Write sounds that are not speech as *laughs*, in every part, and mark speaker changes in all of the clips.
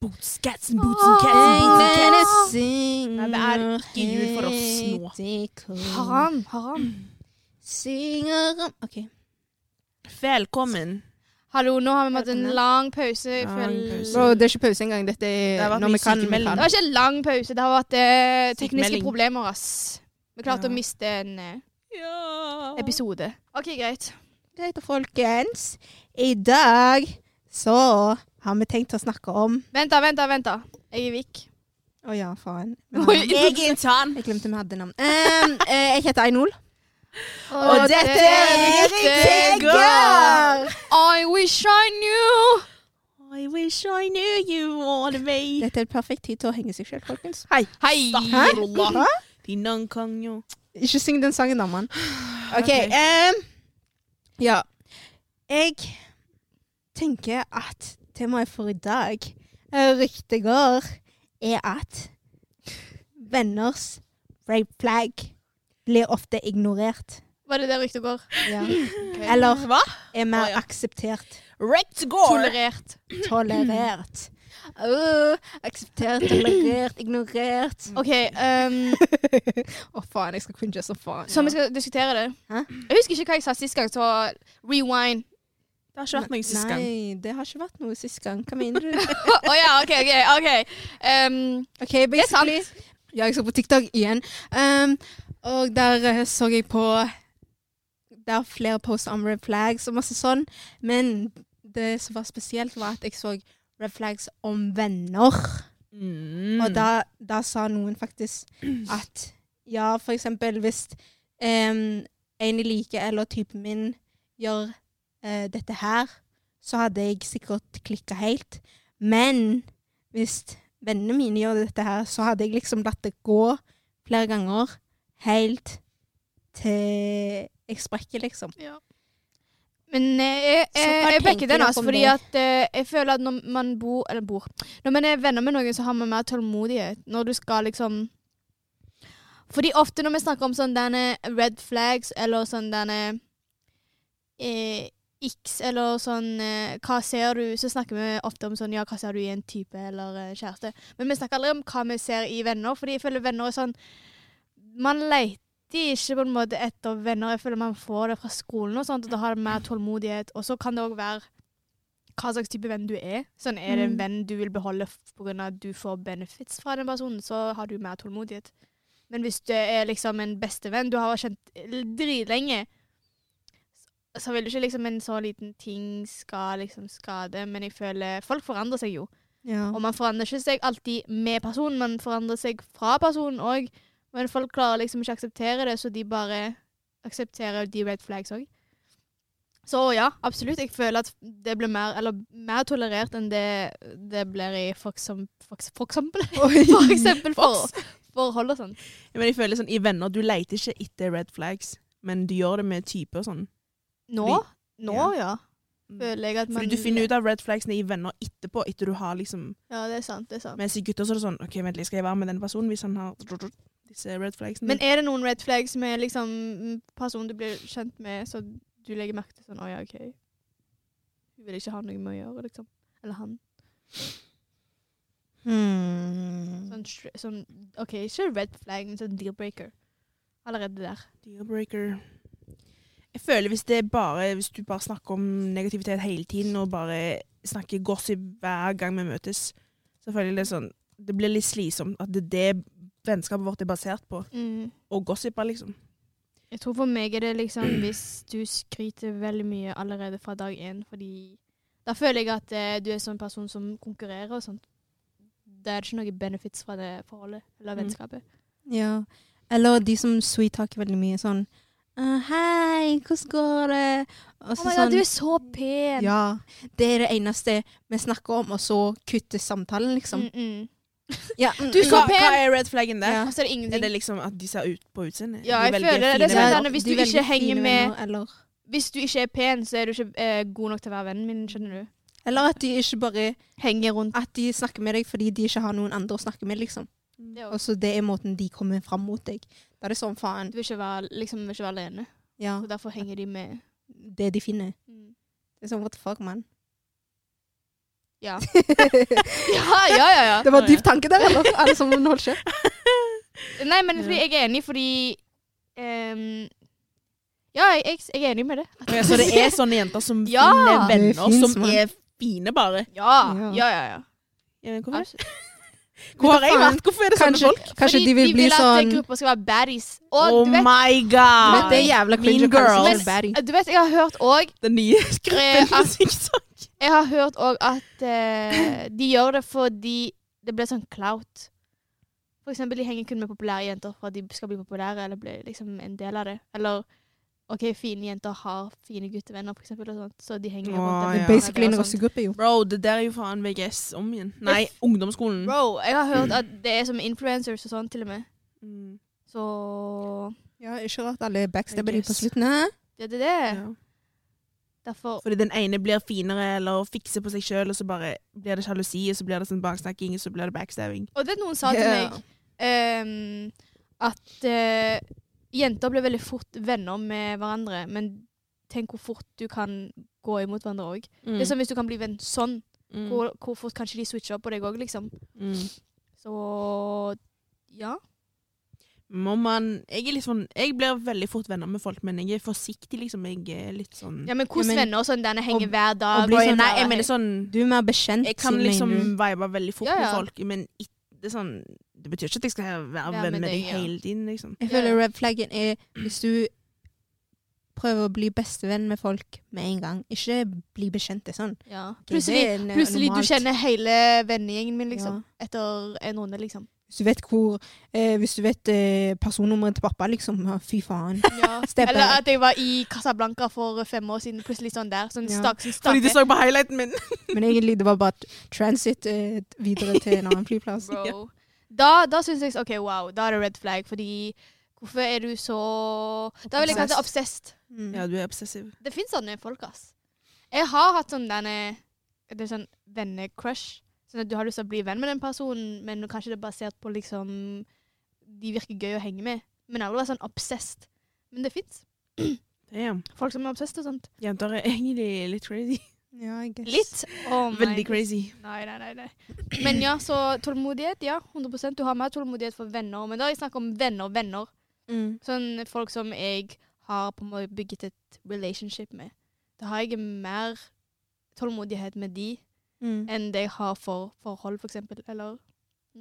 Speaker 1: Boots, cats and boots and cats and boots and cats.
Speaker 2: Nei,
Speaker 1: det er ikke jul for oss nå.
Speaker 2: nå.
Speaker 3: Haram, haram.
Speaker 2: Ok.
Speaker 1: Velkommen.
Speaker 3: Hallo, nå har vi hatt en
Speaker 2: Velkommen.
Speaker 3: lang pause.
Speaker 1: Lang
Speaker 3: føl-
Speaker 1: pause.
Speaker 2: Bro, det er ikke pause engang. Dette
Speaker 1: Det
Speaker 2: er
Speaker 1: har vært
Speaker 2: når vi
Speaker 1: mye
Speaker 2: kan. vi
Speaker 1: sykemelding.
Speaker 3: Det
Speaker 2: kan.
Speaker 3: var ikke en lang pause. Det har vært eh, tekniske
Speaker 1: Sykemelding.
Speaker 3: problemer, ass. Vi klarte
Speaker 1: Ja.
Speaker 3: å miste en eh, episode. OK, greit.
Speaker 2: Greit, folkens. I dag så har vi tenkt å snakke om
Speaker 3: Vent, da, vent, da. vent da. Jeg er Vik.
Speaker 2: Å ja, faen.
Speaker 3: Oi,
Speaker 2: Men, eh,
Speaker 1: Jeg er intern.
Speaker 2: jeg glemte vi hadde navn. Ehm, eh, jeg heter Einol.
Speaker 3: Og, I wish I knew.
Speaker 1: I wish I knew you all the way.
Speaker 2: Dette er perfekt tid til å henge seg sjøl, folkens.
Speaker 3: Hei.
Speaker 1: Hæ?
Speaker 2: Hæ?
Speaker 1: Dinan kan jo
Speaker 2: Ikke syng den sangen, da, mann. OK.
Speaker 1: Ok.
Speaker 2: ehm, ja. Jeg tenker at temaet for i dag, eh, ryktet går, er at venners rape flag blir ofte ignorert.
Speaker 3: Var det der ryktet går?
Speaker 1: Mm.
Speaker 2: Eller
Speaker 1: Hva?
Speaker 2: er mer
Speaker 1: Å, ja.
Speaker 2: akseptert.
Speaker 1: Wrecked gore.
Speaker 3: Tolerert.
Speaker 1: Mm.
Speaker 2: Tolerert. Åh, akseptert, tolerert, ignorert.
Speaker 3: OK. Um,
Speaker 2: Å, faen, jeg skal cringe som faen.
Speaker 3: så vi skal diskutere det.
Speaker 2: Hæ?
Speaker 3: Jeg husker ikke hva jeg sa sist gang, så rewind. *laughs*
Speaker 1: Det har ikke vært noe sist gang.
Speaker 2: Nei, det har ikke vært noe sist gang. Hva mener du?
Speaker 3: Å ja, OK. ok, ok. Um,
Speaker 2: Ok, basically. Ja, jeg så på TikTok igjen. Um, og der eh, så jeg på Der er flere poster om red flags og masse sånn. Men det som var spesielt, var at jeg så red flags om venner.
Speaker 1: Mm.
Speaker 2: Og da, da sa noen faktisk at ja, for eksempel hvis em, en jeg liker, eller typen min, gjør eh, dette her, så hadde jeg sikkert klikka helt. Men hvis vennene mine gjør dette her, så hadde jeg liksom latt det gå flere ganger helt til jeg sprekker, liksom.
Speaker 3: men eh, jeg,
Speaker 2: Så
Speaker 3: jeg,
Speaker 2: hva
Speaker 3: jeg
Speaker 2: tenker
Speaker 3: backer den,
Speaker 2: dere
Speaker 3: altså,
Speaker 2: om
Speaker 3: fordi
Speaker 2: det?
Speaker 3: at eh, jeg føler at når man bor Eller bor Når man er venner med noen, så har man mer tålmodighet. Når du skal liksom Fordi ofte når vi snakker om sånn denne red flags eller sånn denne eh, X eller sånn eh, Hva ser du? Så snakker vi ofte om sånn Ja, hva ser du i en type eller eh, kjæreste? Men vi snakker aldri om hva vi ser i venner, fordi jeg føler venner er sånn Man leter ikke på en måte etter venner. Jeg føler man får det fra skolen og sånt, og da har det mer tålmodighet. Og så kan det òg være hva slags type venn du er. Sånn, Er det en
Speaker 2: Mm.
Speaker 3: venn du vil beholde pga. at du får benefits fra den personen, så har du mer tålmodighet. Men hvis du er liksom en bestevenn du har kjent dritlenge, så vil du ikke liksom en så liten ting skal liksom skade, men jeg føler folk forandrer seg jo.
Speaker 2: Ja.
Speaker 3: Og man forandrer ikke seg alltid med personen, man forandrer seg fra personen òg. Men folk klarer liksom ikke å akseptere det, så de bare aksepterer de red flags òg. Så ja, absolutt. Jeg føler at det blir mer, eller, mer tolerert enn det det blir i for eksempel, for eksempel, *laughs* for eksempel for, forhold og sånn.
Speaker 1: Ja, Men jeg føler sånn, I venner du leter ikke etter red flags, men du gjør det med type og sånn.
Speaker 3: Nå, nå ja. Føler jeg at man
Speaker 1: Fordi du finner ut av red flagsene i venner etterpå, etter du har liksom
Speaker 3: Ja, det er sant. det er sant.
Speaker 1: Mens i gutter så er det sånn OK, vent litt, skal jeg være med den personen hvis han har disse red flagsene?
Speaker 3: Men er det noen red flags med liksom personen du blir kjent med, så du legger merke til sånn Å ja, OK. Hun vil ikke ha noe med å gjøre, liksom. Eller han.
Speaker 2: Hmm.
Speaker 3: Sånn, str- sånn OK, ikke red flag, men sånn deal-breaker. Allerede der.
Speaker 1: Deal-breaker. Jeg føler hvis det er bare Hvis du bare snakker om negativitet hele tiden, og bare snakker gossip hver gang vi møtes, så føler jeg det er sånn Det blir litt slitsomt at det er det vennskapet vårt er basert på.
Speaker 3: Mm.
Speaker 1: Og gossiper, liksom.
Speaker 3: Jeg tror for meg er det liksom hvis du skryter veldig mye allerede fra dag én, fordi da føler jeg at eh, du er sånn person som konkurrerer og sånt. Da er det ikke noe benefits fra det forholdet eller
Speaker 1: Mm.
Speaker 3: vennskapet.
Speaker 2: Ja. Eller de som sweet-talker veldig mye sånn «Eh, Hei, hvordan går det? Og
Speaker 3: Å
Speaker 2: så
Speaker 3: Oh my
Speaker 2: sånn,
Speaker 3: god, du er så pen!
Speaker 2: ja, det er det eneste vi snakker om, og så kutter samtalen, liksom.
Speaker 3: Mm -mm.
Speaker 2: Ja, mm,
Speaker 3: Du
Speaker 2: mm.
Speaker 3: så
Speaker 1: hva,
Speaker 3: pen!
Speaker 1: hva er red flaggen der?
Speaker 2: Ja.
Speaker 3: Og så er det ingenting.
Speaker 1: Er det liksom at de ser ut på utseendet?
Speaker 3: Ja,
Speaker 1: De
Speaker 3: jeg
Speaker 1: velger
Speaker 3: føler det.
Speaker 1: fine
Speaker 3: Det er sånn
Speaker 1: venner.
Speaker 3: denne- hvis
Speaker 2: de
Speaker 3: du ikke
Speaker 2: veldig
Speaker 3: henger
Speaker 2: fine
Speaker 3: med-
Speaker 2: venner, eller,
Speaker 3: Hvis du ikke er pen, så er du ikke eh, god nok til å være vennen min, skjønner du.
Speaker 2: eller at de ikke bare
Speaker 3: Henge rundt.
Speaker 2: At de snakker med deg fordi de ikke har noen andre å snakke med, liksom.
Speaker 3: Mm. Det
Speaker 2: Og
Speaker 3: også.
Speaker 2: så det er måten de kommer fram mot deg. Da er det sånn, faen.
Speaker 3: Du vil ikke være, liksom, vil ikke være alene,
Speaker 2: Ja,
Speaker 3: og derfor henger de med. Mm.
Speaker 2: det de finner. Det er sånn, what the fuck, man.
Speaker 3: Ja. *laughs* ja, ja, ja, ja.
Speaker 2: Det var dyp tanke der, eller? sånn Alle sammen holdt kjeft.
Speaker 3: Nei, men fordi jeg er enig fordi ehm, Ja, jeg, jeg, jeg er enig med det.
Speaker 1: Og ja, så det er sånne jenter som
Speaker 3: Ja!
Speaker 1: finner
Speaker 2: Det
Speaker 1: venner
Speaker 2: finnes,
Speaker 1: som
Speaker 2: mann.
Speaker 1: er fine, bare.
Speaker 3: *laughs* Ja,
Speaker 2: Ja.
Speaker 3: ja, ja. ja.
Speaker 1: Ja, men hvorfor?
Speaker 3: Absolutt.
Speaker 1: Hvor har jeg
Speaker 2: faen?
Speaker 1: vært? Hvorfor er det sånne
Speaker 2: Kanskje,
Speaker 1: folk?
Speaker 2: kanskje
Speaker 3: Fordi
Speaker 2: de vil bli
Speaker 3: at eh,
Speaker 2: sånn
Speaker 3: gruppa skal være baddies. Og
Speaker 1: Oh
Speaker 3: du, vet,
Speaker 1: my
Speaker 2: Men
Speaker 1: god!
Speaker 2: Ah, det er jævla
Speaker 1: Mean
Speaker 2: cringe å kalle seg
Speaker 1: girls.
Speaker 2: for baddie.
Speaker 3: du vet, jeg har hørt òg
Speaker 1: Den nye
Speaker 3: Eh,
Speaker 1: gruppen på
Speaker 3: at-
Speaker 1: TikTok.
Speaker 3: Jeg har hørt òg at eh, de gjør det fordi det blir sånn clout. For eksempel, de henger kun med populære jenter for at de skal bli populære, eller bli liksom en del av det. Eller OK, fine jenter har fine guttevenner, for eksempel, og sånt, så de henger
Speaker 1: Å,
Speaker 3: rundt
Speaker 1: ja.
Speaker 3: dem.
Speaker 2: Basically
Speaker 3: sånn,
Speaker 2: en rossegruppe, jo.
Speaker 1: Bro, det der er jo faen VGS om igjen. Nei, ungdomsskolen.
Speaker 3: Bro, jeg har hørt at det er som influencers og sånn, til og med.
Speaker 1: Mm,
Speaker 3: Så
Speaker 2: Ja, ikke rart alle backstabber
Speaker 1: I
Speaker 2: de på
Speaker 1: guess.
Speaker 2: slutten. Hæ?
Speaker 3: det er det. det.
Speaker 1: ja.
Speaker 3: Derfor
Speaker 1: Fordi den ene blir finere eller fikser på seg sjøl, og så bare blir det sjalusi, og så blir det sånn baksnakking, og så blir det backstabbing.
Speaker 3: Og det noen sa til
Speaker 2: Ja.
Speaker 3: meg ehm, at eh, jenter blir veldig fort venner med hverandre, men tenk hvor fort du kan gå imot hverandre òg.
Speaker 2: Mm.
Speaker 3: Det er som hvis du kan bli venn sånn,
Speaker 1: Mm,
Speaker 3: hvor, hvor fort kanskje de switcher opp på deg òg, liksom.
Speaker 1: mm.
Speaker 3: Så ja.
Speaker 1: Må man Jeg er litt sånn Jeg blir veldig fort venner med folk, men jeg er forsiktig, liksom. Jeg er litt sånn
Speaker 3: ja men hvordan
Speaker 2: men-
Speaker 3: venner og sånn denne henger
Speaker 1: Og-
Speaker 3: hver dag?
Speaker 1: Og blir
Speaker 3: er
Speaker 1: sånn Nei,
Speaker 3: nære
Speaker 1: jeg mener sånn
Speaker 2: Du er mer bekjent,
Speaker 1: Jeg kan
Speaker 2: mener
Speaker 1: liksom
Speaker 2: du.
Speaker 1: vibe veldig fort
Speaker 3: Ja, ja.
Speaker 1: med folk, men ikke, det, er sånn, det betyr ikke at jeg skal være
Speaker 3: Være
Speaker 1: venn
Speaker 3: med
Speaker 1: med
Speaker 3: deg,
Speaker 1: deg
Speaker 3: ja.
Speaker 1: hele tiden, liksom.
Speaker 2: Jeg
Speaker 3: Ja, ja.
Speaker 2: føler red flaggen er hvis du prøver å bli bestevenn med folk med en gang. Ikke bli bekjent, det er sånn.
Speaker 3: ja.
Speaker 2: Ok,
Speaker 3: Plutselig,
Speaker 2: det er no-
Speaker 3: plutselig du
Speaker 2: normalt.
Speaker 3: kjenner hele vennegjengen min, liksom.
Speaker 2: Ja.
Speaker 3: Etter en runde,
Speaker 2: *laughs*
Speaker 3: liksom.
Speaker 2: Hvis du vet hvor eh, Hvis du vet eh, personnummeret til pappa, liksom. ja, Fy *laughs* faen.
Speaker 3: Ja.
Speaker 2: Steppe.
Speaker 3: Eller at jeg var i Casablanca for fem år siden, plutselig sånn der. Sånn
Speaker 2: Ja.
Speaker 3: stak, sånn
Speaker 1: Fordi
Speaker 3: stake.
Speaker 1: du så på highlighten min!
Speaker 2: Men egentlig det var bare t- transit eh, videre til en annen flyplass.
Speaker 3: Bro. Da, da syns jeg OK, wow, da er det red flag, fordi Hvorfor er du så Da vil jeg kalle det obsessed.
Speaker 2: Mm.
Speaker 1: Ja, du er obsessiv.
Speaker 3: Det fins sånne folk, ass. Jeg har hatt sånn denne Det er sånn vennecrush. Sånn at du har lyst til å bli venn med den personen, men kanskje det er basert på liksom De virker gøy å henge med. Men aldri vært sånn obsessed. Men det fins
Speaker 1: Damn.
Speaker 3: folk som er obsessed og sånt.
Speaker 1: *laughs* Jenter er egentlig litt crazy.
Speaker 2: Ja, I guess.
Speaker 3: Litt. Oh my
Speaker 1: Veldig crazy.
Speaker 3: Nei, nei, nei, nei. Men ja, så tålmodighet, ja. 100 Du har mer tålmodighet for venner. Men da har jeg snakket om venner, venner.
Speaker 2: Mm.
Speaker 3: Sånn folk som jeg har på en måte bygget et relationship med. Da har jeg mer tålmodighet med de
Speaker 2: Mm.
Speaker 3: enn det jeg har for forhold, for eksempel. Eller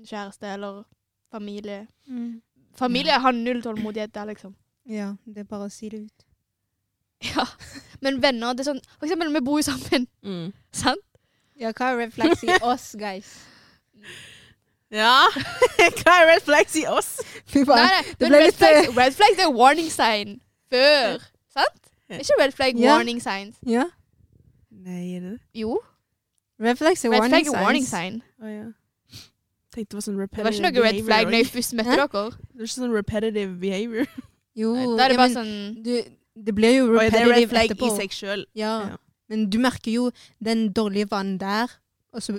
Speaker 3: kjæreste, eller familie.
Speaker 2: Mm.
Speaker 3: Familie har null tålmodighet der, liksom.
Speaker 2: Ja, det er bare å si det ut.
Speaker 3: Ja. Men venner, det er sånn For eksempel, vi bor jo sammen,
Speaker 1: Mm.
Speaker 3: *laughs* sant?
Speaker 2: Ja, hva er red flags *laughs* i oss, guys?
Speaker 1: Ja! *laughs* Hva er red flags i oss?
Speaker 2: Fy
Speaker 3: Nei,
Speaker 2: faen.
Speaker 3: nei,
Speaker 2: det
Speaker 3: men
Speaker 2: ble
Speaker 3: red,
Speaker 2: litt, eh,
Speaker 3: flags, red flags er warning sign før, sant?
Speaker 1: Ja.
Speaker 3: Er Ikke red flag
Speaker 2: Ja.
Speaker 3: warning signs.
Speaker 2: Ja.
Speaker 1: Nei, er det det?
Speaker 3: Jo,
Speaker 2: Red flags er
Speaker 3: red
Speaker 2: warning
Speaker 3: flag
Speaker 2: signs.
Speaker 3: er warning sign.
Speaker 1: Å ja. Tenkte det var sånn
Speaker 3: Det var ikke
Speaker 1: repetitive
Speaker 3: noe red flag når
Speaker 1: behavior.
Speaker 3: jeg først møtte
Speaker 2: Hæ?
Speaker 3: dere.
Speaker 1: Det er ikke sånn repetitive behavior.
Speaker 2: Jo,
Speaker 3: Da er
Speaker 2: ja,
Speaker 3: det bare
Speaker 2: men
Speaker 3: sånn
Speaker 2: du, det blir jo
Speaker 1: Å ja, det er red
Speaker 2: repetitive
Speaker 1: flag
Speaker 2: etterpå.
Speaker 1: i seg *laughs* sjøl.
Speaker 2: Ja.
Speaker 1: Ja.
Speaker 2: Men du merker jo den dårlige vanen der, og så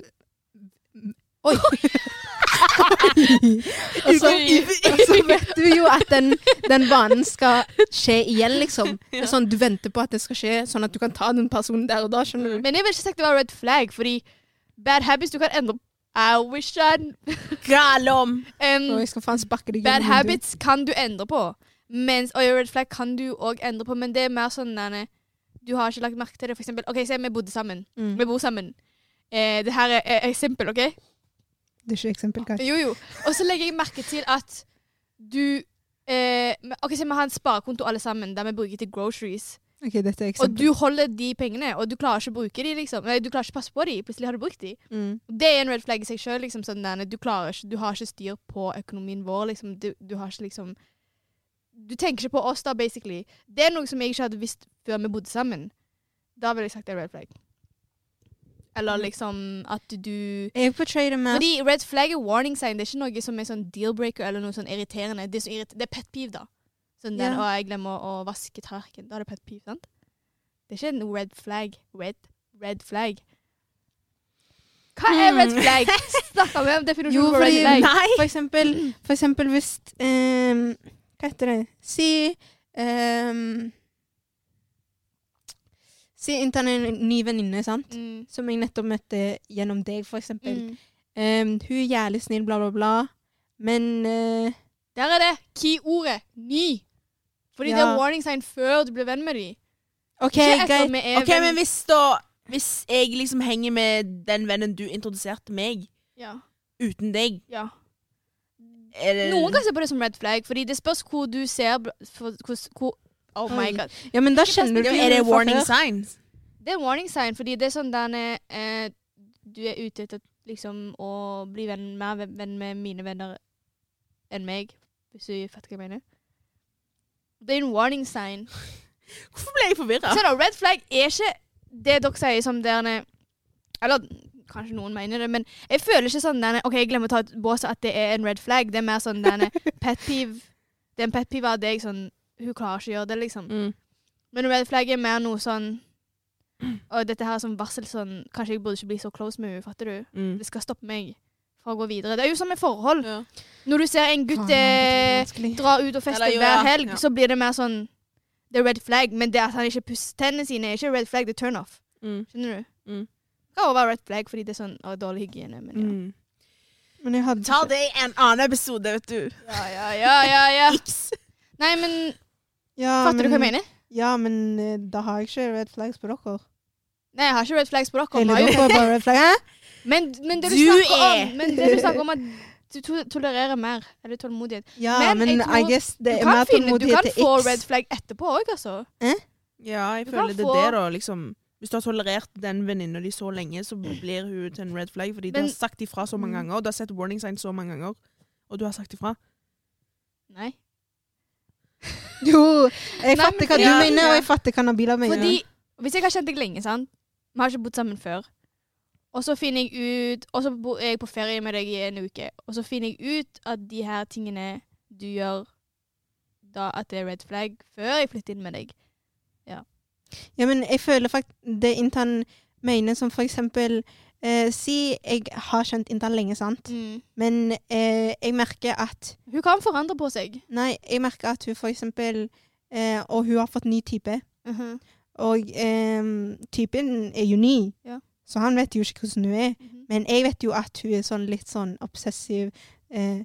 Speaker 1: *laughs*
Speaker 2: Oi! og, så, og så vet du jo at den, den vanen skal skje igjen, liksom. Det er Sånn, du venter på at det skal skje, sånn at du kan ta den personen der og da, skjønner du.
Speaker 3: Men jeg vil ikke sagt det var red flag, fordi bad habits du kan endre I wish I
Speaker 1: Galom!
Speaker 3: um,
Speaker 2: Og jeg skal faen sparke deg
Speaker 3: Bad
Speaker 2: gjennom vinduet.
Speaker 3: habits kan du endre på. Mens og red flag kan du òg endre på, men det er mer sånn denne Du har ikke lagt merke til det, for eksempel. OK, se, vi bodde sammen.
Speaker 2: Mm.
Speaker 3: Vi bor sammen. Eh, det her er et eksempel, OK?
Speaker 2: Det er ikke eksempel, Kat.
Speaker 3: Jo, jo. Og så legger jeg merke til at du eh, OK, se, vi har en sparekonto alle sammen, der vi bruker til groceries.
Speaker 2: Ok, dette er
Speaker 3: Og
Speaker 2: eksempel.
Speaker 3: du holder de pengene, og du klarer ikke å bruke de, liksom. Nei, du klarer ikke å passe på de. Plutselig har du brukt de.
Speaker 2: Mm.
Speaker 3: Det er en red flag i seg sjøl. Liksom, sånn der, du, klarer ikke- du har ikke styr på økonomien vår. Liksom. Du, du har ikke liksom Du tenker ikke på oss, da, basically. Det er noe som jeg ikke hadde visst før vi bodde sammen. Da ville jeg sagt det er red flag. Eller liksom at du
Speaker 2: Jeg portrayer med
Speaker 3: Fordi red flag er warning sign. Det er ikke noe som er sånn deal-breaker eller noe sånn irriterende. Det er, så irrit det er pet peeve, da. Sånn
Speaker 2: Ja.
Speaker 3: den, Å, jeg glemmer å vaske tallerkenen. Da er det pet peeve, sant? Det er ikke en red flag. Red, red flag. Hva er
Speaker 1: Hmm.
Speaker 3: red flag? Snakker vi om
Speaker 2: Mm. Jo,
Speaker 3: definisjonen på red
Speaker 2: fordi-
Speaker 3: flag?
Speaker 1: Nei!
Speaker 2: For eksempel, for eksempel hvis ehm, Hva heter det? Si ehm, Si intern er en ny venninne, sant?
Speaker 3: Mm.
Speaker 2: Som jeg nettopp møtte gjennom deg, for eksempel.
Speaker 3: Mm.
Speaker 2: Em, hun er jævlig snill, bla, bla, bla. Men eh,
Speaker 3: Der er det key-ordet. Ny. Fordi det
Speaker 2: Ja.
Speaker 3: er warning sign før du blir venn med dem.
Speaker 2: OK,
Speaker 3: Ikke etter
Speaker 2: greit.
Speaker 3: vi er
Speaker 1: OK, men hvis da Hvis jeg liksom henger med den vennen du introduserte meg,
Speaker 3: ja.
Speaker 1: uten deg,
Speaker 3: ja.
Speaker 1: er
Speaker 2: Eh.
Speaker 1: det
Speaker 3: Noen kan se på det som red flag, fordi det spørs hvor du ser bl- for, hvor, hvor, Oh my
Speaker 2: Oi.
Speaker 3: god.
Speaker 2: Ja, men da
Speaker 3: Ikke
Speaker 2: kjenner du
Speaker 1: Ja, Er det
Speaker 2: fra
Speaker 1: warning
Speaker 2: før.
Speaker 1: signs?
Speaker 3: Det er warning sign, fordi det er sånn den er eh, Du er ute etter liksom å bli venn, mer ve- venn med mine venner enn meg, hvis du fatter hva jeg mener. Det er en warning sign.
Speaker 1: Hvorfor ble jeg forvirra?
Speaker 3: Så da, red flag er ikke det dere sier som derne Eller kanskje noen mener det, men jeg føler ikke sånn derne OK, jeg glemmer å ta et bås at det er en red flag. Det er mer sånn derne pet peeve. Det er en pet peeve av deg sånn Hun klarer ikke å gjøre det, liksom.
Speaker 1: Mm.
Speaker 3: Men red flag er mer noe sånn Og dette her er sånn varsel sånn Kanskje jeg burde ikke bli så close med henne, fatter du?
Speaker 1: Mm.
Speaker 3: Det skal stoppe meg fra å gå videre. Det er jo som med forhold.
Speaker 1: Ja.
Speaker 3: Når du ser en gutt
Speaker 2: Faen, det er
Speaker 3: eh,
Speaker 2: vanskelig.
Speaker 3: dra ut og feste
Speaker 1: Eller jo,
Speaker 3: hver
Speaker 1: ja.
Speaker 3: helg,
Speaker 1: Ja.
Speaker 3: så blir det mer sånn Det er red flag, men det at han ikke pusser tennene sine, er ikke red flag, det er turn off.
Speaker 1: Mm.
Speaker 3: Skjønner du?
Speaker 1: Mm.
Speaker 3: Det kan også være red flag fordi det er sånn å, dårlig hygiene, men ja.
Speaker 1: Mm.
Speaker 2: Men jeg hadde
Speaker 1: Ta det i en annen episode, vet du.
Speaker 3: Ja, ja, ja, ja, ja.
Speaker 1: Ips.
Speaker 3: Nei, men
Speaker 2: Ja,
Speaker 3: Fatter du hva jeg
Speaker 2: men-
Speaker 3: mener?
Speaker 2: Ja, men eh, da har jeg ikke red flags på dere.
Speaker 3: Nei, jeg har ikke red flags på dere.
Speaker 2: Hele
Speaker 3: men jeg har jo-
Speaker 2: dere er bare red flag. Hæ?
Speaker 3: *laughs* Men, men det du,
Speaker 1: Du
Speaker 3: snakker
Speaker 1: er-
Speaker 3: om Men det du snakker om at du to tolererer mer. Eller tålmodighet.
Speaker 2: Ja,
Speaker 3: Men
Speaker 2: men,
Speaker 3: jeg tror-
Speaker 2: I guess
Speaker 3: Du
Speaker 2: det er
Speaker 3: kan,
Speaker 2: mer
Speaker 3: finne, du
Speaker 2: tålmodighet
Speaker 3: kan
Speaker 2: til X.
Speaker 3: få red flag etterpå òg, altså.
Speaker 1: Ja, jeg
Speaker 3: Du kan
Speaker 1: føler det er
Speaker 3: få-
Speaker 1: det, da. Liksom. Hvis du har tolerert den venninna di så lenge, så blir hun til en red flag. Fordi du
Speaker 3: Mm. Men-
Speaker 1: har sagt ifra så mange
Speaker 2: Mm.
Speaker 1: ganger, og du har sett warning signs så mange ganger. Og du har sagt ifra.
Speaker 3: Nei.
Speaker 2: Jo, jeg
Speaker 3: Nei,
Speaker 2: fatter
Speaker 3: men
Speaker 2: hva du
Speaker 1: fordi-
Speaker 2: mener,
Speaker 1: Ja.
Speaker 2: og jeg fatter hva Nabila mener.
Speaker 3: Fordi hvis jeg har kjent deg lenge, sant? Vi har ikke bodd sammen før. Og så finner jeg ut Og så bo- er jeg på ferie med deg i en uke. Og så finner jeg ut at de her tingene du gjør da at det er red flag, før jeg flytter inn med deg.
Speaker 2: Ja, men jeg føler faktisk det Intan mener, som for eksempel eh, Si jeg har kjent Intan lenge,
Speaker 3: Mm.
Speaker 2: sant, men eh, jeg merker at
Speaker 3: Hun kan forandre på seg.
Speaker 2: Nei, jeg merker at hun for eksempel eh, Og hun har fått ny type, og eh, typen er jo ny,
Speaker 3: Ja.
Speaker 2: så han vet jo ikke hvordan hun er.
Speaker 3: Mhm.
Speaker 2: Men jeg vet jo at hun er sånn litt sånn obsessiv. Eh,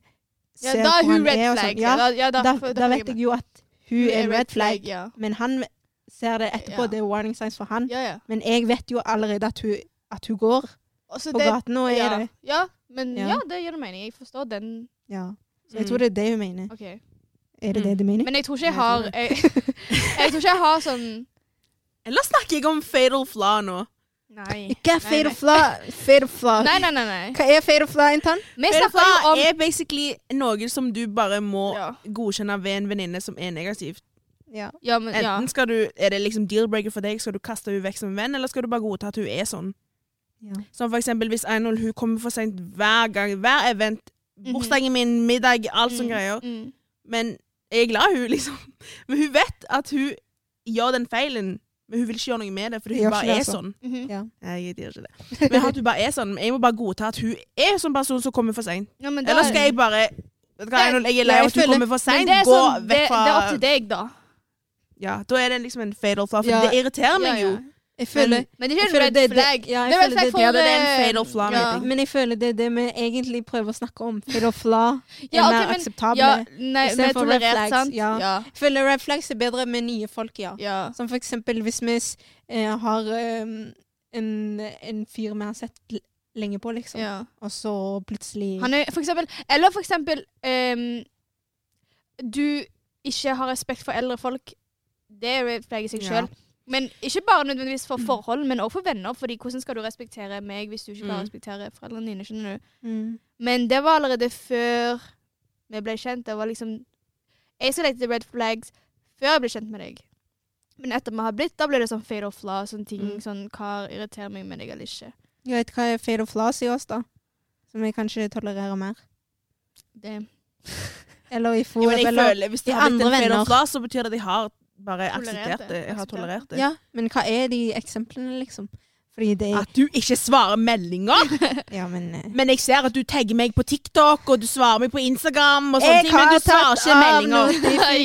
Speaker 3: Ja,
Speaker 2: ser
Speaker 3: da er
Speaker 2: hvor han
Speaker 3: hun red
Speaker 2: og
Speaker 3: flag.
Speaker 2: sånn. Ja,
Speaker 3: da, ja,
Speaker 2: da, da,
Speaker 3: følger
Speaker 2: vet
Speaker 3: med.
Speaker 2: jeg jo at hun er en red flag.
Speaker 3: Ja.
Speaker 2: Men han ser det etterpå,
Speaker 3: Ja.
Speaker 2: det er warning signs for han.
Speaker 3: ja, ja.
Speaker 2: Men jeg vet jo allerede at hun, at hun går
Speaker 3: Og så
Speaker 2: på
Speaker 3: Altså, det-
Speaker 2: gaten, og er
Speaker 3: ja.
Speaker 2: det.
Speaker 3: Ja, men
Speaker 2: Ja.
Speaker 3: ja, det gjør mening. Jeg forstår den.
Speaker 2: Ja. Så
Speaker 1: Mm.
Speaker 2: jeg tror det er det hun mener.
Speaker 3: OK.
Speaker 2: Er det
Speaker 1: Mm.
Speaker 2: det de mener?
Speaker 3: Men jeg tror ikke jeg
Speaker 2: Jeg tror
Speaker 3: har
Speaker 2: det.
Speaker 3: Jeg, *laughs* jeg tror ikke jeg har sånn
Speaker 1: Eller snakker jeg om fatal flaw nå?
Speaker 3: Nei.
Speaker 2: Hva er
Speaker 3: Nei,
Speaker 2: fade
Speaker 3: nei.
Speaker 2: of flaw? Fade of flaw.
Speaker 3: Nei, nei, nei. nei.
Speaker 2: Hva er fade of flaw, Intan?
Speaker 3: Vi
Speaker 1: Fatal
Speaker 3: snakker jo
Speaker 1: flaw
Speaker 3: om
Speaker 1: er basically noe som du bare må
Speaker 3: ja.
Speaker 1: godkjenne ved en venninne som er negativ.
Speaker 2: Ja.
Speaker 3: ja, men ja.
Speaker 1: Enten skal du, er det liksom deal-breaker for deg, skal du kaste henne vekk som en venn, eller skal du bare godta at hun er sånn?
Speaker 2: Ja.
Speaker 1: Som for eksempel hvis Einhold hun kommer for sent hver gang, hver event,
Speaker 3: Mhm.
Speaker 1: bursdagen min, middag, alt sånne
Speaker 3: Mm,
Speaker 1: greier.
Speaker 3: Mm.
Speaker 1: Men jeg er glad i hun, *laughs* liksom. Men hun vet at hun gjør den feilen, men hun vil ikke gjøre noe med det, fordi
Speaker 2: Jeg
Speaker 1: hun
Speaker 2: gjør
Speaker 1: bare
Speaker 2: ikke det,
Speaker 1: er
Speaker 2: altså.
Speaker 1: sånn.
Speaker 3: mhm.
Speaker 2: Ja.
Speaker 1: Nei, jeg gidder ikke det.
Speaker 2: *laughs*
Speaker 1: Men at hun bare er sånn. Jeg må bare godta at hun er sånn person som kommer for seint.
Speaker 3: Ja, men da-
Speaker 1: Eller skal jeg bare Vet du hva,
Speaker 3: Nei,
Speaker 1: Arnold, jeg er lei av
Speaker 2: jeg
Speaker 1: at du
Speaker 2: føler-
Speaker 1: kommer for
Speaker 3: Men
Speaker 1: seint.
Speaker 3: det er
Speaker 1: Gå
Speaker 3: sånn, det,
Speaker 1: vekk fra
Speaker 3: det er opp til deg, da.
Speaker 1: Ja, da er det liksom en fatal flaw. For
Speaker 2: Ja.
Speaker 1: det irriterer meg
Speaker 3: Ja,
Speaker 1: jo.
Speaker 3: ja.
Speaker 2: Jeg føler
Speaker 3: Men det er
Speaker 2: jeg
Speaker 3: ikke
Speaker 2: føler
Speaker 3: en
Speaker 2: det-
Speaker 3: red
Speaker 2: det-
Speaker 3: flag.
Speaker 2: ja, jeg
Speaker 3: det er red
Speaker 2: føler
Speaker 3: flag
Speaker 2: det-
Speaker 3: for
Speaker 1: ja, det er en
Speaker 3: eh,
Speaker 1: fatal flaw,
Speaker 3: ja.
Speaker 1: vet
Speaker 2: Men jeg føler det er det vi egentlig prøver å snakke om. Fade of flaw er
Speaker 3: Ja, ok,
Speaker 2: mer
Speaker 3: men-
Speaker 2: akseptable.
Speaker 3: Ja, nei,
Speaker 2: I stedet
Speaker 3: men
Speaker 2: for red
Speaker 3: tolerert,
Speaker 2: flags,
Speaker 3: sant?
Speaker 2: ja.
Speaker 3: ja.
Speaker 2: Jeg føler red flags er bedre med nye folk, ja.
Speaker 3: ja.
Speaker 2: Som for eksempel hvis vi eh, har em, en, en fyr vi har sett l lenge på, liksom.
Speaker 3: ja.
Speaker 2: Og så plutselig
Speaker 3: Han er for eksempel Eller for eksempel ehm, Du ikke har respekt for eldre folk. Det er red flag i seg
Speaker 1: Ja.
Speaker 3: sjøl. Men ikke bare nødvendigvis for forhold, men òg for venner. Fordi hvordan skal du respektere meg hvis du ikke klarer å
Speaker 1: Mm.
Speaker 3: respektere foreldrene dine? skjønner du?
Speaker 2: mm.
Speaker 3: Men det var allerede før vi ble kjent. Det var liksom Jeg skal lete etter red flags før jeg ble kjent med deg. Men etter vi har blitt, da blir det sånn fade or flaw. Sånne ting
Speaker 1: Mm.
Speaker 3: sånn Hva irriterer meg med deg eller ikke?
Speaker 2: Jeg vet hva er fade of flaws i oss, da. Som jeg kanskje tolererer mer.
Speaker 3: Det
Speaker 2: Eller i
Speaker 1: Jo,
Speaker 2: forhold
Speaker 1: men jeg
Speaker 2: eller
Speaker 1: føler Hvis
Speaker 2: de
Speaker 1: det har blitt en
Speaker 2: andre
Speaker 1: fatal
Speaker 2: venner.
Speaker 1: flaw, så betyr det at jeg har bare
Speaker 3: Tolerert
Speaker 1: akseptert det.
Speaker 3: det.
Speaker 1: Jeg har
Speaker 3: Akseptert
Speaker 1: tolerert det.
Speaker 2: Ja, men hva er de eksemplene, liksom? Fordi det er
Speaker 1: At du ikke svarer meldinger!
Speaker 2: Ja, men eh,
Speaker 1: Men jeg ser at du tagger meg på TikTok, og du svarer meg på Instagram, og sånne
Speaker 2: Jeg
Speaker 1: ting, men
Speaker 2: har
Speaker 1: du svarer
Speaker 2: tatt
Speaker 1: ikke
Speaker 2: av
Speaker 1: meldinger.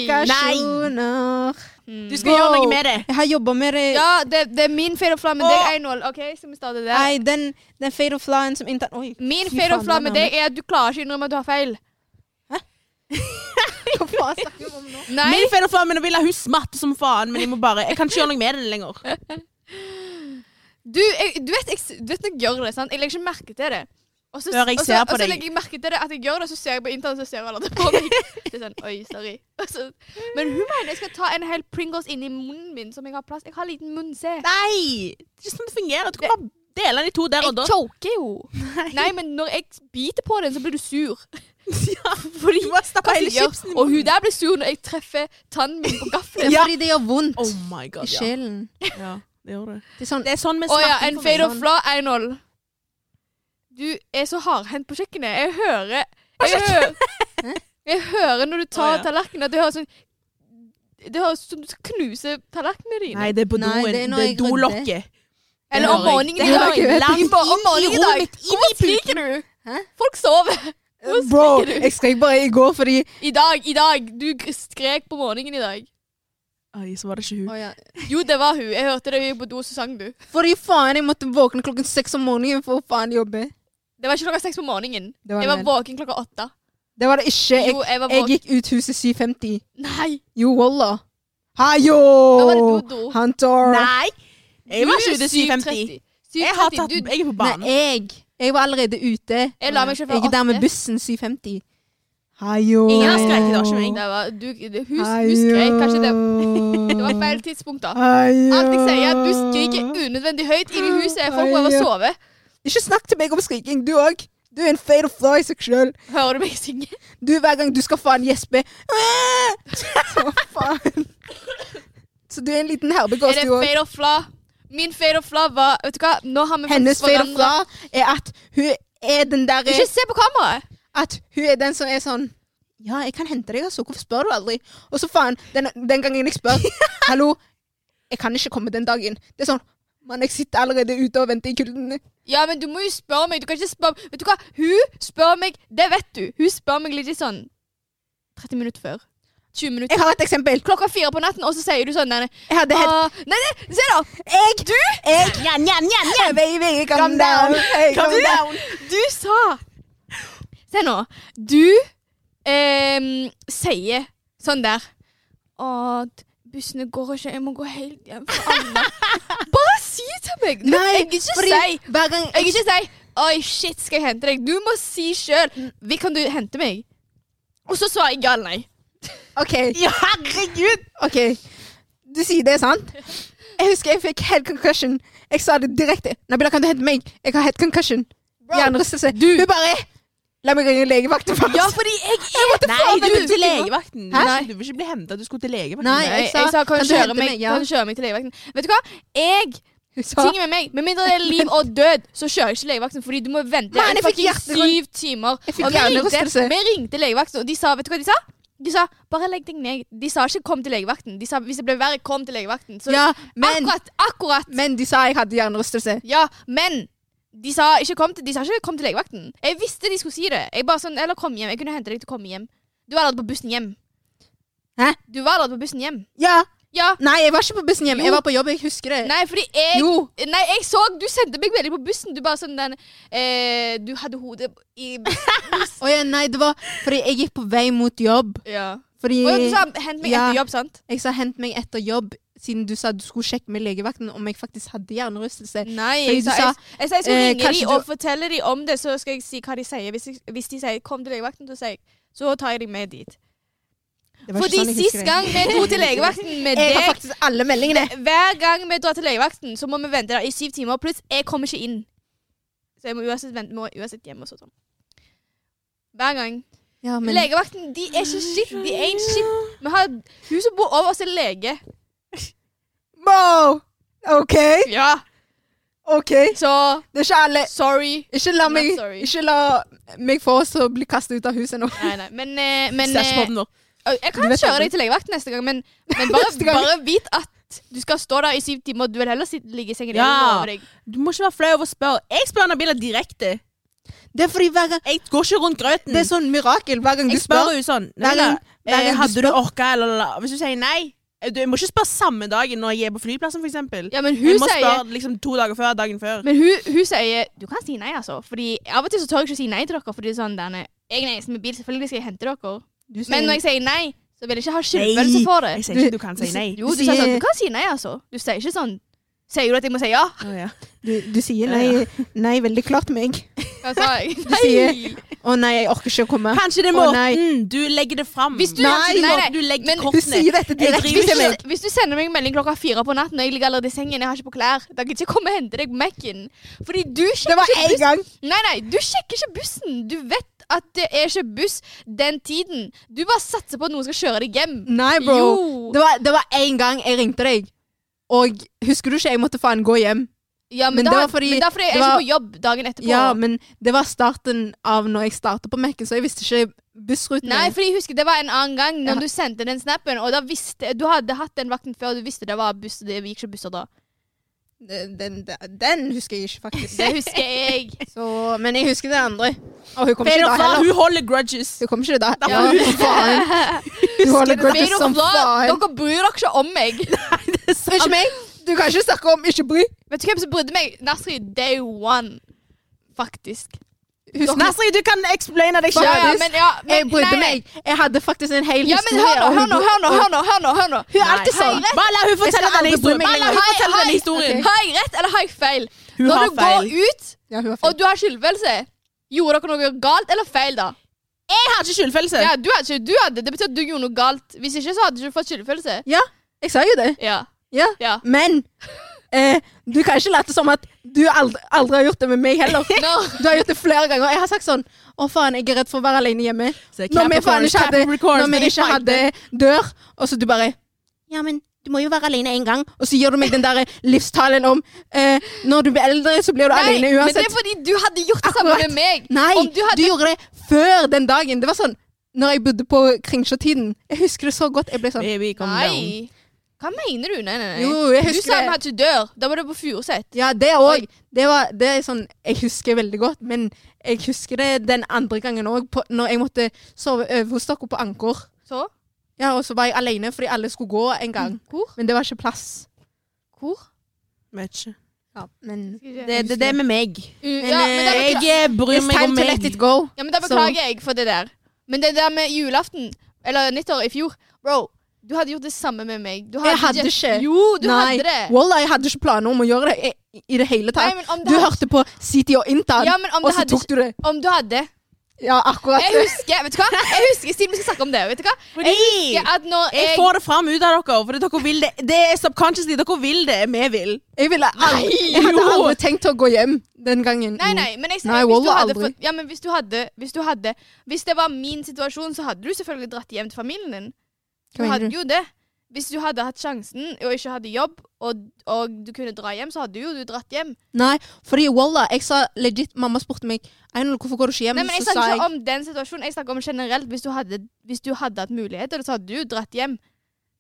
Speaker 2: notifikasjoner.
Speaker 3: mm.
Speaker 1: Du skal gjøre noe med det!
Speaker 2: Jeg har jobba med det.
Speaker 3: Ja, det, det er min fade of flamme, men det
Speaker 1: Åh!
Speaker 3: er 1-0. OK, skal vi starte der?
Speaker 2: Nei, den, den fade of line som inntar Oi.
Speaker 3: Min
Speaker 2: Fy
Speaker 3: fade of
Speaker 2: faen,
Speaker 3: flamme,
Speaker 2: den er
Speaker 3: det er at du klarer ikke å innrømme at du har feil. *laughs*
Speaker 2: Hva faen snakker vi om nå?
Speaker 3: Nei.
Speaker 1: Min feil og faen, men nå vil jeg hun smatte som faen, men jeg må bare Jeg kan ikke gjøre noe med det lenger.
Speaker 3: Du, jeg, du vet jeg, s- du vet når jeg gjør det, sant? Jeg legger ikke merke til det. Og så,
Speaker 1: Før jeg
Speaker 3: og så,
Speaker 1: ser
Speaker 3: og
Speaker 1: på
Speaker 3: så
Speaker 1: deg.
Speaker 3: legger jeg merke til det at jeg gjør det, så ser jeg på internett, så ser alle det på meg. Det er sånn, oi, sorry. Og så, men hun mener jeg skal ta en hel Pringles inn i munnen min, som jeg har plass Jeg har liten munn, se.
Speaker 1: Nei! Det er ikke sånn det fungerer. Du kan bare dele den i to der
Speaker 3: Jeg
Speaker 1: og da.
Speaker 3: choker jo. Nei. men når jeg biter på den, så blir du sur.
Speaker 1: Ja,
Speaker 3: Fordi
Speaker 1: du bare stapper
Speaker 3: hva
Speaker 1: hele
Speaker 3: jeg gjør-
Speaker 1: chipsen i
Speaker 3: Og hun
Speaker 1: munnen.
Speaker 3: der blir sur når jeg treffer tannen min på gaffelen.
Speaker 2: Det er fordi det gjør vondt
Speaker 1: Oh my god,
Speaker 2: i
Speaker 1: ja.
Speaker 2: sjelen.
Speaker 1: ja. Det gjør det.
Speaker 2: Det er sånn
Speaker 1: *laughs* Det er sånn vi
Speaker 3: Å ja,
Speaker 1: smatter
Speaker 3: en
Speaker 1: for meg.
Speaker 3: fade of flaw 1-0. Du er så hardhendt på kjøkkenet. Jeg hører Jeg hører, jeg hører når du tar
Speaker 1: Å ja.
Speaker 3: tallerkenen, at det høres sånn Det høres ut som du skal knuse tallerkenene dine.
Speaker 1: Nei, det er på
Speaker 2: Nei,
Speaker 1: doen.
Speaker 2: det er når
Speaker 1: Det er
Speaker 2: jeg rydder.
Speaker 1: dolokket.
Speaker 3: Eller om
Speaker 1: hører jeg.
Speaker 3: morgenen
Speaker 1: Det
Speaker 3: i dag.
Speaker 1: hører jeg. Langt
Speaker 3: Langt
Speaker 1: inn
Speaker 3: om morgenen
Speaker 1: i
Speaker 3: i dag.
Speaker 1: rommet mitt, inn
Speaker 3: Hvorfor
Speaker 1: i
Speaker 3: skriker du?
Speaker 2: Hæ?
Speaker 3: Folk sover. Hvorfor
Speaker 2: Bro,
Speaker 3: skriker du?
Speaker 2: jeg skrek bare i går fordi
Speaker 3: I dag, i dag. Du gr- skrek på morgenen i dag.
Speaker 1: Oi, så var det ikke hun.
Speaker 3: Jo, det var hun. Jeg hørte det hun gikk på do, så sang du.
Speaker 2: Fordi faen, jeg måtte våkne klokken seks om morgenen for å faen jobbe.
Speaker 3: Det var ikke klokka seks på morgenen.
Speaker 2: Det var,
Speaker 3: Jeg var
Speaker 2: det.
Speaker 3: våken klokka åtte.
Speaker 2: det var det ikke. Jeg,
Speaker 3: Jo, jeg var
Speaker 2: jeg
Speaker 3: våken.
Speaker 2: gikk ut huset 7.50.
Speaker 3: Nei.
Speaker 2: Jo, wallah.
Speaker 3: Da var det
Speaker 2: Hayo!
Speaker 3: dodo.
Speaker 2: Hunter!
Speaker 1: Nei! Jeg var
Speaker 3: Du,
Speaker 1: ikke ute 7.50.
Speaker 3: 7.30.
Speaker 1: Jeg har
Speaker 3: 7.30,
Speaker 1: tatt
Speaker 3: du-
Speaker 1: Jeg er på banen.
Speaker 2: Nei, jeg. Jeg var allerede ute.
Speaker 3: Jeg la meg ikke
Speaker 2: Jeg
Speaker 3: før
Speaker 2: er der med
Speaker 3: åtte.
Speaker 2: bussen 7.50. Hayo!
Speaker 1: Ingen har skreket, det var ikke meg.
Speaker 3: Det var, du, det, hun, hun skrek kanskje det. *laughs* Det var feil tidspunkt, da.
Speaker 2: Hayo!
Speaker 3: Alt jeg sier, er at du skriker unødvendig høyt inn i huset. Folk må
Speaker 2: Ai,
Speaker 3: over
Speaker 2: ja.
Speaker 3: sove.
Speaker 2: Ikke snakk til meg om skriking, du òg. Du er en fade of fly i seg sjøl.
Speaker 3: Hører du meg
Speaker 2: *laughs*
Speaker 3: synge?
Speaker 2: Du, hver gang du skal faen gjespe *laughs* «Æ!» Så faen. Så du er en liten
Speaker 3: Er
Speaker 2: herregås,
Speaker 3: det
Speaker 2: du òg.
Speaker 3: fade of fla? Min fade of fla var Vet du hva, nå har vi
Speaker 2: Hennes fade of
Speaker 3: hverandre.
Speaker 2: fly er at hun er den derre
Speaker 3: Ikke se på kameraet!
Speaker 2: At hun er den som er sånn Ja, jeg kan hente deg, altså. Hvorfor spør du aldri? Og så faen, den, den gangen jeg
Speaker 3: *laughs*
Speaker 2: spør Hallo, jeg kan ikke komme den dagen. Det er sånn Mann, jeg sitter allerede ute og venter i kulden.
Speaker 3: Ja, men du må jo spørre meg. Du kan ikke spørre Vet du hva, hun spør meg Det vet du. Hun spør meg litt i sånn 30 minutter før. 20 minutter.
Speaker 2: Jeg har et eksempel.
Speaker 3: Klokka fire på natten, og så sier du sånn Nei, nei,
Speaker 2: Jeg hadde helt
Speaker 3: ah, nei, nei se da!
Speaker 2: Jeg! Du! Jeg!
Speaker 1: Nja, nja, nja, nja.
Speaker 2: Hey, baby, calm,
Speaker 1: Calm
Speaker 2: down.
Speaker 1: down.
Speaker 2: Hey, calm
Speaker 1: Du-
Speaker 2: down.
Speaker 3: Du sa Se nå. Du ehm, sier sånn der At bussene går ikke, jeg må gå helt hjem fra *laughs* Alna. Bare si til meg! Du,
Speaker 2: Nei,
Speaker 3: jeg kan ikke
Speaker 2: fordi
Speaker 3: si
Speaker 2: hver gang
Speaker 3: Jeg kan ikke si Oi, shit, skal jeg hente deg? Du må si sjøl. Kan du hente meg? Og så svarer jeg ja eller nei.
Speaker 2: OK,
Speaker 1: Ja, herregud!
Speaker 2: OK. Du sier det, sant? Jeg husker jeg fikk helt concussion. Jeg sa det direkte. Nabila, kan du hente meg? Jeg har helt concussion. Hjernerystelse. Du Hun bare La meg ringe legevakten først. *laughs*
Speaker 3: altså, Ja, fordi jeg er
Speaker 1: Nei, du
Speaker 3: men
Speaker 1: vil til
Speaker 3: du-
Speaker 1: legevakten.
Speaker 3: Hæ?
Speaker 1: Nei, Du vil ikke bli henta, du skulle til legevakten.
Speaker 2: Nei,
Speaker 3: Nei, jeg sa kan du kjøre meg,
Speaker 2: Ja.
Speaker 3: kan du kjøre meg til legevakten. Vet du hva? Jeg
Speaker 2: Hun sa
Speaker 3: Ting med meg, Med mindre det er liv og død, så kjører jeg ikke legevakten. Fordi du må vente
Speaker 2: Man,
Speaker 3: i
Speaker 2: jeg fikk
Speaker 3: fucking
Speaker 2: hjerterø-
Speaker 3: syv timer.
Speaker 2: Jeg fikk
Speaker 3: Og vi ringte,
Speaker 2: hjernerystelse.
Speaker 3: vi ringte legevakten, og de sa Vet du hva de sa? De sa 'bare legg deg ned'. De sa ikke 'kom til legevakten'. De sa 'hvis det ble verre, kom til legevakten'. Så
Speaker 2: Ja, men,
Speaker 3: akkurat, akkurat.
Speaker 2: men de sa jeg hadde hjernerystelse.
Speaker 3: Ja, men de sa ikke 'kom til, de sa ikke 'kom til legevakten'. Jeg visste de skulle si det. Jeg bare sånn 'eller kom hjem'. Jeg kunne hente deg til å komme hjem. Du var allerede på bussen hjem.
Speaker 2: Hæ?
Speaker 3: Du var allerede på bussen hjem.
Speaker 2: Ja.
Speaker 3: Ja.
Speaker 2: Nei, jeg var ikke på bussen hjem.
Speaker 3: Jo.
Speaker 2: Jeg var på jobb, jeg husker det.
Speaker 3: Nei, fordi jeg
Speaker 2: Jo.
Speaker 3: Nei, jeg så Du sendte meg melding på bussen. Du bare sånn den eh, Du hadde hodet i
Speaker 2: *laughs* Å ja, nei, det var fordi jeg gikk på vei mot jobb.
Speaker 3: Ja.
Speaker 2: Fordi
Speaker 3: Og du sa 'hent meg
Speaker 2: Ja.
Speaker 3: etter jobb', sant?
Speaker 2: jeg sa hent meg etter jobb, siden du sa du skulle sjekke med legevakten om jeg faktisk hadde hjernerystelse.
Speaker 3: Nei.
Speaker 2: Fordi
Speaker 3: Jeg
Speaker 2: du
Speaker 3: sa,
Speaker 2: sa,
Speaker 3: jeg, jeg, sa jeg skulle
Speaker 2: eh,
Speaker 3: ringe
Speaker 2: kanskje
Speaker 3: dem
Speaker 2: du-
Speaker 3: og fortelle dem om det, så skal jeg si hva de sier. Hvis, jeg, hvis de sier 'kom til legevakten', så sier jeg så tar jeg deg med dit.
Speaker 2: Det var ikke
Speaker 3: Fordi
Speaker 2: sånn jeg
Speaker 3: sist
Speaker 2: husker det.
Speaker 3: gang vi dro til
Speaker 2: *laughs*
Speaker 3: legevakten med
Speaker 2: Jeg har
Speaker 3: deg
Speaker 2: faktisk alle meldingene.
Speaker 3: Hver gang vi drar til legevakten, så må vi vente der i syv timer. Pluss, jeg kommer ikke inn. Så jeg må uansett vente, må uansett hjem og sånn. Hver gang.
Speaker 2: Ja, men
Speaker 3: Legevakten, de er ikke shit. De er ikke shit. Vi har hun som bor over oss, er lege.
Speaker 2: Bro! OK,
Speaker 3: Ja.
Speaker 2: OK.
Speaker 3: Så
Speaker 2: Det er ikke alle
Speaker 3: sorry.
Speaker 2: Ikke la
Speaker 3: Not
Speaker 2: meg,
Speaker 3: sorry.
Speaker 2: ikke la meg få oss til å bli kastet ut av huset nå.
Speaker 3: Nei, nei. Men, eh, men
Speaker 1: Stæsj på
Speaker 3: eh,
Speaker 1: den nå.
Speaker 3: Jeg
Speaker 2: Du
Speaker 3: kan
Speaker 2: vet
Speaker 3: kjøre
Speaker 2: aldri.
Speaker 3: deg til legevakten neste gang, men, men bare,
Speaker 2: Neste gang.
Speaker 3: bare vit at du skal stå der i syv timer. Du vil heller sitte, ligge i sengen din
Speaker 1: Ja.
Speaker 3: og over deg.
Speaker 1: Du må ikke være flau over å spørre. Jeg spør Nabila direkte.
Speaker 2: Det er fordi hver gang
Speaker 1: Jeg går ikke rundt grøten.
Speaker 2: Det er sånn mirakel hver gang du
Speaker 1: jeg spør
Speaker 2: spør.
Speaker 1: henne sånn
Speaker 2: Hver
Speaker 1: Nabila,
Speaker 2: gang- hver gang
Speaker 1: eh,
Speaker 2: du
Speaker 1: hadde du
Speaker 2: spør-
Speaker 1: orka, eller la- Hvis du sier nei, eh, Du jeg må ikke spørre samme dagen når jeg er på flyplassen, for eksempel.
Speaker 3: Ja, men
Speaker 1: Jeg
Speaker 3: hun
Speaker 1: må
Speaker 3: sier
Speaker 1: spørre liksom, to dager før dagen før.
Speaker 3: Men hun, hun sier Du kan si nei, altså. Fordi Av og til så tør jeg ikke si nei til dere. Fordi det er sånn derne, Jeg er den eneste med bil, selvfølgelig skal jeg hente dere.
Speaker 2: Du sier-
Speaker 3: Men når jeg sier nei, så vil jeg ikke ha skyldfølelse for det.
Speaker 1: Jeg sier ikke du kan si nei.
Speaker 3: Jo, du
Speaker 2: Du
Speaker 3: sier sånn
Speaker 2: sier-
Speaker 3: Du kan si nei, altså. Du sier ikke sånn Sier du at jeg må si ja?
Speaker 1: Å, ja.
Speaker 2: du, du sier nei, nei veldig klart meg.
Speaker 3: Hva sa jeg?
Speaker 2: Altså, Du sier- Å nei, jeg orker ikke å komme.
Speaker 1: Kanskje det er
Speaker 2: Å, nei.
Speaker 1: måten du legger det fram.
Speaker 3: Hvis du-
Speaker 1: Kanskje det er
Speaker 3: Nei,
Speaker 1: måten du legger
Speaker 3: men-
Speaker 2: Du
Speaker 1: kortene.
Speaker 2: sier dette direkte
Speaker 1: driver
Speaker 3: Hvis
Speaker 2: til
Speaker 1: ikke
Speaker 3: du,
Speaker 2: meg.
Speaker 3: hvis du sender meg en melding klokka fire på natten, og jeg ligger allerede i sengen, jeg har ikke på klær, da gidder jeg ikke komme og hente deg på Mac-en. Fordi du
Speaker 2: Det
Speaker 3: sjekker
Speaker 2: var
Speaker 3: ikke
Speaker 2: én
Speaker 3: bussen.
Speaker 2: gang.
Speaker 3: Nei, nei, du sjekker ikke bussen. Du vet at det er ikke buss den tiden. Du bare satser på at noen skal kjøre deg hjem.
Speaker 2: Nei, bro.
Speaker 3: Jo.
Speaker 2: Det var- Det var én gang jeg ringte deg, og husker du ikke jeg måtte faen gå hjem?
Speaker 3: Ja, men,
Speaker 2: Men
Speaker 3: da,
Speaker 2: det var fordi-
Speaker 3: men da fordi jeg
Speaker 2: det
Speaker 3: er
Speaker 2: var-
Speaker 3: ikke på jobb dagen etterpå.
Speaker 2: Ja, men det var starten av når jeg starta på Mekken, så jeg visste ikke bussrutene.
Speaker 3: Nei, fordi jeg husker det var en annen gang når
Speaker 2: Ja.
Speaker 3: du sendte den snappen, og da visste Du hadde hatt den vakten før, og du visste det var buss, og det gikk ikke busser da.
Speaker 2: Den, den, den husker jeg ikke, faktisk.
Speaker 3: Det husker
Speaker 2: *laughs*
Speaker 3: jeg.
Speaker 2: Så, men jeg husker det andre. Og hun kom
Speaker 1: Fade
Speaker 2: ikke
Speaker 1: of
Speaker 2: da
Speaker 1: love.
Speaker 2: heller.
Speaker 1: Hun holder grudges.
Speaker 2: Hun kom ikke da.
Speaker 3: Ja.
Speaker 2: Ja, *laughs* faen. Hun holder grudges
Speaker 3: Made
Speaker 2: som
Speaker 3: of love.
Speaker 2: faen.
Speaker 3: Dere bryr dere ikke om meg.
Speaker 1: *laughs*
Speaker 2: Ikke meg. Du kan ikke snakke om ikke bry.
Speaker 3: Vet du hvem som brydde meg? Nasrid day one. Faktisk.
Speaker 2: Husk meg.
Speaker 1: Nasri, du kan explaine deg
Speaker 2: Fuck.
Speaker 1: sjøl.
Speaker 3: Ja, ja,
Speaker 2: Faktisk.
Speaker 3: men, ja, men,
Speaker 2: Jeg brydde
Speaker 3: nei, nei.
Speaker 2: meg. Jeg hadde faktisk en hel
Speaker 3: Ja, men hør nå,
Speaker 2: og hun
Speaker 3: hør nå,
Speaker 2: bor-
Speaker 3: hør nå, hør nå, hør nå, hør nå. Hun
Speaker 2: Nei,
Speaker 3: alltid sier
Speaker 2: hør.
Speaker 3: rett.
Speaker 1: Bare la hun fortelle
Speaker 2: aldri
Speaker 1: denne
Speaker 2: bry
Speaker 1: historien.
Speaker 2: meg
Speaker 1: Bare la hun
Speaker 3: Hei,
Speaker 1: fortelle
Speaker 3: hei.
Speaker 1: denne historien.
Speaker 3: Har jeg rett, eller har jeg feil?
Speaker 1: Hun
Speaker 3: Når
Speaker 1: har
Speaker 3: du går
Speaker 1: feil.
Speaker 3: ut,
Speaker 2: Ja, hun var
Speaker 3: og du har skyldfølelse, gjorde dere noe galt eller feil da?
Speaker 1: Jeg har ikke skyldfølelse.
Speaker 3: Ja, du hadde ikke, du hadde, det betyr at du gjorde noe galt. Hvis ikke, så hadde du ikke fått skyldfølelse.
Speaker 2: Ja, jeg sa jo det.
Speaker 3: Ja.
Speaker 2: Ja.
Speaker 3: Ja.
Speaker 2: Men eh, du kan ikke late som at du aldri, aldri har gjort det med meg *laughs* heller.
Speaker 3: Nå,
Speaker 2: Du har gjort det flere ganger. Jeg har sagt sånn Å, faen, jeg er redd for å være alene hjemme.
Speaker 1: Så
Speaker 2: Når vi faen
Speaker 1: Capricorns,
Speaker 2: ikke hadde,
Speaker 1: Capricorns,
Speaker 2: når vi
Speaker 1: men jeg
Speaker 2: ikke
Speaker 1: fighter.
Speaker 2: hadde dør, og så du bare Ja, men du må jo være alene en gang. Og så gir du meg den
Speaker 3: *laughs*
Speaker 2: der livstalen om eh, Når du blir eldre, så blir du
Speaker 3: nei,
Speaker 2: alene
Speaker 3: men det
Speaker 2: uansett.
Speaker 3: er fordi du hadde gjort det samme
Speaker 2: Akkurat.
Speaker 3: med meg.
Speaker 2: Nei,
Speaker 3: Om du hadde-
Speaker 2: du gjorde det før den dagen. Det var sånn når jeg bodde på Kringsjåtiden. Jeg husker det så godt. Jeg ble sånn
Speaker 1: Baby, come down.
Speaker 3: Nei. Hva mener du? Nei, nei, nei.
Speaker 2: Jo, jeg
Speaker 3: du sa
Speaker 2: husker
Speaker 3: vi
Speaker 2: det.
Speaker 3: hadde ikke dør. Da var det på Furuset.
Speaker 2: Ja, det òg. Det, var- det er sånn jeg husker veldig godt. Men jeg husker det den andre gangen òg, når jeg måtte sove over hos dere på Anker.
Speaker 3: Så?
Speaker 2: Ja, og så var jeg alene fordi alle skulle gå en gang.
Speaker 3: Mm. Hvor?
Speaker 2: Men det var ikke plass.
Speaker 3: Hvor?
Speaker 1: Vet ikke.
Speaker 2: Ja, men
Speaker 1: Det det- det er med meg.
Speaker 3: U
Speaker 2: Men,
Speaker 3: ja, men da
Speaker 2: eh,
Speaker 3: beklager,
Speaker 1: Jeg eh, bryr
Speaker 2: It's
Speaker 1: meg
Speaker 2: time
Speaker 1: om
Speaker 2: to let
Speaker 1: meg.
Speaker 2: it go.
Speaker 3: ja, men da beklager jeg for det der. Men det der med julaften, eller nyttår i fjor Bro, du hadde gjort det samme med meg. Du
Speaker 2: Jeg hadde ikke.
Speaker 3: Jo, du
Speaker 2: Nei,
Speaker 3: hadde det.
Speaker 2: Wallah, jeg hadde ikke planer om å gjøre det i, i det hele
Speaker 3: Nei,
Speaker 2: tatt.
Speaker 3: men om det
Speaker 2: Du
Speaker 3: hadde-
Speaker 2: hørte på City og Intad,
Speaker 3: Ja, men om
Speaker 2: og
Speaker 3: det
Speaker 2: så
Speaker 3: hadde
Speaker 2: tok du det.
Speaker 3: Om du hadde
Speaker 2: *laughs* Ja, akkurat.
Speaker 3: Jeg husker, vet du hva? Jeg husker, Siden vi skal snakke om det, vet du hva?
Speaker 1: Fordi
Speaker 3: Ja, at når
Speaker 1: jeg
Speaker 3: jeg,
Speaker 1: får det fram ut av dere. Fordi dere vil det. Det er subconsciously. Dere vil det. Vi vil.
Speaker 2: Jeg, ville aldri, jeg hadde
Speaker 1: jo.
Speaker 2: aldri tenkt å gå hjem den gangen.
Speaker 3: Nei, nei, men jeg sier
Speaker 2: Mm. Nei,
Speaker 3: hvis, du
Speaker 2: wallah,
Speaker 3: hadde
Speaker 2: aldri.
Speaker 3: fått, ja, men hvis du hadde Hvis du hadde Hvis det var min situasjon, så hadde du selvfølgelig dratt hjem til familien din. Du
Speaker 2: Hva
Speaker 3: hadde
Speaker 2: mener du?
Speaker 3: jo det. Hvis du hadde hatt sjansen og ikke hadde jobb, og, og du kunne dra hjem, så hadde jo du dratt hjem.
Speaker 2: Nei, fordi wallah, jeg sa legit Mamma spurte meg Einol, hvorfor går du ikke hjem.
Speaker 3: Nei, men
Speaker 2: så
Speaker 3: Jeg
Speaker 2: sa
Speaker 3: snakker
Speaker 2: jeg
Speaker 3: ikke om den situasjonen. Jeg snakker om generelt. Hvis du hadde, hvis du hadde hatt muligheter, så hadde du jo dratt hjem.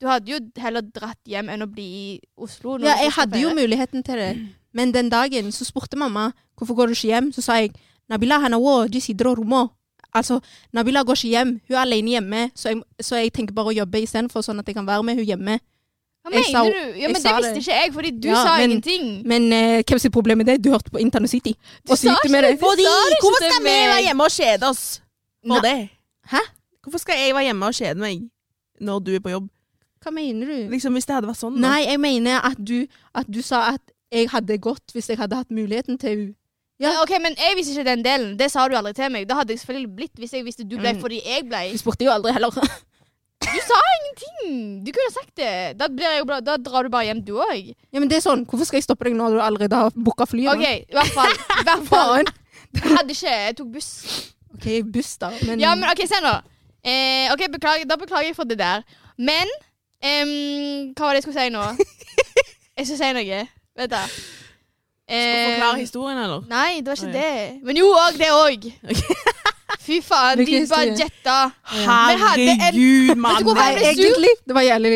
Speaker 3: Du hadde jo heller dratt hjem enn å bli i Oslo. når
Speaker 2: Ja,
Speaker 3: du
Speaker 2: jeg
Speaker 3: skal
Speaker 2: hadde jo
Speaker 3: feire.
Speaker 2: muligheten til det. Men den dagen så spurte mamma hvorfor går du ikke hjem. Så sa jeg Nabila hanawo jisidro rumo. Altså, Nabila går ikke hjem. Hun er alene hjemme, så jeg, så jeg tenker bare å jobbe istedenfor, sånn at jeg kan være med hun hjemme. jeg
Speaker 3: Hva mener
Speaker 2: sa-
Speaker 3: du? Ja,
Speaker 2: jeg
Speaker 3: men Det
Speaker 2: sa
Speaker 3: visste
Speaker 2: det.
Speaker 3: ikke jeg, fordi du
Speaker 2: Ja,
Speaker 3: sa
Speaker 2: men-
Speaker 3: ingenting.
Speaker 2: Men eh, hvem sitt problem er det? Du hørte på Intano City.
Speaker 3: Du
Speaker 2: Og så
Speaker 3: sa
Speaker 2: gikk du
Speaker 3: ikke
Speaker 2: med det.
Speaker 3: det, du
Speaker 1: Fordi,
Speaker 3: sa det ikke
Speaker 1: hvorfor
Speaker 3: til
Speaker 1: skal vi
Speaker 3: meg.
Speaker 1: være hjemme og kjede oss
Speaker 2: Nei.
Speaker 1: for det?
Speaker 2: Hæ?
Speaker 1: Hvorfor skal jeg være hjemme og kjede meg når du er på jobb?
Speaker 2: Hva mener du?
Speaker 1: Liksom Hvis det hadde vært sånn. da.
Speaker 2: Nei, jeg mener at du, at du sa at jeg hadde gått hvis jeg hadde hatt muligheten til hun. Ja.
Speaker 3: Ja, ok, men Jeg visste ikke den delen. Det sa du aldri til meg. Det hadde jeg selvfølgelig blitt hvis jeg visste du ble
Speaker 2: Mm.
Speaker 3: fordi jeg ble.
Speaker 2: Hun spurte jo aldri heller.
Speaker 3: Du sa ingenting! Du kunne sagt det. Da, blir jeg jo bra. da drar du bare hjem, du òg.
Speaker 2: ja, men det er sånn, Hvorfor skal jeg stoppe deg når du allerede har booka flyet?
Speaker 3: OK, i hvert fall. I
Speaker 2: *laughs*
Speaker 3: hvert fall.
Speaker 2: Faen.
Speaker 3: Jeg hadde ikke Jeg tok buss.
Speaker 2: OK, buss, da. Men,
Speaker 3: Ja, men OK, se nå. Eh, ok, beklager, Da beklager jeg for det der. Men ehm, Hva var det jeg skulle si
Speaker 2: *laughs*
Speaker 3: nå? Jeg skulle si noe. Vent, da.
Speaker 1: Skal vi
Speaker 3: Eh,
Speaker 1: forklare historien, eller?
Speaker 3: Nei, det var ikke
Speaker 1: Å, ja.
Speaker 3: det. Men jo, og det òg. Fy faen, de
Speaker 2: Hvilken
Speaker 3: bare
Speaker 2: historie?
Speaker 3: jetta. Men hadde en-
Speaker 1: Herregud,
Speaker 3: Vet du hvorfor
Speaker 1: mann!
Speaker 3: jeg
Speaker 2: Nei,
Speaker 3: ble sur?
Speaker 2: egentlig. Det var jævlig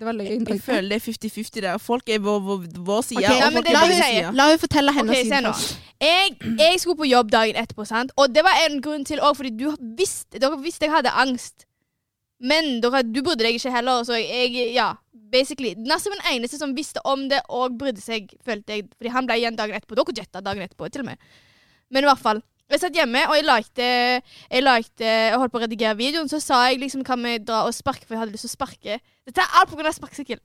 Speaker 2: Det var løye
Speaker 1: Jeg
Speaker 2: inntrykk.
Speaker 1: føler det er 50-50 der. Folk er vår, vår, vår side.
Speaker 2: Ok,
Speaker 1: og
Speaker 3: Ja, men
Speaker 1: folk
Speaker 3: det
Speaker 1: er
Speaker 3: er
Speaker 2: la,
Speaker 1: vår
Speaker 3: det jeg
Speaker 1: side.
Speaker 2: hun, la hun fortelle hennes
Speaker 3: Ok, se
Speaker 2: side
Speaker 3: nå.
Speaker 2: først.
Speaker 3: Jeg, jeg skulle på jobb dagen etterpå, sant? og det var en grunn til òg, fordi du visste, dere visste jeg hadde angst. Men dere, du brydde deg ikke heller, så jeg Ja, basically. Nassim var den eneste som visste om det og brydde seg, følte jeg. Fordi han ble igjen dagen etterpå. Dere jetta dagen etterpå, til og med. Men i hvert fall. Jeg satt hjemme, og jeg likte Jeg, likte, jeg holdt på å redigere videoen. Så sa jeg liksom kan vi dra og sparke, for jeg hadde lyst til å sparke. Dette er alt pga. sparkesykkel.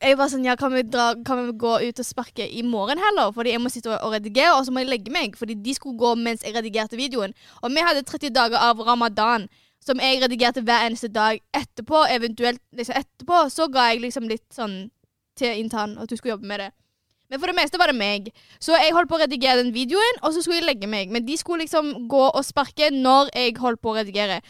Speaker 3: Jeg var sånn, ja, kan vi, dra, kan vi gå ut og sparke i morgen heller? Fordi jeg må sitte og- og redigere, og så må jeg legge meg. Fordi de skulle gå mens jeg redigerte videoen. Og vi hadde 30 dager av ramadan, som jeg redigerte hver eneste dag etterpå. Eventuelt liksom etterpå, så ga jeg liksom litt sånn til intern at du skulle jobbe med det. Men for det meste var det meg. Så jeg holdt på å redigere den videoen, og så skulle jeg legge meg. Men de skulle liksom gå og sparke når jeg holdt på å redigere.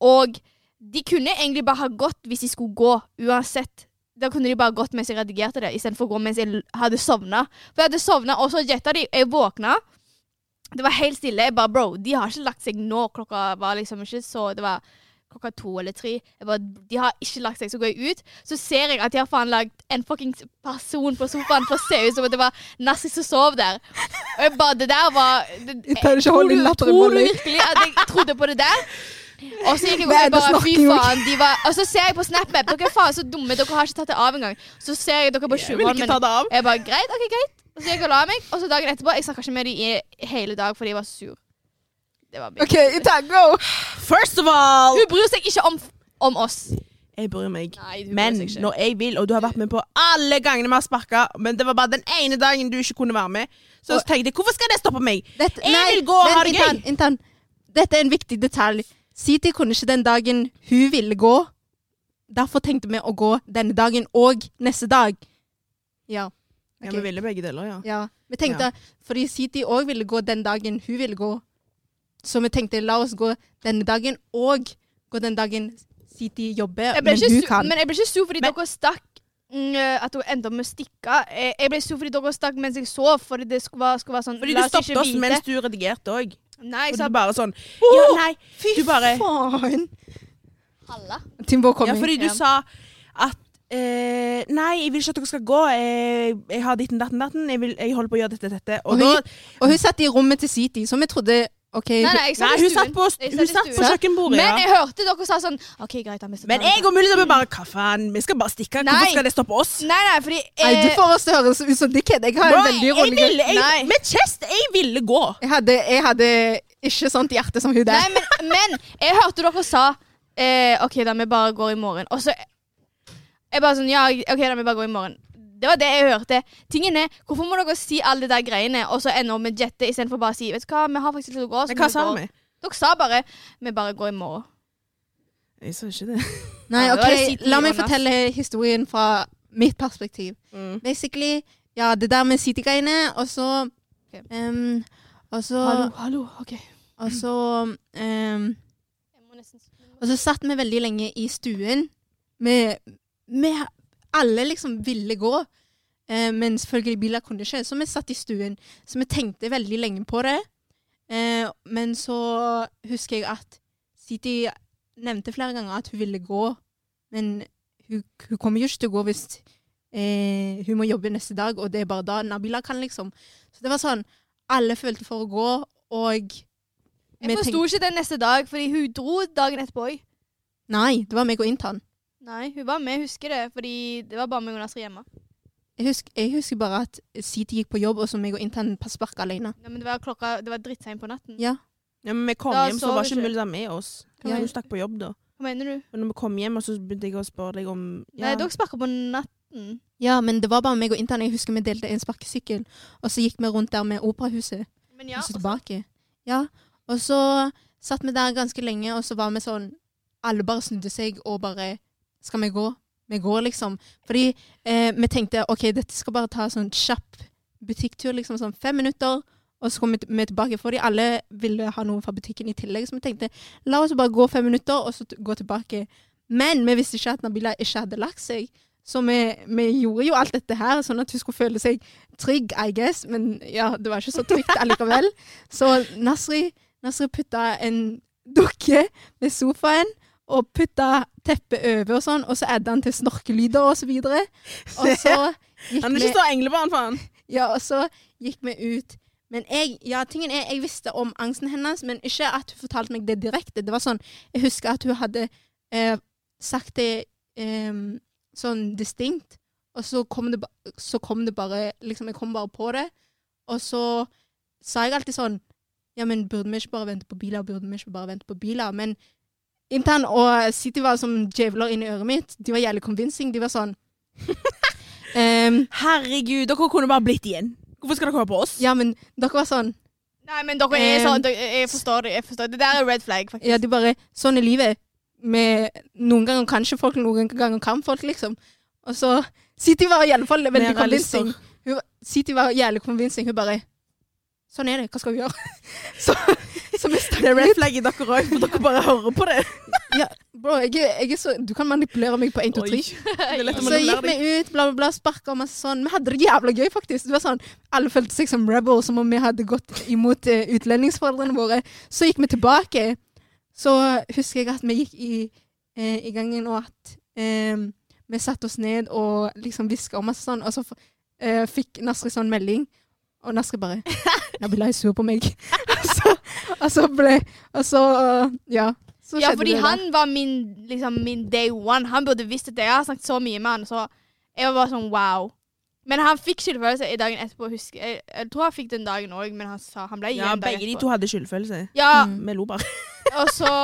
Speaker 3: Og de kunne egentlig bare ha gått hvis de skulle gå, uansett. Da kunne de bare gått mens jeg redigerte det, istedenfor å gå mens jeg l- hadde sovna. For jeg hadde sovna, og så jetta de. Jeg våkna. Det var helt stille. Jeg bare Bro, de har ikke lagt seg nå. Klokka var liksom ikke så Det var klokka to eller tre. Jeg bare, de har ikke lagt seg. Så går jeg ut, så ser jeg at de har faen lagd en fuckings person på sofaen for å se ut som at det var Nassi som sov der. Og jeg bare Det der var det,
Speaker 2: Jeg tar ikke hånd i
Speaker 3: Tror du-
Speaker 2: latteren,
Speaker 3: Tror du
Speaker 2: Molly.
Speaker 3: virkelig at jeg trodde på det der? Og så
Speaker 2: *laughs*
Speaker 3: gikk jeg
Speaker 2: Hva er
Speaker 3: og
Speaker 2: det
Speaker 3: bare Fy
Speaker 2: snakking om?
Speaker 3: faen, de var Og så ser jeg på SnapMap. Dere er faen så dumme. Dere har ikke tatt det av engang. Så ser jeg dere på
Speaker 1: Jeg vil
Speaker 3: tjuvene
Speaker 1: ikke
Speaker 3: mine.
Speaker 1: ta det av.
Speaker 3: Jeg bare Greit, OK, greit. Og så gikk jeg og la meg. Og så dagen etterpå Jeg snakka ikke med dem i hele dag fordi jeg var sur. Det var big.
Speaker 2: OK, Itago!
Speaker 1: First of all
Speaker 3: Hun bryr seg ikke om, om oss.
Speaker 1: Jeg bryr meg.
Speaker 3: Nei, hun
Speaker 1: Men
Speaker 3: bryr seg ikke.
Speaker 1: når jeg vil, og du har vært med på alle gangene vi har sparka, men det var bare den ene dagen du ikke kunne være med, så
Speaker 2: Og-
Speaker 1: tenkte jeg hvorfor skal det stoppe meg?
Speaker 2: Dette,
Speaker 1: Jeg vil gå og
Speaker 2: vent,
Speaker 1: ha det gøy.
Speaker 2: intern, Intern, dette er en viktig detalj. Siti kunne ikke den dagen hun ville gå. Derfor tenkte vi å gå denne dagen og neste dag. Ja.
Speaker 1: Ja,
Speaker 2: Ok.
Speaker 1: Vi ville begge deler, ja.
Speaker 2: ja. Vi tenkte, fordi Siti òg ville gå den dagen hun ville gå. Så vi tenkte la oss gå denne dagen og gå den dagen Siti jobber,
Speaker 3: Jeg ble
Speaker 2: men
Speaker 3: ikke
Speaker 2: hun
Speaker 3: sur,
Speaker 2: kan.
Speaker 3: men jeg ble ikke sur fordi
Speaker 1: Men-
Speaker 3: dere stakk mm, At hun endte opp med å stikke. Jeg jeg ble sur fordi dere stakk mens jeg sov. Fordi det skulle være, skulle være sånn
Speaker 1: Fordi
Speaker 3: la
Speaker 1: du
Speaker 3: oss ikke
Speaker 1: stoppet oss
Speaker 3: vite.
Speaker 1: mens du redigerte òg.
Speaker 3: Nei,
Speaker 1: Og
Speaker 3: jeg
Speaker 1: du
Speaker 3: sa
Speaker 1: bare sånn ja, Nei,
Speaker 2: Fy
Speaker 1: du bare
Speaker 2: faen!
Speaker 3: Halla.
Speaker 2: Timbo kom
Speaker 1: Ja,
Speaker 2: inn.
Speaker 1: fordi du
Speaker 3: Ja.
Speaker 1: sa at eh, nei, jeg vil ikke at dere skal gå. Jeg, jeg har ditten, datten, datten. Jeg, vil, jeg holder på å gjøre dette, dette. Og,
Speaker 2: Og
Speaker 1: da,
Speaker 2: hun- Og hun satt i rommet til Siti, så vi trodde OK
Speaker 3: Nei, nei, jeg
Speaker 1: nei,
Speaker 3: satt i
Speaker 1: hun satt
Speaker 3: stuen.
Speaker 1: på,
Speaker 3: Jeg
Speaker 1: hun
Speaker 3: i
Speaker 1: satt på
Speaker 3: stuen.
Speaker 1: kjøkkenbordet.
Speaker 3: Men
Speaker 1: ja.
Speaker 3: jeg hørte dere sa sånn OK, greit, da mister
Speaker 1: Men jeg og Mulida ble bare Hva faen, vi skal bare stikke.
Speaker 3: Nei.
Speaker 1: Hvorfor skal det stoppe oss?
Speaker 3: Nei, nei, fordi
Speaker 2: Nei, du
Speaker 3: eh,
Speaker 2: får oss til å høres ut som dickhead. Jeg har en
Speaker 1: Bro,
Speaker 2: veldig
Speaker 1: jeg
Speaker 2: rolig
Speaker 1: ville,
Speaker 3: Nei.
Speaker 1: jeg, Med kjest, jeg ville gå.
Speaker 2: jeg hadde, jeg hadde ikke sånt hjerte som hun
Speaker 3: Nei,
Speaker 2: der.
Speaker 3: men, men jeg hørte dere sa eh, OK, da vi bare går i morgen. Og så Jeg bare sånn Ja, OK, da vi bare går i morgen. Det var det jeg hørte. Tingen er, Hvorfor må dere si alle de der greiene, og så ende opp med jette istedenfor bare å si Vet du hva, vi har faktisk lyst til å gå. så
Speaker 1: Men
Speaker 3: må
Speaker 1: hva sa
Speaker 3: gå.»
Speaker 1: vi?
Speaker 3: Dere sa bare Vi bare går i morgen.
Speaker 1: Jeg sa ikke det.
Speaker 2: Nei,
Speaker 3: Ja, det var det
Speaker 2: ok,
Speaker 3: Siti
Speaker 2: La
Speaker 3: og
Speaker 2: meg
Speaker 3: Nas.
Speaker 2: fortelle historien fra mitt perspektiv. Basically, ja, det der med City-greiene, og så
Speaker 3: Ok.
Speaker 2: ehm, Og så
Speaker 3: Hallo, hallo. OK.
Speaker 2: Og så ehm,
Speaker 3: Jeg må nesten
Speaker 2: Og så satt vi veldig lenge i stuen. Med, med alle liksom ville gå. Eh, men selvfølgelig biler kunne ikke, så vi satt i stuen. Så vi tenkte veldig lenge på det. Eh, men så husker jeg at Siti nevnte flere ganger at hun ville gå. Men hun, hun kommer jo ikke til å gå hvis eh, hun må jobbe neste dag, og det er bare da Nabila kan, liksom. Så det var sånn Alle følte for å gå, og
Speaker 3: Jeg forsto ikke det neste dag, fordi hun dro dagen etterpå òg.
Speaker 2: Nei, det var meg og Intan.
Speaker 3: Nei, hun var med, jeg husker det. Fordi det var bare meg og Nasri hjemme.
Speaker 2: Jeg husker, jeg husker bare at Siti gikk på jobb, og så meg og intern spark alene.
Speaker 3: Nei, men det var klokka Det var drittseint på natten.
Speaker 2: Ja.
Speaker 1: Ja, men vi kom
Speaker 3: Da
Speaker 1: hjem,
Speaker 3: så
Speaker 1: så var
Speaker 3: vi
Speaker 1: ikke
Speaker 3: ikke.
Speaker 1: Mulida med oss.
Speaker 2: Ja.
Speaker 1: Hun stakk på jobb da.
Speaker 3: Hva mener du?
Speaker 1: Og når vi kom hjem, og så begynte jeg å spørre deg om
Speaker 3: Nei,
Speaker 1: ja.
Speaker 3: dere sparker på natten.
Speaker 2: ja, men det var bare meg og intern. Jeg husker vi delte en sparkesykkel, og så gikk vi rundt der med operahuset,
Speaker 3: Men ja, altså,
Speaker 2: og så
Speaker 3: og så-
Speaker 2: tilbake. Ja, og så satt vi der ganske lenge, og så var vi sånn Alle bare snudde seg og bare Skal vi gå? Vi går, liksom. Fordi eh, vi tenkte OK, dette skal bare ta sånn kjapp butikktur, liksom sånn fem minutter. Og så kom vi vi tilbake, fordi alle ville ha noe fra butikken i tillegg. Så vi tenkte la oss bare gå fem minutter, og så t- gå tilbake. Men vi visste ikke at Nabila ikke hadde lagt seg. Så vi, vi gjorde jo alt dette her, sånn at hun skulle føle seg trygg, I guess. Men ja, det var ikke så trygt
Speaker 1: *laughs*
Speaker 2: allikevel. Så Nasri, Nasri putta en dukke ved sofaen, og putta teppet over og sånn. Og så adda han til snorkelyder og så videre. Og så
Speaker 1: *laughs*
Speaker 2: gikk
Speaker 1: Han er
Speaker 2: vi-
Speaker 1: ikke så englebarn, faen.
Speaker 2: ja, og så gikk vi ut. Men jeg, ja, tingen er, jeg visste om angsten hennes, men ikke at hun fortalte meg det direkte. Det var sånn, Jeg husker at hun hadde eh, sagt det eh, sånn distinkt, og så kom det, ba- så kom det bare liksom, Jeg kom bare på det. Og så sa jeg alltid sånn Ja, men burde vi ikke bare vente på biler? Burde vi ikke bare vente på biler? Men Intern og City var som djevler inni øret mitt. De var jævlig convincing. De var sånn ehm,
Speaker 1: Herregud, dere kunne bare blitt igjen. Hvorfor skal dere komme på oss?
Speaker 2: Ja, men dere var sånn
Speaker 3: Nei, men dere er
Speaker 2: Eh,
Speaker 3: sånn dere, Jeg forstår det. jeg forstår Det Det der er red flag, faktisk.
Speaker 2: Ja, de bare Sånn er livet. Med, noen ganger kan ikke folk, noen ganger kan folk, liksom. Og så City var i alle fall veldig
Speaker 1: Realister.
Speaker 2: convincing. Hun, City var jævlig convincing. Hun bare Sånn er det. Hva skal vi gjøre? *laughs* så, så
Speaker 1: Det er
Speaker 2: vi stakk
Speaker 1: red flag i dere òg, for dere bare hører på det.
Speaker 2: Bro, jeg, er- jeg er så Du kan manipulere meg på én, to,
Speaker 1: Oi.
Speaker 2: tre.
Speaker 1: Det er lett å
Speaker 2: Så
Speaker 1: manipulere
Speaker 2: gikk
Speaker 1: deg.
Speaker 2: vi ut, bla, bla, bla, sparka og masse sånn. Vi hadde det jævla gøy, faktisk. Det var sånn, Alle følte seg som rebels, som om vi hadde gått imot eh, utlendingsforeldrene våre. Så gikk vi tilbake. Så husker jeg at vi gikk i, eh, i gangen, og at eh, vi satte oss ned og liksom hviska og masse sånn. Og så f- eh, fikk Nasri sånn melding, og Nasri bare Nabila er sur på meg. *laughs* og, så, og så ble Og så Ja. Så
Speaker 3: Ja,
Speaker 2: skjedde
Speaker 3: fordi
Speaker 2: det da.
Speaker 3: han var min, liksom, min day one. Han burde visst det. Jeg har snakket så mye med han, så jeg var bare sånn wow. Men han fikk skyldfølelse i dagen etterpå. Husker. Jeg, jeg tror han fikk den dagen òg, men han, sa, han ble igjen
Speaker 1: Ja,
Speaker 3: dagen
Speaker 1: begge de
Speaker 3: etterpå.
Speaker 1: to hadde skyldfølelse.
Speaker 3: Ja,
Speaker 2: Mm.
Speaker 1: Vi lo bare.
Speaker 3: og så,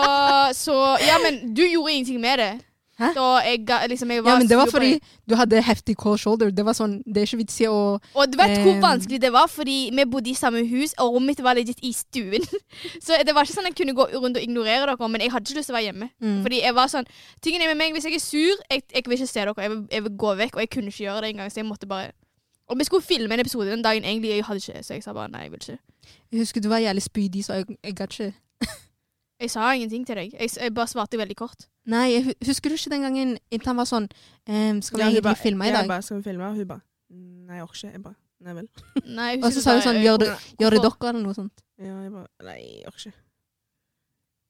Speaker 3: så Ja, men du gjorde ingenting med det.
Speaker 2: Hæ?
Speaker 3: Så jeg, ga- liksom, jeg var
Speaker 2: Ja, men det var
Speaker 3: sur på
Speaker 2: fordi
Speaker 3: deg.
Speaker 2: du hadde heftig cold shoulder. Det var sånn, det er ikke vits i å
Speaker 3: Og du vet hvor
Speaker 2: Ehm.
Speaker 3: vanskelig det var, fordi vi bodde i samme hus, og rommet mitt var legit i stuen. *laughs* Så det var ikke sånn jeg kunne gå rundt og ignorere dere, men jeg hadde ikke lyst til å være hjemme.
Speaker 2: Mm.
Speaker 3: Fordi jeg var sånn Tingen er med meg, hvis jeg er sur, jeg, jeg vil ikke se dere. Jeg vil, jeg vil gå vekk. Og jeg kunne ikke gjøre det engang, så jeg måtte bare Og vi skulle filme en episode den dagen egentlig, jeg hadde ikke, så jeg sa bare nei, jeg vil ikke.
Speaker 2: Jeg husker du var jævlig spydig, så jeg, jeg gadd ikke.
Speaker 3: Jeg sa ingenting til deg. Jeg, s- jeg bare svarte veldig kort.
Speaker 2: *laughs* Nei, jeg, hu- husker du ikke den gangen Intan var sånn ehm, Skal vi
Speaker 1: Ja, hun
Speaker 2: egentlig
Speaker 1: bare-
Speaker 2: filme i
Speaker 1: Jeg
Speaker 2: dag?
Speaker 1: bare, skal vi filme? Og hun bare "Mm, Nei, jeg orker ikke. Jeg bare Nei vel.
Speaker 3: Nei, jeg
Speaker 2: Og så sa hun
Speaker 3: husker
Speaker 2: sånn
Speaker 3: bare-
Speaker 2: Gjør det,
Speaker 3: jeg-
Speaker 2: gjør det
Speaker 3: hvorfor?
Speaker 2: dere, eller noe sånt.
Speaker 1: Ja, jeg bare Nei, jeg orker ikke.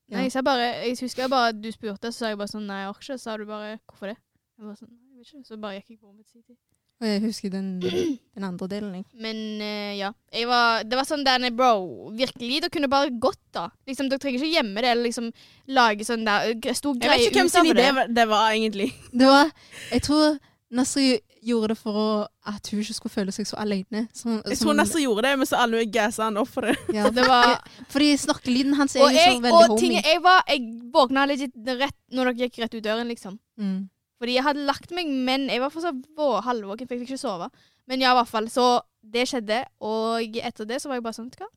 Speaker 3: Nei, jeg sa bare Jeg husker bare at du spurte, så sa jeg bare sånn nei, jeg orker ikke. Så sa du bare hvorfor det? Jeg bare sånn nei, jeg vet ikke. Så bare gikk jeg på rommet sitt.
Speaker 2: Og jeg husker den, den andre delen, *clears throat* jeg.
Speaker 3: Men eh, ja. Jeg var, det var sånn der nei, bro. Virkelig, dere kunne bare gått, da. Liksom, Dere trenger ikke gjemme det eller liksom lage sånn der stor
Speaker 1: Jeg vet
Speaker 3: greie
Speaker 1: ikke hvem sin
Speaker 3: utover
Speaker 1: idé var- det var, egentlig.
Speaker 2: Det var Jeg tror Nasri gjorde det for å, at hun ikke skulle føle seg så alene. Som,
Speaker 1: Jeg
Speaker 2: som-
Speaker 1: tror Nasser gjorde det, men så alle gassa han opp for det.
Speaker 2: ja.
Speaker 3: Det var
Speaker 2: Fordi snakkelyden hans er
Speaker 3: Og,
Speaker 2: jo så
Speaker 3: jeg,
Speaker 2: veldig
Speaker 3: og
Speaker 2: homie.
Speaker 3: ting, er- jeg, var, jeg våkna legit rett når dere gikk rett ut døren, liksom.
Speaker 2: Mm.
Speaker 3: Fordi jeg hadde lagt meg, men jeg var fortsatt vå- halvvåken, for jeg fikk ikke sove. Men ja, i hvert fall. Så det skjedde, og etter det så var jeg bare sånn, vet du hva?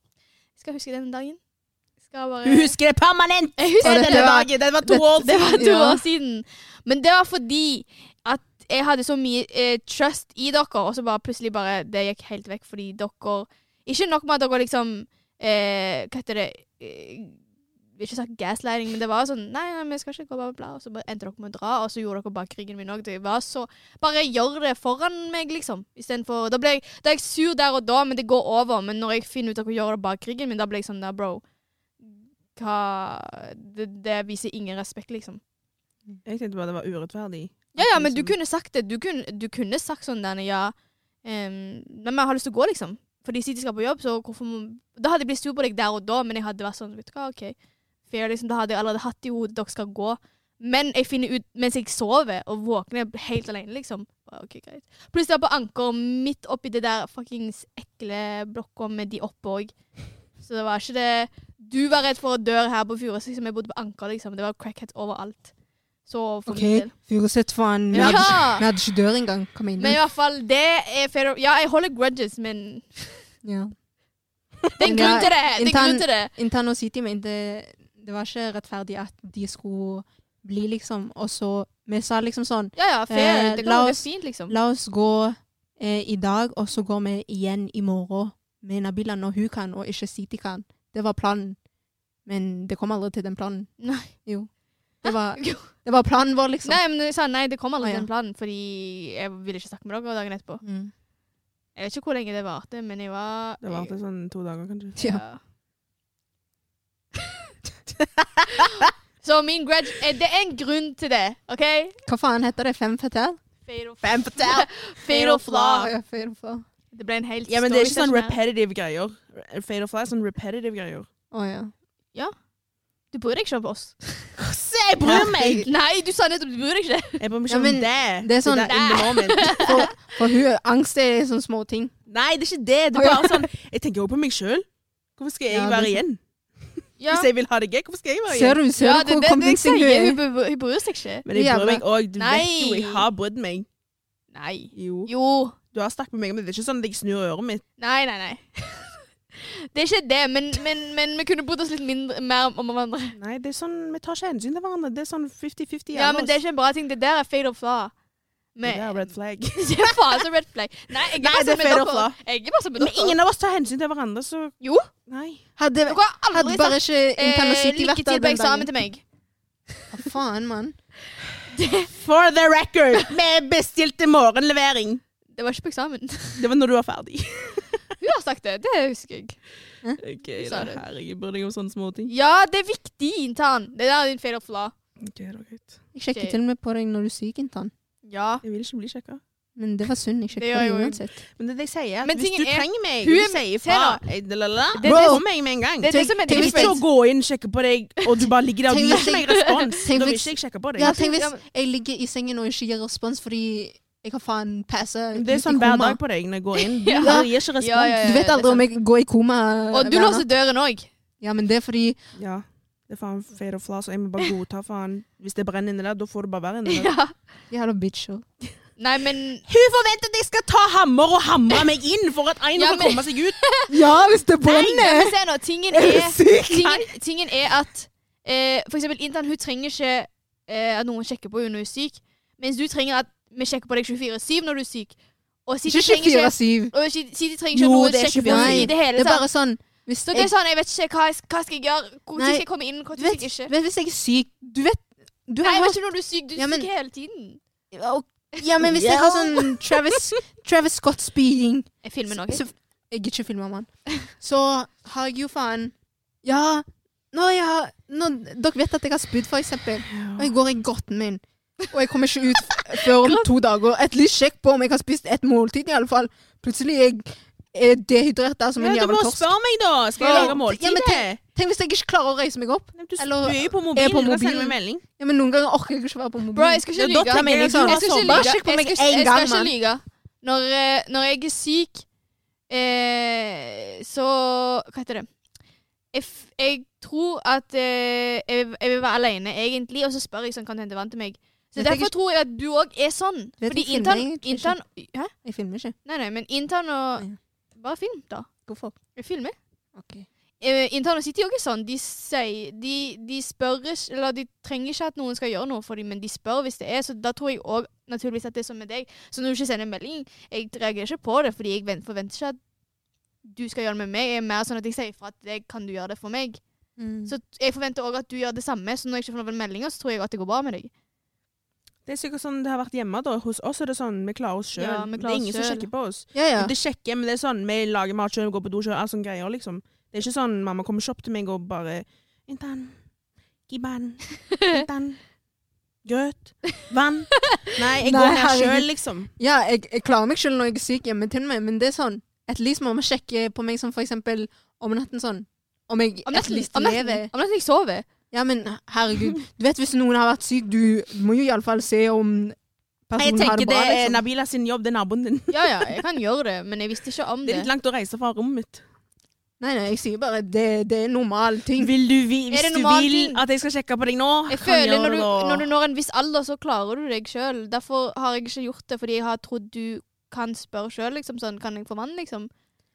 Speaker 3: Jeg skal huske den dagen. Jeg skal bare...
Speaker 1: Hun husker det permanent!
Speaker 3: Jeg husker
Speaker 2: Og
Speaker 3: den
Speaker 2: dette
Speaker 3: dagen.
Speaker 2: var-
Speaker 1: Det var to
Speaker 2: dette-
Speaker 1: år
Speaker 3: *laughs* Det var
Speaker 1: siden.
Speaker 3: to
Speaker 2: Ja.
Speaker 3: år siden. Men det var fordi at jeg hadde så mye eh, trust i dere, og så bare plutselig bare Det gikk helt vekk fordi dere Ikke nok med at dere liksom eh, Hva heter det eh, jeg vil ikke sagt gaslighting, men det var sånn Nei, nei, vi skal ikke gå, bla, bla, bla. Og så bare endte dere med å dra, og så gjorde dere bak ryggen min òg. Det var så Bare gjør det foran meg, liksom. Istedenfor Da ble jeg Da er jeg sur der og da, men det går over. Men når jeg finner ut at dere gjør det bak ryggen min, da blir jeg sånn der, bro hva det, det viser ingen respekt, liksom.
Speaker 1: Jeg tenkte bare det var urettferdig.
Speaker 3: Ja, ja, men du kunne sagt det. Du kunne, du kunne sagt sånn der Ja, ehm, men jeg har lyst til å gå, liksom. Fordi City skal på jobb, så hvorfor må Da hadde jeg blitt sur på deg der og da, men jeg hadde vært sånn Vet du hva, OK. Fair, liksom. Da hadde jeg allerede hatt det i hodet dere skal gå. Men jeg finner ut mens jeg sover og våkner helt alene, liksom. Bare, Ok, greit. Pluss det var på anker midt oppi det der fuckings ekle blokka med de oppe òg. Så det var ikke det Du var redd for å dø her på Furuset, som jeg bodde på anker, liksom. Det var crackheads overalt. Så for
Speaker 2: OK,
Speaker 3: min del.
Speaker 2: Furuset, faen. Vi hadde ikke- vi
Speaker 3: Ja!
Speaker 2: hadde ikke dør engang. Kom inn.
Speaker 3: Men i hvert fall, det er fair Ja, jeg holder grudges, men
Speaker 2: Ja.
Speaker 3: det er en grunn til det! Det er en grunn til det.
Speaker 2: Intern og City mente det var ikke rettferdig at de skulle bli, liksom. Og så Vi sa liksom sånn
Speaker 3: Ja, ja, fair.
Speaker 2: Eh,
Speaker 3: Det
Speaker 2: la
Speaker 3: kan være
Speaker 2: oss-
Speaker 3: fint, liksom.
Speaker 2: La oss gå eh, i dag, og så går vi igjen i morgen med Nabila når hun kan, og ikke City kan. Det var planen. Men det kom aldri til den planen.
Speaker 3: Nei.
Speaker 2: Jo. Det var,
Speaker 3: *laughs* Jo.
Speaker 2: det var planen vår, liksom.
Speaker 3: Nei, men jeg sa nei, det kom aldri
Speaker 2: Å, ja.
Speaker 3: den planen, fordi jeg ville ikke snakke med dere dagen etterpå.
Speaker 2: Mm.
Speaker 3: Jeg vet ikke hvor lenge det varte, men jeg var
Speaker 1: Det varte sånn to dager, kanskje.
Speaker 2: Ja.
Speaker 1: *laughs*
Speaker 3: Så min grudge eh, Det er en grunn til det, OK?
Speaker 2: Hva faen heter det? Fem fatale?
Speaker 3: Fatal,
Speaker 1: Fem fortell!
Speaker 3: fatal flaw.
Speaker 2: Ja, fatal flaw.
Speaker 3: Det ble en helt
Speaker 1: Ja, men det er ikke sånn
Speaker 3: story-session her.
Speaker 1: repetitive greier. Fade of fly er sånn repetitive greier.
Speaker 2: Å ja.
Speaker 3: Du bryr deg ikke om oss.
Speaker 1: *laughs* Se det! Jeg bryr meg!
Speaker 3: Nei, du sa nettopp du bryr deg ikke.
Speaker 1: Jeg bryr meg
Speaker 2: Ja,
Speaker 1: ikke om
Speaker 2: men
Speaker 1: det.
Speaker 2: det er sånn-
Speaker 1: der *laughs* in the moment.
Speaker 2: For, for hun, angst er sånne små ting.
Speaker 1: Nei, det er ikke det. Det er bare sånn Jeg tenker også på meg sjøl. Hvorfor skal jeg
Speaker 2: Ja, det er
Speaker 1: være
Speaker 2: sant.
Speaker 1: igjen?
Speaker 3: Ja,
Speaker 1: Hvis jeg vil ha det gøy, hvorfor skal jeg være igjen?
Speaker 2: Ser du, ser
Speaker 3: ja
Speaker 2: du
Speaker 3: det er
Speaker 2: hvor
Speaker 3: det, det jeg
Speaker 2: kompleks hun
Speaker 3: sier.
Speaker 2: er?
Speaker 3: Hun bryr- Hun bryr seg ikke.
Speaker 1: Men jeg bryr
Speaker 2: Jævla.
Speaker 1: meg òg. Du vet jo, jeg
Speaker 3: Nei.
Speaker 1: har brydd meg.
Speaker 3: Nei.
Speaker 1: Jo.
Speaker 3: Jo.
Speaker 1: Du har snakket med meg om det. Det er ikke sånn at jeg snur øret mitt.
Speaker 3: Nei, nei, *laughs* nei. Det er ikke det, men, men, men vi kunne bodd oss litt mindre, mer om hverandre.
Speaker 1: Nei, det er sånn, vi tar ikke hensyn til hverandre. Det er sånn 50-50
Speaker 3: Ja, men det er ikke en bra ting. Det der er fade of flaw.
Speaker 1: det
Speaker 3: Men,
Speaker 1: er
Speaker 3: *laughs*
Speaker 1: red flag.
Speaker 3: det er faen så red flag. Nei, jeg er
Speaker 1: Nei,
Speaker 3: bare
Speaker 1: det er
Speaker 3: som en
Speaker 1: fade of
Speaker 3: dere.
Speaker 1: flaw.
Speaker 3: Jeg er bare som en
Speaker 1: Men
Speaker 3: dere.
Speaker 1: ingen av oss tar hensyn til hverandre, så
Speaker 3: Jo.
Speaker 1: nei.
Speaker 2: Hadde,
Speaker 3: Dere har aldri
Speaker 2: hadde bare
Speaker 3: sagt
Speaker 2: ikke
Speaker 3: eh,
Speaker 2: Intercity vært
Speaker 3: lykke til
Speaker 2: der
Speaker 3: på
Speaker 2: den
Speaker 3: eksamen
Speaker 2: dagen.
Speaker 3: til meg.
Speaker 2: Hva faen, mann?
Speaker 1: For the record, vi bestilte morgenlevering.
Speaker 3: Det var ikke på eksamen. *laughs*
Speaker 1: Det var når du var ferdig.
Speaker 3: Hun har sagt det. Det husker jeg.
Speaker 1: *laughs* Ok,
Speaker 3: Sa
Speaker 1: da,
Speaker 3: du.
Speaker 1: herregud, bryr deg om sånne små ting.
Speaker 3: Ja, det er viktig, intern. Det der er din fade of flaw.
Speaker 1: Ok, det var greit.
Speaker 2: Jeg sjekker
Speaker 3: Ok.
Speaker 2: til og med på deg når du er syk, Intan.
Speaker 3: Ja.
Speaker 1: Jeg vil ikke bli sjekka.
Speaker 2: Men det var synd. Jeg
Speaker 3: Det
Speaker 2: sjekker
Speaker 3: gjør
Speaker 2: på
Speaker 3: jo
Speaker 2: deg
Speaker 3: jeg.
Speaker 2: uansett.
Speaker 1: Men det er det jeg sier, at
Speaker 3: Men
Speaker 1: hvis
Speaker 3: tingen
Speaker 1: du
Speaker 3: er-
Speaker 1: trenger meg,
Speaker 3: hun
Speaker 1: og
Speaker 3: er-
Speaker 1: du sier ifra
Speaker 3: Thea.
Speaker 1: eh, la, la, la,
Speaker 3: Det-
Speaker 1: Bro!
Speaker 3: det-
Speaker 1: Kommer meg med en gang.
Speaker 3: Det er det
Speaker 2: Tenk-
Speaker 3: som er
Speaker 2: tenk
Speaker 1: Jeg vil
Speaker 2: hvis
Speaker 1: ikke
Speaker 2: jeg-
Speaker 1: å gå inn og sjekke på deg, og du bare ligger der og
Speaker 2: Tenk
Speaker 1: du gir
Speaker 2: hvis
Speaker 1: ikke
Speaker 2: jeg-
Speaker 1: meg *laughs* respons.
Speaker 2: Tenk
Speaker 1: Da vil
Speaker 2: hvis-
Speaker 1: ikke jeg sjekke på deg.
Speaker 2: Ja, tenk hvis
Speaker 3: Ja, men-
Speaker 2: jeg ligger i sengen og ikke gir respons fordi jeg har faen passa
Speaker 1: Det er sånn hver dag på deg når jeg går inn. Du
Speaker 3: Ja.
Speaker 1: bare gir ikke respons.
Speaker 3: Ja, ja, ja.
Speaker 2: Du vet aldri om jeg går i koma.
Speaker 3: Og du
Speaker 2: hver
Speaker 3: låser
Speaker 2: natt.
Speaker 3: døren òg.
Speaker 2: Ja, men det er fordi
Speaker 1: Ja. Det er faen fade og flas, og jeg må *laughs* bare godta faen. Hvis det brenner inni der, da får det bare være inni der.
Speaker 3: Ja.
Speaker 2: Jævla bitcher.
Speaker 3: *laughs* Nei, men
Speaker 1: Hun forventer at jeg skal ta hammer og hamre meg inn for at Einar
Speaker 3: Ja,
Speaker 1: skal
Speaker 3: men-
Speaker 1: komme seg *laughs* ut.
Speaker 2: Ja, hvis det
Speaker 3: Nei, men se nå. Tingen
Speaker 2: Er du
Speaker 3: er
Speaker 2: syk?
Speaker 3: tingen, tingen er at eh, for eksempel Intan, hun trenger ikke eh, at noen sjekker på henne når hun er syk, mens du trenger at vi sjekker på deg 24-7 når du er syk. Og City
Speaker 2: Ikke
Speaker 3: trenger ikke,
Speaker 2: 24-7.
Speaker 3: og City City trenger ikke
Speaker 1: Jo,
Speaker 3: at noen
Speaker 1: det er
Speaker 3: sjekker på
Speaker 1: 24/7.
Speaker 3: henne i det
Speaker 2: Det
Speaker 3: hele
Speaker 2: er
Speaker 3: tatt.
Speaker 2: bare sånn Hvis
Speaker 3: Så det
Speaker 2: jeg,
Speaker 3: er sånn, jeg vet ikke hva, jeg- hva skal jeg gjøre, når
Speaker 2: Nei.
Speaker 3: skal jeg komme inn, når
Speaker 2: du
Speaker 3: skal
Speaker 2: vet,
Speaker 3: jeg ikke.
Speaker 2: vet, hvis jeg er syk Du vet du
Speaker 3: Nei,
Speaker 2: har
Speaker 3: jeg vet
Speaker 2: hørt
Speaker 3: ikke når du er syk, du er
Speaker 2: Ja, men-
Speaker 3: syk hele tiden.
Speaker 2: og- Ja, men hvis jeg
Speaker 1: Ja.
Speaker 2: har sånn Travis, Travis Scott-speaking
Speaker 3: Jeg filmer noe.
Speaker 2: Så- Jeg er ikke filmamann. Så har jeg jo faen Ja, nå jeg har nå, Dere vet at jeg har spydd, for eksempel. Og jeg går i grotten min. Og jeg kommer ikke ut f- før om to dager. Et lys sjekk på om jeg har spist et måltid, i alle fall. Plutselig er jeg er dehydrert der som en
Speaker 1: Ja, du
Speaker 2: jævla
Speaker 1: må
Speaker 2: torsk.
Speaker 1: spørre meg, da. Skal jeg
Speaker 2: Ja.
Speaker 1: lage
Speaker 2: Ja, men
Speaker 1: måltidet?
Speaker 2: Tenk hvis jeg ikke klarer å reise meg opp.
Speaker 1: Nei, Du
Speaker 2: Eller-
Speaker 1: spyr jo på
Speaker 2: Er jeg på
Speaker 1: mobilen. Du kan sende
Speaker 2: mobilen?
Speaker 1: meg melding.
Speaker 2: Ja, men Noen ganger orker jeg ikke å være på mobilen.
Speaker 3: Bro, jeg skal ikke
Speaker 1: Ja,
Speaker 3: lyge.
Speaker 1: dere mener jeg
Speaker 3: Jeg skal
Speaker 1: sånn.
Speaker 3: ikke lyge.
Speaker 1: Bare
Speaker 2: sjekk på meg
Speaker 3: Jeg skal ikke-
Speaker 2: en gang,
Speaker 3: Jeg skal
Speaker 2: mann.
Speaker 3: ikke lyge. Når, eh, når jeg er syk, eh, så Hva heter det? Jeg, f jeg tror at eh, jeg, jeg vil være alene, egentlig, og så spør jeg sånn Kan du hente vann til meg? Så
Speaker 2: Vet jeg
Speaker 3: Derfor
Speaker 2: ikke-
Speaker 3: tror jeg at du òg er sånn.
Speaker 2: Vet
Speaker 3: Fordi
Speaker 2: jeg filmer
Speaker 3: intern,
Speaker 2: egentlig ikke.
Speaker 3: intern Hæ?
Speaker 2: Jeg filmer ikke.
Speaker 3: Nei, nei, men intern og
Speaker 2: Nei.
Speaker 3: Bare film, da.
Speaker 2: Hvorfor?
Speaker 3: Jeg filmer.
Speaker 2: Ok.
Speaker 3: Eh, Interne City er også sånn. De, sier, de, de spør ikke Eller de trenger ikke at noen skal gjøre noe for dem, men de spør hvis det er. Så da tror jeg òg naturligvis at det er sånn med deg. Så når du ikke sender en melding, jeg reagerer ikke på det, fordi jeg vent- forventer ikke at du skal gjøre det med meg. Jeg er mer sånn at jeg sier ifra at det kan du gjøre det for meg.
Speaker 2: Mm. Så
Speaker 1: Mm.
Speaker 3: Så jeg forventer òg at du gjør det samme. Så når jeg ikke får noen meldinger, så tror jeg at det går bra med deg.
Speaker 1: Det er sikkert sånn det har vært hjemme. da. Hos oss er det sånn vi klarer oss sjøl.
Speaker 3: Ja, vi
Speaker 1: det
Speaker 3: klarer
Speaker 1: er
Speaker 3: oss
Speaker 1: ingen som
Speaker 3: selv.
Speaker 1: sjekker på oss.
Speaker 2: ja, ja.
Speaker 1: Det sjekker, men det er sånn vi lager mat sjøl, går på do sjøl, alt sånne greier, liksom. Det er ikke sånn mamma kommer ikke opp til meg og bare Intan, gi vann. Intan. Grøt. *laughs* Vann. Nei, jeg
Speaker 2: Nei,
Speaker 1: går ned
Speaker 2: herregud.
Speaker 1: sjøl, liksom.
Speaker 2: ja jeg, jeg klarer meg selv når jeg er syk hjemme til meg, men det er sånn Et lys må man sjekke på meg som for eksempel om natten sånn. Om jeg
Speaker 3: Om
Speaker 2: et
Speaker 3: nesten,
Speaker 2: lys
Speaker 3: om nesten,
Speaker 2: lever.
Speaker 3: om nesten jeg sover.
Speaker 2: Ja, men herregud. Du vet hvis noen har vært syk, du må jo iallfall se om
Speaker 1: Jeg
Speaker 2: personen har
Speaker 1: tenker
Speaker 2: det bra.
Speaker 1: det er
Speaker 2: liksom.
Speaker 1: Nabila sin jobb, det er naboen din.
Speaker 3: Ja ja, jeg kan gjøre det, men jeg visste ikke om
Speaker 1: Det
Speaker 3: det.
Speaker 1: er litt langt å reise fra rommet mitt.
Speaker 2: Nei, nei, jeg sier bare det, det er normal ting.
Speaker 1: Vil du, vi,
Speaker 3: Er
Speaker 1: hvis
Speaker 3: det
Speaker 1: du
Speaker 3: normal
Speaker 1: vil
Speaker 3: ting?
Speaker 1: at jeg skal sjekke på deg nå, *laughs*
Speaker 3: Jeg
Speaker 1: kan
Speaker 3: føler
Speaker 1: gjøre
Speaker 3: når du,
Speaker 1: det, og-
Speaker 3: når du når en viss alder, så klarer du deg sjøl. Derfor har jeg ikke gjort det, fordi jeg har trodd du kan spørre sjøl. Liksom, sånn, kan jeg få vann, liksom?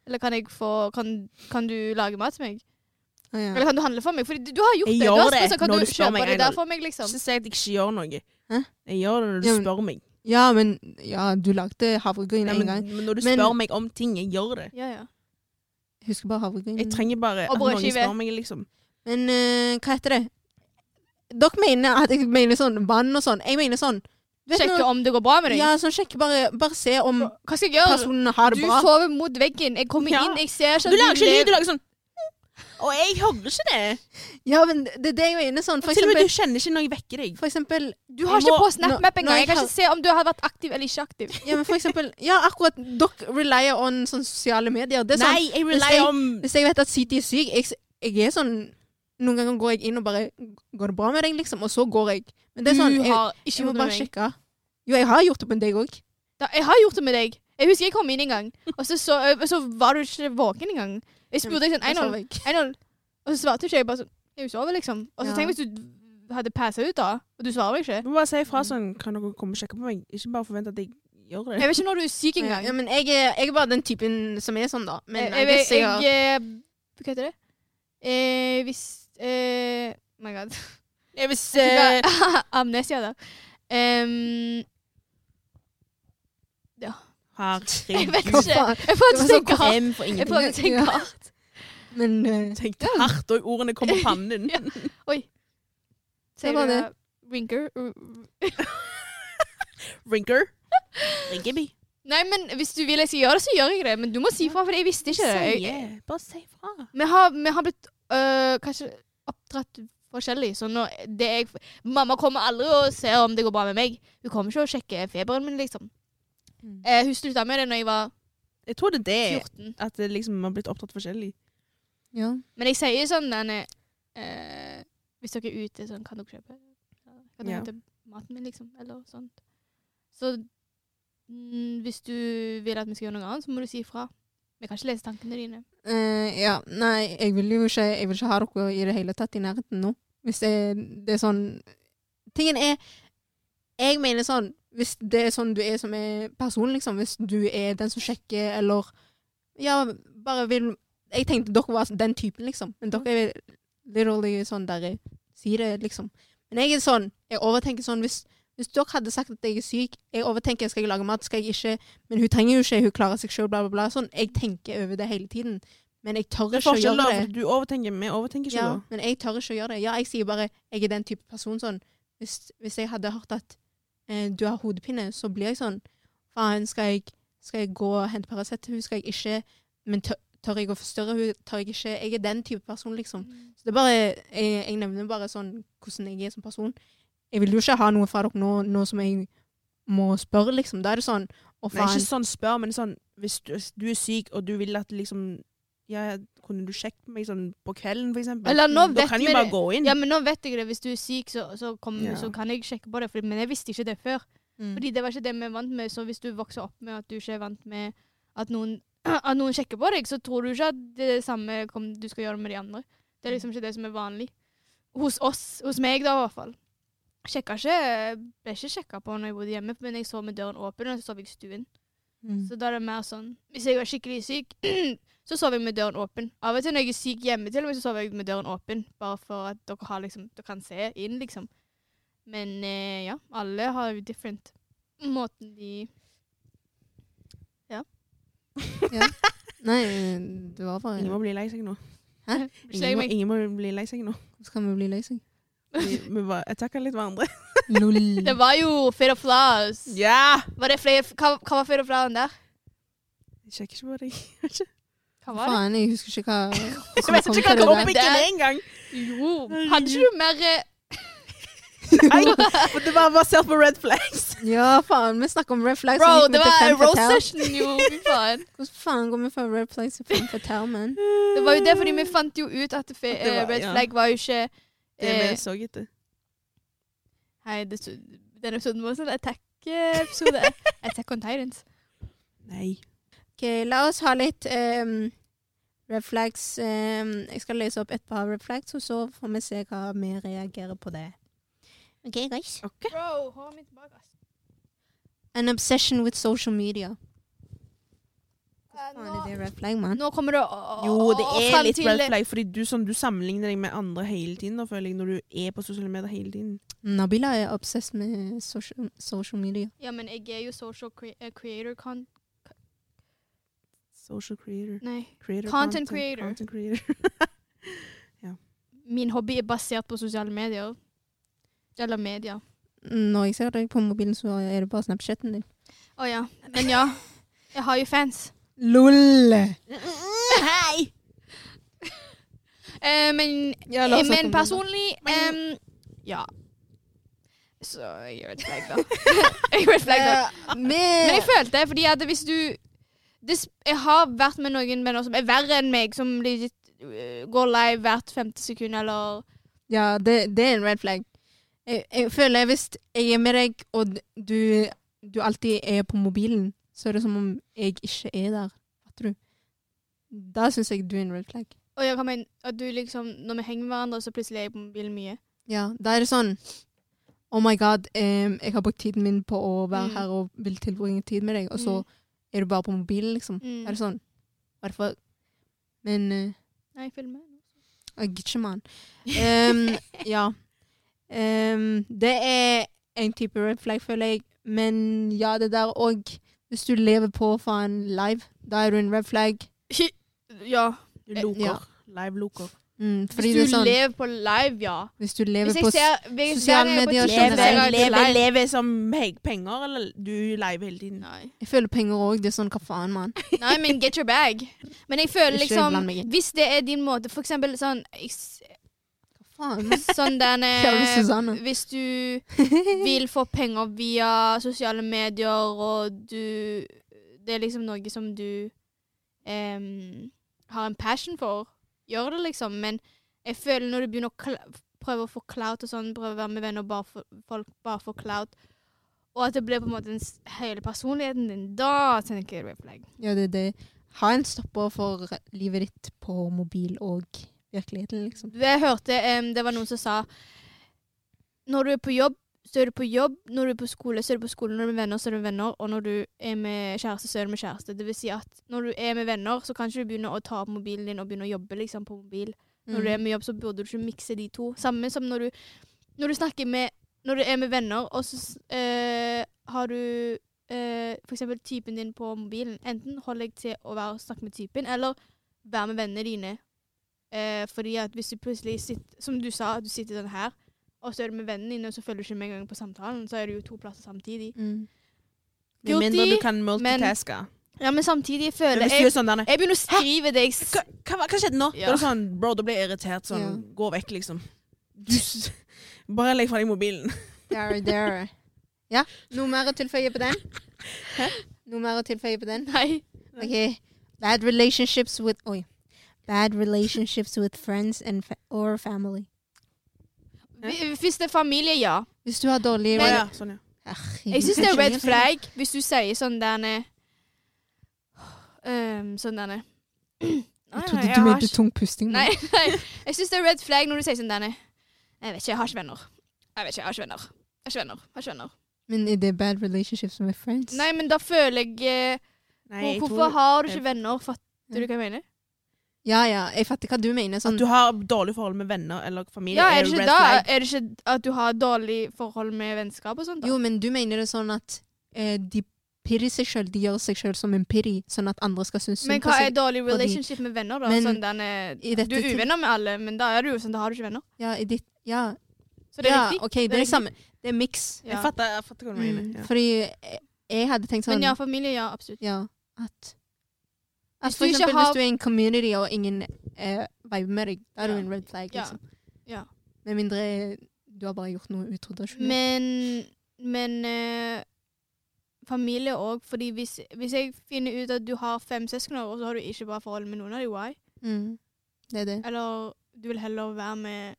Speaker 3: Eller kan, jeg få, kan, kan du lage mat til meg?
Speaker 2: Ja, ja.
Speaker 3: Eller kan du handle for meg? Fordi du, du har gjort
Speaker 1: Jeg
Speaker 3: det.
Speaker 1: gjør
Speaker 3: Du har
Speaker 1: det
Speaker 3: spurt, sånn, kan
Speaker 1: når
Speaker 3: du,
Speaker 1: du spør
Speaker 3: kjøpe
Speaker 1: meg,
Speaker 3: det
Speaker 1: Einar.
Speaker 3: der for meg, liksom?
Speaker 1: Ikke si at jeg ikke gjør noe.
Speaker 2: Hæ?
Speaker 1: Jeg gjør det når du
Speaker 2: Ja, men-
Speaker 1: spør meg.
Speaker 2: ja, men ja, du lagde havregryn
Speaker 1: Nei,
Speaker 2: en gang.
Speaker 1: men når du
Speaker 2: Men-
Speaker 1: spør meg om ting, jeg gjør det.
Speaker 3: Ja, ja.
Speaker 2: Jeg Husker bare havregryn.
Speaker 1: Jeg trenger bare
Speaker 3: Og
Speaker 1: at noen
Speaker 3: brødskive.
Speaker 1: spør meg, liksom.
Speaker 2: Men eh, hva heter det? Dere mener at jeg mener sånn vann og sånn. Jeg mener sånn du vet
Speaker 3: Sjekke
Speaker 2: når-
Speaker 3: om det går bra med deg.
Speaker 2: Ja, sånn sjekke bare, bare se om
Speaker 3: Hva skal jeg gjøre?
Speaker 2: personen har
Speaker 3: Du
Speaker 2: det bra.
Speaker 3: sover mot veggen. Jeg kommer
Speaker 1: Ja.
Speaker 3: inn, jeg ser ikke
Speaker 1: Du lager ikke lyd,
Speaker 3: lever-
Speaker 1: du lager sånn Og jeg hører ikke det.
Speaker 2: Ja, men det er det jeg mener sånn. For
Speaker 1: Til og med
Speaker 2: eksempel,
Speaker 1: du kjenner ikke når jeg vekker deg.
Speaker 2: for eksempel
Speaker 3: Du har
Speaker 1: Jeg
Speaker 3: ikke
Speaker 1: må-
Speaker 3: på
Speaker 2: Nå-
Speaker 3: SnapMap engang.
Speaker 2: nå
Speaker 3: Jeg kan
Speaker 2: har-
Speaker 3: ikke se om du har vært aktiv eller ikke aktiv.
Speaker 2: Ja, men for eksempel Ja, akkurat. Dere relyer on sånn sosiale medier. Det er sånn
Speaker 1: Nei, jeg
Speaker 2: Hvis
Speaker 1: relyer
Speaker 2: jeg-
Speaker 1: om
Speaker 2: Hvis jeg vet at City er syk, jeg, jeg er sånn Noen ganger går jeg inn og bare Går det bra med deg, liksom? Og så går jeg. Men det er sånn,
Speaker 3: du
Speaker 2: jeg,
Speaker 3: har ikke
Speaker 2: jeg må
Speaker 3: gjort det
Speaker 2: bare
Speaker 3: med meg.
Speaker 2: sjekke. Jo, jeg har gjort det på deg òg.
Speaker 3: Da, jeg har gjort det med deg. Jeg husker jeg kom inn en gang, og så, så, så var du ikke våken engang. Jeg spurte deg sånn Einhold, Einhold. Og så svarte ikke jeg bare sånn Jeg sover, liksom. Og så
Speaker 2: Ja.
Speaker 3: tenk hvis du hadde passa ut, da, og du svarer ikke.
Speaker 1: Du må bare si ifra sånn Kan dere komme og sjekke på meg? Ikke bare forvente at jeg gjør det.
Speaker 3: Jeg vet ikke når du er syk engang.
Speaker 2: Ja, men jeg, er- jeg er bare den typen som er sånn, da. Men
Speaker 3: jeg,
Speaker 2: jeg, guess
Speaker 3: jeg,
Speaker 2: jeg, *laughs* har-
Speaker 3: eh, Hva heter det? Eh, hvis eh, My god. *laughs*
Speaker 1: Jeg vil se
Speaker 3: Jeg
Speaker 2: *laughs*
Speaker 3: fikk Amnesia der. Em, jeg vet
Speaker 1: Herregud.
Speaker 2: Hva faen?
Speaker 3: ikke. Jeg prøvde å
Speaker 2: Det var sånn så
Speaker 3: tenke hardt.
Speaker 1: Hvem for
Speaker 3: Jeg
Speaker 1: ingenting?
Speaker 3: prøvde å tenke
Speaker 2: Ja.
Speaker 3: hardt.
Speaker 2: Men eh,
Speaker 1: Tenkte hardt, og ordene kom på pannen.
Speaker 3: Ja.
Speaker 2: Det var det.
Speaker 3: Rinker?
Speaker 1: Rinker. Rinkeby.
Speaker 3: Nei, men hvis du vil jeg skal gjøre det, så gjør jeg det. Men du må si fra, for jeg visste ikke det. Jeg,
Speaker 1: Bare si ifra.
Speaker 3: Vi har, vi har blitt øh, kanskje oppdratt forskjellig. Så når det jeg, mamma kommer aldri og ser om det går bra med meg. Hun kommer ikke og sjekker feberen min, liksom.
Speaker 2: Mm.
Speaker 3: Eh, hun slutta med det når jeg var
Speaker 1: Jeg tror det er det.
Speaker 3: 14.
Speaker 1: At det liksom har blitt opptatt forskjellig.
Speaker 2: ja.
Speaker 3: Men jeg sier sånn denne eh, Hvis dere er ute, sånn, kan dere kjøpe Kan dere
Speaker 1: Ja.
Speaker 3: hente maten min, liksom? Eller sånt. Så mm, hvis du vil at vi skal gjøre noe annet, så må du si ifra. Vi kan ikke lese tankene dine.
Speaker 2: Eh, ja. Nei, jeg vil jo ikke Jeg vil ikke ha dere i det hele tatt i nærheten nå. Hvis jeg, det er sånn Tingen er Jeg mener sånn Hvis det er sånn du er som er person, liksom. Hvis du er den som sjekker, eller Ja, bare vil Jeg tenkte dere var den typen, liksom. Men dere er literally sånn der jeg sier det, liksom. Men jeg er sånn Jeg overtenker sånn hvis hvis dere hadde sagt at jeg er syk, jeg overtenker skal jeg lage mat, skal jeg ikke Men hun trenger jo ikke, hun klarer seg sjøl, bla, bla, bla. Sånn. Jeg tenker over det hele tiden. Men jeg tør
Speaker 1: Det er
Speaker 2: ikke å
Speaker 1: forskjell,
Speaker 2: gjøre
Speaker 1: da.
Speaker 2: det.
Speaker 1: for Du overtenker, vi overtenker ikke.
Speaker 2: Ja,
Speaker 1: da.
Speaker 2: men jeg tør ikke å gjøre det. Ja, jeg sier bare jeg er den type person sånn. Hvis, hvis jeg hadde hørt at eh, du har hodepine, så blir jeg sånn Faen, skal jeg, skal jeg gå og hente Paracet til henne? Skal jeg ikke Men tør, tør jeg å forstørre henne? Tør jeg ikke Jeg er den type person, liksom.
Speaker 3: Mm.
Speaker 2: Så det er bare Jeg, jeg nevner bare sånn hvordan jeg er som person. Jeg vil jo ikke ha noe fra dere nå, nå som jeg må spørre, liksom. Da er det sånn Å,
Speaker 1: Nei,
Speaker 2: faen.
Speaker 1: ikke sånn spør, men sånn Hvis du, hvis du er syk, og du vil at liksom Ja, kunne du sjekket meg sånn på kvelden, for eksempel?
Speaker 3: Eller nå
Speaker 1: da
Speaker 3: vet
Speaker 1: kan
Speaker 3: vi
Speaker 1: jo
Speaker 3: det.
Speaker 1: bare gå inn.
Speaker 3: Ja, men nå vet jeg det. Hvis du er syk, så, så, kom,
Speaker 1: Ja.
Speaker 3: så kan jeg sjekke på det. Fordi, men jeg visste ikke det før.
Speaker 2: Mm.
Speaker 3: Fordi det var ikke det vi er vant med. Så hvis du vokser opp med at du ikke er vant med at noen, *clears throat* at noen sjekker på deg, så tror du ikke at det er det samme kom, du skal gjøre med de andre.
Speaker 2: Mm.
Speaker 3: Det er liksom ikke det som er vanlig. Hos oss, hos meg da i hvert fall. Sjekka ikke, ble ikke sjekka på når jeg bodde hjemme, men jeg sov med døren åpen, og så sov jeg i stuen.
Speaker 2: Mm.
Speaker 3: Så da er det mer sånn Hvis jeg var skikkelig syk, *clears throat* så sov jeg med døren åpen. Av og til når jeg er syk hjemme, til og med så sover jeg med døren åpen. Bare for at dere, har, liksom, dere kan se inn, liksom. Men eh, ja, alle har jo different måten de
Speaker 2: Nei, det var bare
Speaker 1: Ingen må bli lei seg nå. Ingen
Speaker 3: *laughs* Skjønner
Speaker 1: må,
Speaker 3: meg.
Speaker 1: ingen må bli lei
Speaker 3: *laughs*
Speaker 1: seg nå.
Speaker 2: Hvorfor skal vi bli lei seg?
Speaker 1: Vi, vi bare attacker litt hverandre.
Speaker 2: Lol.
Speaker 3: Det var jo Fade of Flowers.
Speaker 1: Ja!
Speaker 3: Var det flere, hva, hva var Fade of Flowers der?
Speaker 1: Jeg sjekker ikke på deg.
Speaker 3: Hva var det?
Speaker 2: Faen, jeg husker
Speaker 1: *laughs*
Speaker 2: ikke hva
Speaker 1: Jeg vet ikke hva
Speaker 3: det der?
Speaker 1: topic er
Speaker 3: *laughs*
Speaker 1: engang!
Speaker 3: Jo, hadde ikke du mer eh,
Speaker 1: Nei, for det var basert på red flags.
Speaker 2: Ja, faen, vi snakker om red flags.
Speaker 3: Bro,
Speaker 2: og gikk
Speaker 3: det
Speaker 2: vi til
Speaker 3: var
Speaker 2: fem
Speaker 3: Rose
Speaker 2: fatale.
Speaker 3: Session, jo.
Speaker 1: *laughs*
Speaker 3: Fy faen.
Speaker 2: Hvordan faen går vi fra red flags til fem fatale, man?
Speaker 3: Det var jo det, fordi vi fant jo ut at fe,
Speaker 1: At det var-
Speaker 3: eh, Red
Speaker 1: ja.
Speaker 3: Flag var jo ikke
Speaker 1: Det
Speaker 3: eh,
Speaker 1: vi så etter.
Speaker 3: Hei, det, sto- denne episoden var sånn
Speaker 1: *laughs*
Speaker 3: attack-episode. attack on Titans.
Speaker 1: Nei.
Speaker 2: Ok, la oss ha litt ehm, red flags. Ehm, jeg skal lese opp et par red flags, og så får vi se hva vi reagerer på det. Ok, guys.
Speaker 1: Ok.
Speaker 3: Bro, håret mitt bak, ass.
Speaker 2: An obsession with social media.
Speaker 3: Eh,
Speaker 2: Faen, er det
Speaker 3: nå,
Speaker 2: red flag, man?
Speaker 3: nå kommer det å- å- å-
Speaker 1: Jo, det
Speaker 3: å-
Speaker 1: er
Speaker 3: fram
Speaker 1: litt
Speaker 3: til-
Speaker 1: red flag, fordi du, sånn, du sammenligner deg med andre hele tiden, da, føler jeg, når du er på sosiale medier hele tiden.
Speaker 2: Nabila er obsessed med social, social media.
Speaker 3: Ja, men jeg er jo social cre eh, creator con...
Speaker 1: Social creator.
Speaker 3: Nei.
Speaker 1: creator
Speaker 3: Content creator.
Speaker 1: Content creator.
Speaker 3: Min hobby er basert på sosiale medier. Eller media.
Speaker 2: Når jeg ser deg på mobilen, så er det bare Snapchaten din.
Speaker 3: Å
Speaker 2: *laughs*
Speaker 3: ja. Men ja, jeg har jo fans.
Speaker 2: LOL!
Speaker 3: Hei! eh, men
Speaker 2: Ja,
Speaker 3: Eh, Men personlig ehm, Ja. Så jeg er red flag,
Speaker 2: *laughs*
Speaker 3: da. *laughs* jeg er red flag, da.
Speaker 2: Eh,
Speaker 3: Men jeg følte fordi at hvis du det, sp- Jeg har vært med noen venner som er verre enn meg, som legit eh, går live hvert femte sekund, eller
Speaker 2: Ja, det, det er en red flag. Jeg, jeg føler hvis jeg er med deg, og d- du, du alltid er på mobilen, så er det som om jeg ikke er der. Fatter du? Da syns jeg du er en red flag.
Speaker 3: Og jeg kan mene at du liksom, når vi henger med hverandre, så plutselig er jeg på mobilen mye.
Speaker 2: Ja, da er det sånn Oh my god, em, jeg har brukt tiden min på å være
Speaker 3: Mm.
Speaker 2: her og vil tilbringe tid med deg, og så er du bare på mobilen, liksom.
Speaker 3: Mm.
Speaker 2: Da er det sånn? Hva er det for Men eh,
Speaker 3: Mm. Nei, jeg filmer.
Speaker 2: Jeg gidder ikke, mann.
Speaker 3: *laughs*
Speaker 2: Ehm, ja. Ehm, det er en type red flag, føler jeg. Men ja, det der òg Hvis du lever på faen live, da er du en red flag.
Speaker 3: Ja.
Speaker 1: Du
Speaker 3: Eh,
Speaker 1: loker.
Speaker 2: ja.
Speaker 1: Live loker.
Speaker 2: Mm, fordi det
Speaker 3: Hvis
Speaker 2: er
Speaker 3: du
Speaker 2: sånn
Speaker 3: lever på live, ja.
Speaker 2: Hvis du lever
Speaker 3: Hvis
Speaker 2: på
Speaker 3: jeg
Speaker 2: s-
Speaker 3: ser hvis,
Speaker 2: sosiale
Speaker 3: der er jeg på
Speaker 2: medier
Speaker 3: Tinder,
Speaker 2: generelt.
Speaker 3: så er jeg på
Speaker 1: Leve,
Speaker 3: live.
Speaker 1: leve som he- penger, eller du live hele tiden?
Speaker 3: Nei.
Speaker 2: Jeg føler penger òg. Det er sånn, hva faen, mann?
Speaker 3: Nei, men get your bag. Men jeg føler
Speaker 2: Ikke
Speaker 3: liksom
Speaker 2: bland meg inn.
Speaker 3: Hvis det er din måte, for eksempel sånn jeg s-
Speaker 2: Hva
Speaker 3: *laughs*
Speaker 2: faen?
Speaker 3: Sånn
Speaker 2: *laughs*
Speaker 3: den eh,
Speaker 2: Kjære Susanne.
Speaker 3: Hvis du vil få penger via sosiale medier, og du Det er liksom noe som du em, har en passion for, gjør det liksom. Men jeg føler når du begynner å kla- prøve å få clout og sånn, prøve å være med venner bare for, folk bare for clout, og at det blir på en måte den s- hele personligheten din, da tenker jeg red flag.
Speaker 2: Ja, det er det. Ha en stopper for livet ditt på mobil og virkeligheten, liksom.
Speaker 3: Jeg hørte em, det var noen som sa Når du er på jobb, så er du på jobb. Når du er på skole, så er du på skole. Når du er med venner, så er du med venner. Og når du er med kjæreste, så er du med kjæreste. Det vil si at når du er med venner, så kan ikke du begynne å ta opp mobilen din og begynne å jobbe liksom, på mobil. Når
Speaker 1: Mm.
Speaker 2: Mm.
Speaker 3: du er med jobb, så burde du ikke mikse de to. Samme som når du, når du snakker med Når du er med venner, og så s- eh, har du eh, for eksempel typen din på mobilen. Enten hold deg til å være, snakke med typen, eller vær med vennene dine. Eh, fordi at hvis du plutselig sitter Som du sa, at du sitter sånn her, og så er du med vennene dine, og så følger du ikke med en gang på samtalen, så er du jo to plasser samtidig.
Speaker 2: Mm.
Speaker 1: Med mindre
Speaker 3: Guilty,
Speaker 1: du kan multitaske.
Speaker 3: Ja, men
Speaker 1: Men
Speaker 3: samtidig føler
Speaker 1: hvis du
Speaker 3: jeg
Speaker 1: er sånn der
Speaker 3: Jeg begynner å skrive det jeg s-
Speaker 1: hva, hva, hva skjedde nå?
Speaker 3: Ja.
Speaker 1: Da er det sånn, bro, da blir jeg irritert. Sånn,
Speaker 2: Ja.
Speaker 1: Gå vekk, liksom. *laughs* Du, s- bare legg fra deg mobilen.
Speaker 2: There, there. Ja, noe mer å tilføye på den? Noe mer å tilføye på den?
Speaker 3: Nei.
Speaker 2: Ok. Bad relationships with Oi. Bad relationships with friends and fa or family.
Speaker 3: Hvi- Hvis det er familie, ja.
Speaker 2: Hvis du har
Speaker 1: Å
Speaker 2: dårlige
Speaker 3: Men-
Speaker 1: ja, sånn, ja.
Speaker 3: Jeg
Speaker 2: *laughs*
Speaker 3: syns det er red flag hvis du sier sånn derne um, Sånn derne
Speaker 2: Jeg
Speaker 3: *clears throat* Nei, nei,
Speaker 2: trodde
Speaker 3: jeg
Speaker 2: du
Speaker 3: har
Speaker 2: mente
Speaker 3: ikke-
Speaker 2: tung pusting.
Speaker 3: Nei, nei. Jeg syns det er red flag når du sier sånn derne Jeg vet ikke, jeg har ikke venner. Jeg vet ikke, jeg har ikke venner. Jeg har ikke venner. Jeg har ikke venner.
Speaker 2: Men er det bad relationships with friends?
Speaker 3: Nei, men da føler jeg eh,
Speaker 1: Nei,
Speaker 3: hvor,
Speaker 1: jeg
Speaker 3: Hvorfor
Speaker 1: tror
Speaker 3: har du ikke venner? Fatter du hva jeg mener?
Speaker 2: Ja, ja, jeg fatter hva du mener. Sånn,
Speaker 1: at du har dårlig forhold med venner eller familie.
Speaker 3: Ja, er det ikke
Speaker 1: red
Speaker 3: da
Speaker 1: flag.
Speaker 3: Er det ikke at du har dårlig forhold med vennskap og sånt? da?
Speaker 2: jo, men du mener det sånn at eh, de pirrer seg sjøl, de gjør seg sjøl som en pirri, sånn at andre skal synes
Speaker 3: Men
Speaker 2: synd på
Speaker 3: hva er
Speaker 2: seg.
Speaker 3: dårlig relationship med venner, da?
Speaker 2: Men
Speaker 3: sånn derne,
Speaker 2: i
Speaker 3: du
Speaker 2: dette
Speaker 3: er
Speaker 2: til-
Speaker 3: uvenner med alle, men da er du jo sånn, da har du ikke venner.
Speaker 2: Ja, i ditt, ja,
Speaker 3: Så det er
Speaker 2: ja
Speaker 3: riktig.
Speaker 2: OK, det
Speaker 3: er
Speaker 2: er
Speaker 3: riktig.
Speaker 2: samme. Det er miks.
Speaker 1: Jeg fatter, jeg fatter hva du mener.
Speaker 2: Mm,
Speaker 1: Ja.
Speaker 2: Fordi jeg, jeg hadde tenkt sånn
Speaker 3: Men ja, familie, ja, absolutt.
Speaker 2: Ja, at at
Speaker 3: Hvis
Speaker 2: for
Speaker 3: du ikke
Speaker 2: eksempel
Speaker 3: har-
Speaker 2: hvis du er i en community og ingen eh, viber med deg, da er
Speaker 3: Ja.
Speaker 2: du en red flag,
Speaker 3: Ja.
Speaker 2: liksom.
Speaker 3: Ja.
Speaker 2: Med mindre du har bare gjort noe utro.
Speaker 3: Men, men eh, familie òg, fordi hvis, hvis jeg finner ut at du har fem søsken, og så har du ikke bra forhold med noen av dem, why?
Speaker 2: Mm. Det er det.
Speaker 3: Eller du vil heller være med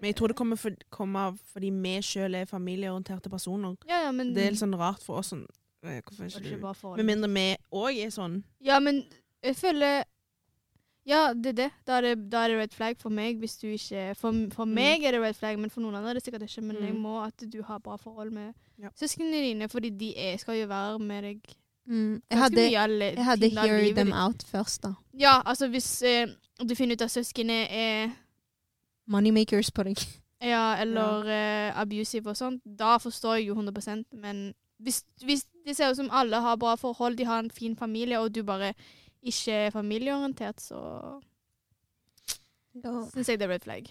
Speaker 1: Men jeg tror det kommer, for, kommer av fordi vi sjøl er familieorienterte personer.
Speaker 3: Ja, ja, men
Speaker 1: Det er litt sånn rart for oss. Sånn, eh, hvorfor er
Speaker 3: har du
Speaker 1: ikke
Speaker 3: ikke
Speaker 1: du
Speaker 3: bra forhold.
Speaker 1: Med mindre vi òg er sånn.
Speaker 3: Ja, men jeg føler Ja, det er det. Da er det, da er det red flag for meg hvis du ikke øh, For, for
Speaker 1: Mm.
Speaker 3: meg er det red flag, men for noen andre er det sikkert ikke. Men jeg
Speaker 1: Mm.
Speaker 3: må at du har bra forhold med
Speaker 1: Ja.
Speaker 3: søsknene dine, fordi de er, skal jo være med Altså, deg
Speaker 2: Mm. Jeg
Speaker 3: ganske
Speaker 2: hadde,
Speaker 3: mye av le-
Speaker 2: jeg hadde
Speaker 3: tiden av
Speaker 2: hear
Speaker 3: livet
Speaker 2: them
Speaker 3: ditt.
Speaker 2: out først, da.
Speaker 3: Ja, altså hvis eh, du finner ut at søskenet er
Speaker 2: Moneymakers på deg. *laughs*
Speaker 3: ja, eller eh, abusive og sånt, da forstår jeg jo 100 men hvis, hvis det ser ut som alle har bra forhold, de har en fin familie, og du bare ikke er familieorientert, så syns jeg det er red flag.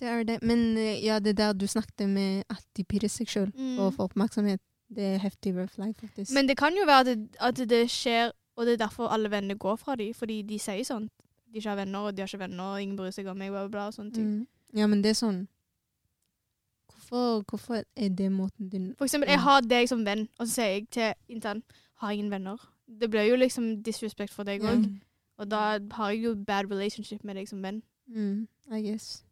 Speaker 2: Det er det. Men eh, ja, det der du snakket med at de pirrer seg sjøl
Speaker 3: Mm.
Speaker 2: for å få oppmerksomhet, det er heftig red flag, faktisk.
Speaker 3: Men det kan jo være at det, at det skjer, og det er derfor alle vennene går fra dem, fordi de sier sånt. De ikke har venner, og de har ikke venner, og ingen bryr seg om meg, bla, bla, bla, og sånne ting.
Speaker 2: Mm. Ja, men det er sånn Hvorfor, hvorfor er det måten din
Speaker 3: For eksempel, jeg har deg som venn, og så sier jeg til intern, har ingen venner. Det blir jo liksom disrespekt for deg
Speaker 2: Ja.
Speaker 3: òg. Og da har jeg jo bad relationship med deg som venn.
Speaker 2: Mm, I guess.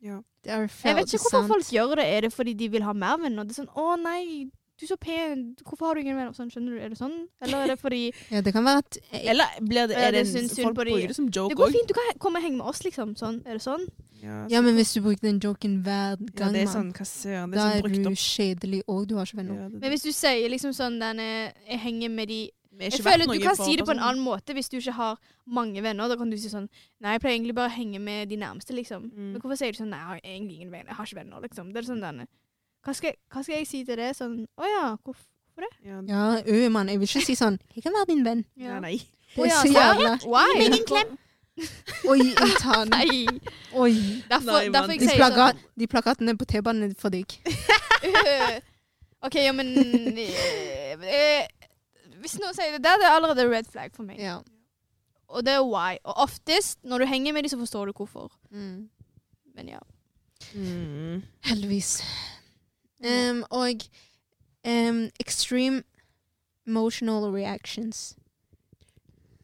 Speaker 1: Ja.
Speaker 2: Det er
Speaker 3: Jeg vet
Speaker 2: felt
Speaker 3: ikke hvorfor
Speaker 2: sant.
Speaker 3: folk gjør det. Er det fordi de vil ha mer venner? Det er sånn 'Å nei, du er så pen. Hvorfor har du ingen venner?' Sånn, skjønner du? Er det sånn? Eller er det
Speaker 2: *laughs*
Speaker 3: fordi
Speaker 2: Ja, det kan være at
Speaker 1: Eller blir det,
Speaker 3: Ja,
Speaker 1: er
Speaker 3: du
Speaker 1: det en,
Speaker 3: syns synd
Speaker 1: folk
Speaker 3: på de-
Speaker 1: bruker det som joke
Speaker 3: 'Det går
Speaker 1: òg?
Speaker 3: fint, du kan he- komme og henge med oss', liksom. Sånn. Er det
Speaker 2: Mm.
Speaker 3: sånn?
Speaker 1: Ja,
Speaker 2: Ja, men hvis du bruker den joken hver
Speaker 1: ja,
Speaker 2: gang,
Speaker 1: det er sånn
Speaker 2: mann,
Speaker 1: hva søren, det
Speaker 2: da
Speaker 1: er
Speaker 2: er
Speaker 1: sånn brukt
Speaker 2: du
Speaker 1: opp.
Speaker 2: kjedelig og du har ikke venner.
Speaker 1: Ja, det-
Speaker 3: Men hvis du sier liksom sånn den eh, 'Jeg henger med de'
Speaker 1: Vi er
Speaker 3: Jeg
Speaker 1: ikke
Speaker 3: føler
Speaker 1: verdt
Speaker 3: Du
Speaker 1: noe
Speaker 3: kan
Speaker 1: for
Speaker 3: si det på en
Speaker 1: personen.
Speaker 3: annen måte hvis du ikke har mange venner. Da kan du si sånn 'Nei, jeg pleier egentlig bare å henge med de nærmeste', liksom.
Speaker 1: Mm.
Speaker 3: Men hvorfor sier du sånn 'Nei, jeg har egentlig ingen venner. Jeg har ikke venner', liksom. Det er sånn denne. Hva skal, hva skal jeg si til det? Sånn 'Å ja, hvorfor
Speaker 1: Ja,
Speaker 2: Ja, ø, mann. Jeg vil ikke si sånn 'Jeg kan være din venn'.
Speaker 1: ja. Nei,
Speaker 2: Det
Speaker 3: Å
Speaker 2: er
Speaker 3: ja,
Speaker 2: så
Speaker 3: sant.
Speaker 2: jævla
Speaker 3: Why?
Speaker 2: Gi meg en klem. Oi, jeg tar den.
Speaker 3: *laughs* Nei.
Speaker 2: Oi.
Speaker 3: Derfor,
Speaker 1: Nei,
Speaker 3: derfor
Speaker 1: mann.
Speaker 3: jeg sånn,
Speaker 2: De,
Speaker 3: sier
Speaker 2: plaka, de plakatene på T-banen er for
Speaker 3: *laughs*
Speaker 2: deg.
Speaker 3: sånn *laughs* OK, ja, men eh, eh, Hvis noen sier det der, det er allerede red flag for meg.
Speaker 2: Ja.
Speaker 3: Og det er why. Og oftest, når du henger med dem, så forstår du hvorfor.
Speaker 2: Mm.
Speaker 3: Men ja.
Speaker 1: Mm.
Speaker 2: Heldigvis. Em, og em, extreme emotional reactions.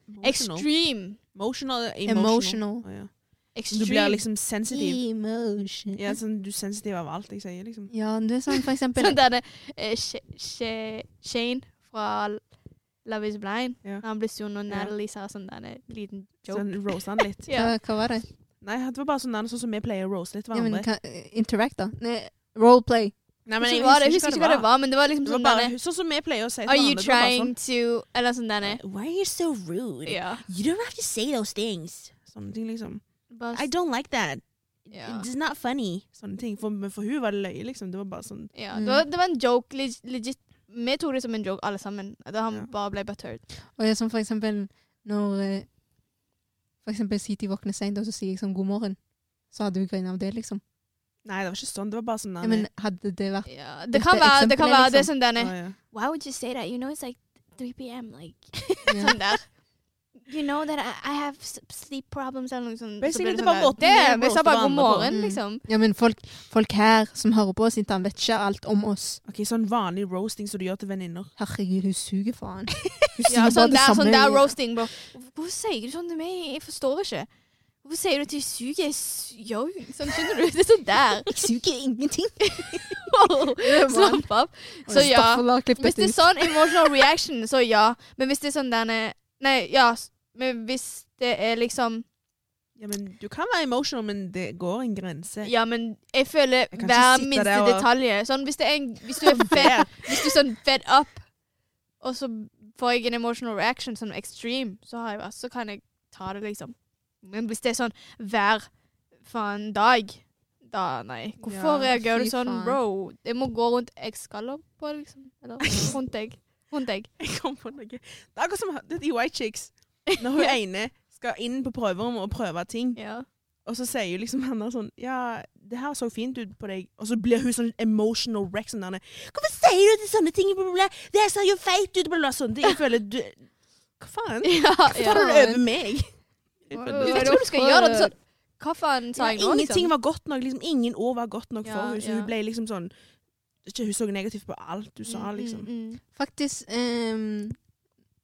Speaker 1: Emotional.
Speaker 3: Extreme.
Speaker 1: Emotional. emotional.
Speaker 2: Emotional.
Speaker 1: Å, ja. Du
Speaker 3: Extreme. Mm.
Speaker 1: blir liksom sensitiv.
Speaker 2: Emotion.
Speaker 1: Ja, sånn, du er sensitiv av alt jeg sier, liksom.
Speaker 2: Ja, det er sånn for
Speaker 3: *laughs*
Speaker 2: eksempel
Speaker 3: Sånn der det eh, Sha- Sha- Shane fra Love Is Blind.
Speaker 1: Ja.
Speaker 3: Når han ble sur når
Speaker 1: Ja.
Speaker 3: Natalie sa sånn der eh, liten joke.
Speaker 1: Sånn roaste han litt.
Speaker 3: *laughs* Ja.
Speaker 2: hva, hva var det?
Speaker 1: Nei, det var bare sånn, sånn som vi pleier å roaste litt
Speaker 2: Ja, men,
Speaker 1: hverandre.
Speaker 2: hva, interact, da. Nei, roleplay.
Speaker 1: Nei,
Speaker 3: Jeg
Speaker 1: men
Speaker 3: husker, jeg husker ikke hva det var, men det var liksom
Speaker 1: Det var
Speaker 3: sånn
Speaker 1: bare
Speaker 3: der
Speaker 1: sånn som vi pleier å si til
Speaker 3: Are you
Speaker 1: hverandre. det var bare
Speaker 3: trying to Eller sånn der
Speaker 1: sånn, Why are you so rude?
Speaker 3: Ja.
Speaker 1: You don't have to say those things. Sånne ting, liksom.
Speaker 3: Bare
Speaker 1: I don't like that.
Speaker 3: Ja.
Speaker 1: It's not funny. Sånne ting. For, men for hun var det løye, liksom. Det var bare sånn
Speaker 3: Ja,
Speaker 2: Mm.
Speaker 3: det, var, det var en joke, leg- legit. Vi tok det som en joke, alle sammen. Da han
Speaker 1: Ja.
Speaker 3: bare ble buttered.
Speaker 2: Og det er sånn for eksempel når eh, For eksempel Siti våkner sent, og så sier jeg sånn 'god morgen'. Så hadde hun greina av det, liksom.
Speaker 1: Nei, det var ikke sånn. Det var bare sånn
Speaker 2: Ja, men hadde det
Speaker 3: *laughs*
Speaker 2: vært
Speaker 3: Ja, det
Speaker 2: Dette
Speaker 3: kan være det, kan
Speaker 2: eksempelet,
Speaker 3: være, det er
Speaker 2: liksom.
Speaker 3: sånn denne
Speaker 1: Å, ja.
Speaker 3: Why would you say that? You know it's like 3 p.m. Like
Speaker 2: ja.
Speaker 3: Sånn der. You know that I, I have s- sleep problems eller noe sånt.
Speaker 1: Basically, det
Speaker 3: Så ble sånn
Speaker 1: var
Speaker 3: der,
Speaker 1: måten vi
Speaker 3: Det, vi sa
Speaker 1: roastet
Speaker 3: bare god
Speaker 1: hverandre på.
Speaker 3: morgen,
Speaker 2: Mm.
Speaker 3: liksom.
Speaker 2: ja, men folk, folk her som hører på oss, ikke, han vet ikke alt om oss.
Speaker 1: Ok, Sånn vanlig roasting som du gjør til venninner.
Speaker 2: Herregud, hun suger faen. Hun
Speaker 3: *laughs*
Speaker 2: sier
Speaker 3: Ja,
Speaker 2: bare
Speaker 3: sånn
Speaker 2: det
Speaker 3: der, sånn
Speaker 2: samme.
Speaker 3: der roasting, bro. Hvorfor sier du sånn til meg? Jeg forstår ikke. Hvorfor sier du at jeg suger? Jeg su- Yo, sånn, skjønner du? *laughs* Det er sånn der.
Speaker 2: Jeg suger *laughs* ingenting.
Speaker 3: *laughs* Slapp av. Så ja.
Speaker 2: Stoffeler, klipp
Speaker 3: Hvis
Speaker 2: dette
Speaker 3: det er
Speaker 2: ut.
Speaker 3: sånn emotional reaction, så ja. Men hvis det er sånn denne Nei, ja. s- Men hvis det er liksom
Speaker 1: Ja, men Du kan være emotional, men det går en grense.
Speaker 3: Ja, men jeg føler
Speaker 1: kan ikke
Speaker 3: hver
Speaker 1: sitte
Speaker 3: minste
Speaker 1: der og-
Speaker 3: detalj. Sånn hvis det er en Hvis du
Speaker 1: *laughs*
Speaker 3: er fed, hvis du er sånn fed up, og så får jeg en emotional reaction, sånn extreme, så, har jeg, så kan jeg ta det, liksom. Men hvis det er sånn hver faen dag da, nei. Hvorfor
Speaker 2: Ja,
Speaker 3: reagerer du
Speaker 2: fy
Speaker 3: sånn,
Speaker 2: faen.
Speaker 3: bro? Jeg må gå rundt eggskaller på deg, liksom. Eller rundt deg. Rundt
Speaker 1: *laughs*
Speaker 3: deg.
Speaker 1: Jeg *laughs* kom på noe. Det er akkurat som det er de White Chicks.
Speaker 2: *laughs*
Speaker 1: Når hun ene skal inn på prøverommet og prøve ting,
Speaker 3: Ja.
Speaker 1: og så sier hun liksom han der sånn Ja, det her så fint ut på deg. Og så blir hun sånn emotional wreck sånn der Hvorfor sier du til sånne ting? Bla, bla, bla. Det ser jo feit ut, bla, bla. Sånn. Det, jeg føler du Hva faen?
Speaker 3: ja, øh,
Speaker 1: Hvorfor tar du det over meg? Jeg føler-
Speaker 2: Hva
Speaker 3: Du vet
Speaker 2: er
Speaker 3: ikke
Speaker 2: det
Speaker 3: hva du skal
Speaker 2: for-
Speaker 3: gjøre. Det, er sånn, hva faen
Speaker 1: Ja,
Speaker 3: sa jeg nå,
Speaker 1: ingenting
Speaker 3: liksom?
Speaker 1: var godt nok. Liksom, ingen ord var godt nok
Speaker 3: Ja,
Speaker 1: for henne. Så
Speaker 3: ja.
Speaker 1: hun ble liksom sånn ikke, Hun så negativt på alt du sa,
Speaker 3: Mm,
Speaker 1: liksom.
Speaker 3: mm, mm.
Speaker 2: Faktisk ehm,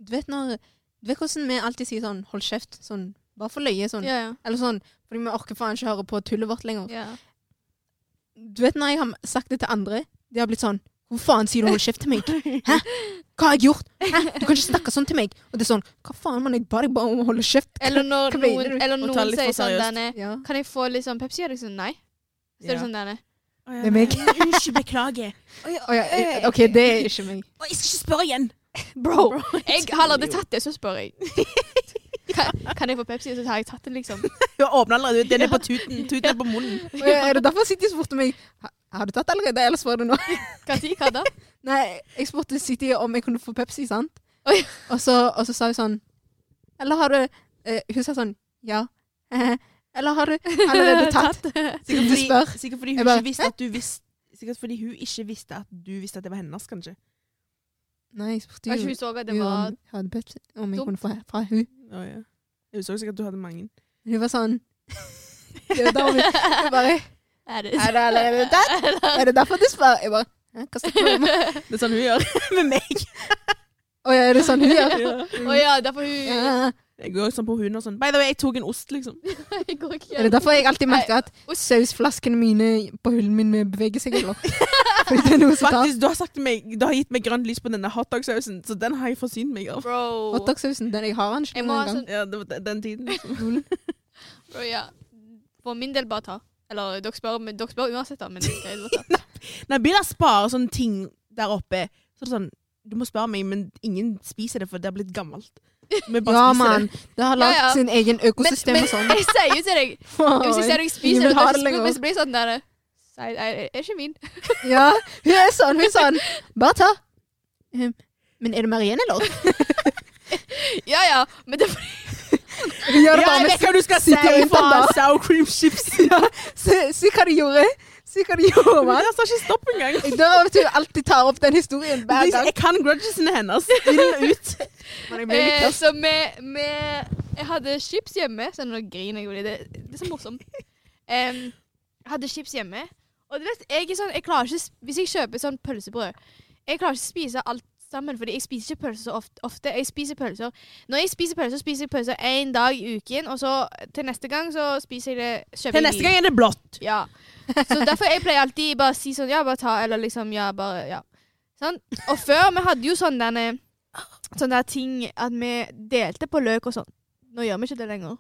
Speaker 2: Du vet når Du vet hvordan vi alltid sier sånn 'hold kjeft', sånn bare for løye, sånn.
Speaker 3: Ja, ja.
Speaker 2: Eller sånn fordi vi orker faen ikke høre på tullet vårt lenger.
Speaker 3: ja.
Speaker 2: Du vet når jeg har sagt det til andre, de har blitt sånn 'Hvor faen sier du 'hold kjeft' til *laughs* meg'? Hæ? Hva har jeg gjort? Hæ? Du kan ikke snakke sånn til meg. Og det er sånn 'Hva faen, mann, jeg ba deg bare om å holde kjeft'.
Speaker 3: Eller når
Speaker 2: Hva mener
Speaker 3: noen,
Speaker 2: du?
Speaker 3: eller
Speaker 1: Og ta
Speaker 3: noen
Speaker 1: litt
Speaker 3: sier
Speaker 1: for
Speaker 3: sånn
Speaker 1: seriøst.
Speaker 3: denne
Speaker 2: Ja.
Speaker 3: Kan jeg få litt sånn Pepsi? Og jeg sånn nei. Så er det
Speaker 1: Ja.
Speaker 3: sånn denne.
Speaker 1: Å, ja,
Speaker 2: Det er meg.
Speaker 1: nei, Unnskyld, beklager.
Speaker 2: Å ja, eh, OK, det er ikke meg.
Speaker 1: Å, jeg skal ikke spørre igjen!
Speaker 3: *laughs* Bro! Jeg har allerede tatt det, så spør jeg. *laughs* Kan, kan jeg få Pepsi? Og så har jeg tatt det, liksom.
Speaker 1: Hun åpner allerede. Den er på tuten. Tuten er på munnen.
Speaker 2: Å *laughs* ja, er det derfor City spurte meg «Ha- 'Har du tatt allerede?' Eller spør du nå?
Speaker 3: Hva tid, *laughs* hva da?
Speaker 2: *laughs* Nei, jeg spurte City om jeg kunne få Pepsi, sant?
Speaker 3: Oi.
Speaker 2: Og, så, og så sa hun sånn Eller har du eh, Hun sa sånn Ja. *laughs* Eller har *laughs* du allerede tatt?
Speaker 1: Sikkert
Speaker 2: Du
Speaker 1: fordi,
Speaker 2: spør.
Speaker 1: sikkert fordi hun
Speaker 2: Jeg bare,
Speaker 1: ikke visste at du visste Sikkert fordi hun ikke visste at du visste at det var hennes, kanskje.
Speaker 2: Nei, jeg spurte
Speaker 3: Kanskje
Speaker 2: jo
Speaker 3: hun så at det
Speaker 2: hun
Speaker 3: var
Speaker 2: om, hadde Pepsi, om jeg
Speaker 3: dumt.
Speaker 2: kunne få fra hun.
Speaker 1: Å, ja. Hun så sikkert at du hadde mange.
Speaker 2: Hun var
Speaker 4: *laughs*
Speaker 2: sånn ja, da var vi, jeg bare
Speaker 3: *laughs* Er det
Speaker 2: Er det allerede
Speaker 3: *laughs*
Speaker 2: tatt? Er det derfor du spør? Jeg bare Hæ, hva snakker du om?
Speaker 1: Det *laughs* er sånn hun gjør med meg.
Speaker 2: Å ja, er det sånn hun gjør?
Speaker 3: Å ja, *laughs* derfor hun
Speaker 2: Ja.
Speaker 1: Jeg går sånn på hunden og sånn By the way, jeg tok en ost, liksom.
Speaker 3: Jeg går ikke
Speaker 4: Er det
Speaker 3: *laughs*
Speaker 4: derfor jeg alltid merker at
Speaker 3: Nei, ost.
Speaker 4: sausflaskene mine på hullen min med beveger seg, eller? Fordi det er noe som tar
Speaker 1: Faktisk, du har, sagt til meg, du har gitt meg grønt lys på denne hotdogsausen, så den har jeg forsynt meg
Speaker 3: *laughs*
Speaker 1: av.
Speaker 3: Bro.
Speaker 4: Hotdogsausen, den jeg har den ikke
Speaker 3: Jeg må
Speaker 4: noen
Speaker 3: ha
Speaker 4: gang.
Speaker 3: sånn
Speaker 1: Ja, det var den- den tiden. liksom.
Speaker 3: bro, ja. For min del, bare ta. Eller dere spør, men, dere spør uansett, da. *laughs* Men jeg skal bare ta.
Speaker 1: Når Bila sparer sånne ting der oppe, så er det sånn Du må spørre meg, men ingen spiser det, for det har blitt gammelt. Vi bare
Speaker 4: Ja,
Speaker 1: spiser
Speaker 4: mann. Det har lagd
Speaker 3: Ja, ja.
Speaker 4: sin egen økosystem og
Speaker 3: *laughs*
Speaker 4: sånn.
Speaker 3: jeg sier jo til deg Hvis jeg ser deg spise
Speaker 4: Ingen
Speaker 3: det,
Speaker 4: vil ha det
Speaker 3: så
Speaker 4: lenger.
Speaker 3: så blir jeg sånn der Nei, nei, det er ikke min.
Speaker 1: *laughs*
Speaker 4: Ja, hun er sånn, hun er sånn. Bare ta. Ehm, Men er det mer igjen, eller?
Speaker 3: Ja ja, men det
Speaker 4: Hun gjør
Speaker 1: det.
Speaker 4: det
Speaker 1: Ja,
Speaker 4: bare
Speaker 1: jeg
Speaker 4: med
Speaker 1: vet hva du skal si
Speaker 4: sitte
Speaker 1: til
Speaker 4: rundt den da.
Speaker 1: faen! Sour cream chips.
Speaker 4: ja, se, se hva de gjorde. Se hva de gjorde,
Speaker 3: *laughs*
Speaker 1: Men
Speaker 4: mann.
Speaker 1: det står ikke stopp engang.
Speaker 4: Jeg dør av at hun alltid tar opp den historien hver gang.
Speaker 1: Jeg kan grudgesene hennes inn og *laughs* ut.
Speaker 4: Men jeg blir litt
Speaker 3: eh,
Speaker 4: plass.
Speaker 3: Så vi vi- Jeg hadde chips hjemme. Så nå griner jeg jo litt. Det, det er så morsomt. Em, jeg hadde chips hjemme. Og du vet, jeg er sånn Jeg klarer ikke sp- Hvis jeg kjøper sånn pølsebrød Jeg klarer ikke å spise alt sammen, fordi jeg spiser ikke pølser så ofte, ofte. Jeg spiser pølser Når jeg spiser pølser, spiser jeg pølser én dag i uken, og så til neste gang så spiser jeg det kjøper
Speaker 1: Til
Speaker 3: jeg
Speaker 1: neste
Speaker 3: ny.
Speaker 1: gang er det blått.
Speaker 3: Ja. Så derfor jeg pleier alltid bare å si sånn Ja, bare ta Eller liksom Ja, bare Ja. Sånn. Og før vi hadde jo sånn denne Sånn der ting at vi delte på løk og sånn. Nå gjør vi ikke det lenger.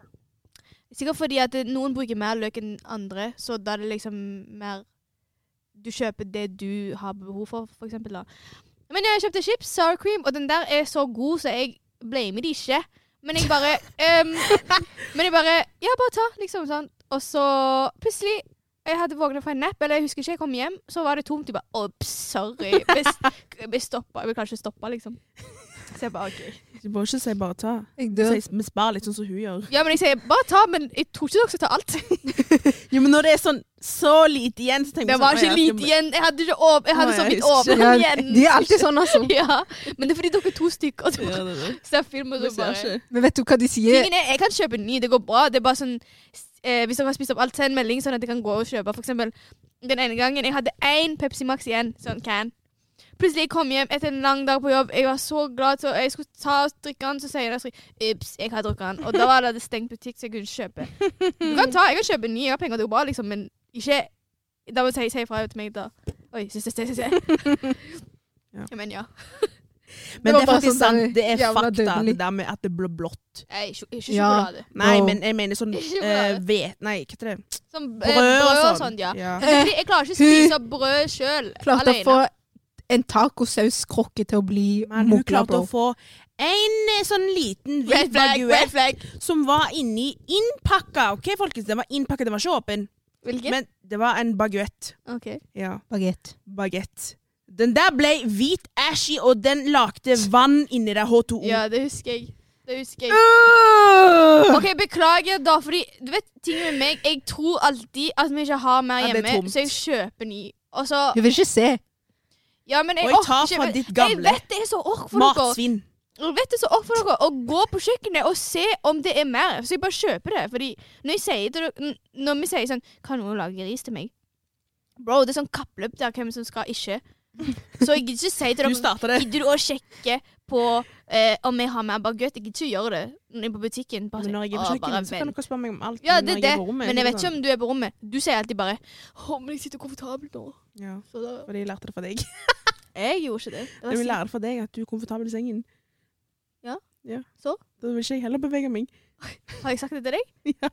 Speaker 3: Sikkert fordi at eh, noen bruker mer løk enn andre, så da er det liksom mer Du kjøper det du har behov for, for eksempel, da. Men ja, jeg kjøpte chips, sour cream, og den der er så god, så jeg blamer de ikke. Men jeg bare *laughs* ehm, Men jeg bare Ja, bare ta, liksom sånn. Og så plutselig jeg hadde våkna fra en napp, eller jeg husker ikke, jeg kom hjem, så var det tomt. Jeg bare Ops, sorry. Jeg *laughs* ble- ble stoppa. Jeg ble kanskje stoppa, liksom. Så jeg bare OK.
Speaker 1: Du må ikke si bare ta.
Speaker 4: Jeg
Speaker 1: Så
Speaker 4: dør.
Speaker 1: jeg- Vi sparer litt sånn som hun gjør.
Speaker 3: Ja, men jeg sier bare ta, men jeg tror ikke dere skal ta alt.
Speaker 1: Jo, men når det er sånn så lite igjen, så tenker
Speaker 3: Det
Speaker 1: vi
Speaker 3: var
Speaker 1: sånn, «Å ja,
Speaker 3: ikke
Speaker 1: skal
Speaker 3: lite
Speaker 1: vi-
Speaker 3: igjen. Jeg hadde, ikke åp jeg hadde
Speaker 1: Å,
Speaker 3: så
Speaker 1: jeg
Speaker 3: vidt
Speaker 1: husker
Speaker 3: åpna
Speaker 4: Ja,
Speaker 3: igjen.
Speaker 4: de er alltid sånn, altså.
Speaker 3: *laughs* Ja, men det er fordi dere er to stykker, og dere
Speaker 1: Ja, det er det.
Speaker 3: ser film, og
Speaker 1: Vi
Speaker 3: så
Speaker 1: ser
Speaker 3: bare
Speaker 1: ikke.
Speaker 4: Men vet du hva de sier?
Speaker 3: Tingen er, jeg kan kjøpe ny, det går bra. Det er bare sånn s- eh, Hvis dere har spist opp alt, send melding, sånn at jeg kan gå og kjøpe. For eksempel, den ene gangen jeg hadde én Pepsi Max igjen, sånn can. Plutselig jeg kom hjem etter en lang dag på jobb, jeg var så glad, så jeg skulle ta og drikke den, så sier jeg Ups, jeg har drukket den. Og da var det stengt butikk, så jeg kunne kjøpe. Du kan ta, jeg kan kjøpe ny, jeg har penger, det går bra, liksom, men ikke Da må du si si ifra til meg, da. Oi, se, se, se, se, se.
Speaker 1: *laughs* Ja.
Speaker 3: Men ja.
Speaker 1: Men
Speaker 4: var
Speaker 1: det er
Speaker 4: bare
Speaker 1: faktisk
Speaker 4: sånn der
Speaker 1: sant. Det er
Speaker 4: jævla
Speaker 1: fakta,
Speaker 4: dødelig.
Speaker 1: det der med at det blir blått.
Speaker 3: Jeg er ikke
Speaker 4: Ja.
Speaker 3: ikke sjokolade.
Speaker 1: Nei,
Speaker 4: Wow.
Speaker 1: men jeg mener sånn
Speaker 3: Ikke
Speaker 1: eh,
Speaker 3: bare.
Speaker 1: Vet... Nei, hva heter det?
Speaker 3: Som eh,
Speaker 1: Brød og sånn.
Speaker 3: ja.
Speaker 1: Ja.
Speaker 3: Men det er fordi jeg klarer ikke å spise brød sjøl
Speaker 4: Klarte å
Speaker 3: alene.
Speaker 4: få en tacosauskrokke til å bli
Speaker 1: Men hun
Speaker 4: mokla,
Speaker 1: klarte
Speaker 4: bro.
Speaker 1: å få en eh, sånn liten hvit
Speaker 3: Red flag, red
Speaker 1: baguett
Speaker 3: flag.
Speaker 1: som var inni innpakka. OK, folkens, den var innpakka, den var ikke åpen.
Speaker 3: Hvilken?
Speaker 1: Men det var en baguett.
Speaker 3: OK.
Speaker 1: Ja.
Speaker 4: Bagett.
Speaker 1: Baguett. Den der ble hvit ashy, og den lagde vann inni der H2O.
Speaker 3: Ja, det husker jeg. Det husker
Speaker 1: Uh.
Speaker 3: jeg. OK, beklager, da, fordi du vet ting med meg Jeg tror alltid at vi ikke har mer
Speaker 1: Ja, det er
Speaker 3: hjemme,
Speaker 1: tomt.
Speaker 3: så jeg kjøper ny. Og så
Speaker 4: Hun vil ikke se.
Speaker 3: Ja, men jeg
Speaker 1: Og jeg tar
Speaker 3: orker ikke.
Speaker 1: fra
Speaker 3: men-
Speaker 1: ditt gamle.
Speaker 3: Jeg vet det er så ork for dere.
Speaker 1: Matsvinn.
Speaker 3: Jeg vet det er så ork for dere å gå på kjøkkenet og se om det er mer. Så jeg bare kjøper det. Fordi når, jeg sier til dere, n- når vi sier sånn Kan noen lage ris til meg? Bro, det er sånn kappløp der hvem som skal ikke. Så jeg gidder ikke si til
Speaker 1: Du
Speaker 3: dere
Speaker 1: starta det.
Speaker 3: Gidder du å sjekke på eh, om jeg har mer baguett? Jeg gidder ikke å gjøre det når jeg er på butikken. Bare,
Speaker 1: Men når jeg er på
Speaker 3: «Å, bare
Speaker 1: kjøkkenet, så kan
Speaker 3: vent».
Speaker 1: dere spørre meg om alt.
Speaker 3: ja,
Speaker 1: men
Speaker 3: det
Speaker 1: når
Speaker 3: er det,
Speaker 1: er på rommet,
Speaker 3: men jeg vet ikke
Speaker 1: sånn.
Speaker 3: om du er på rommet. Du sier alltid bare 'Å, men jeg sitter komfortabelt nå'.
Speaker 1: Ja,
Speaker 3: Så da,
Speaker 1: fordi jeg lærte det fra deg.
Speaker 3: jeg gjorde ikke det. det
Speaker 1: Jeg vil
Speaker 3: var
Speaker 1: lære det fra deg at du er komfortabel i sengen.
Speaker 3: Ja.
Speaker 1: ja.
Speaker 3: Så?
Speaker 1: Da vil ikke jeg heller bevege meg.
Speaker 3: sikkert- har jeg sagt det til deg?
Speaker 1: Ja.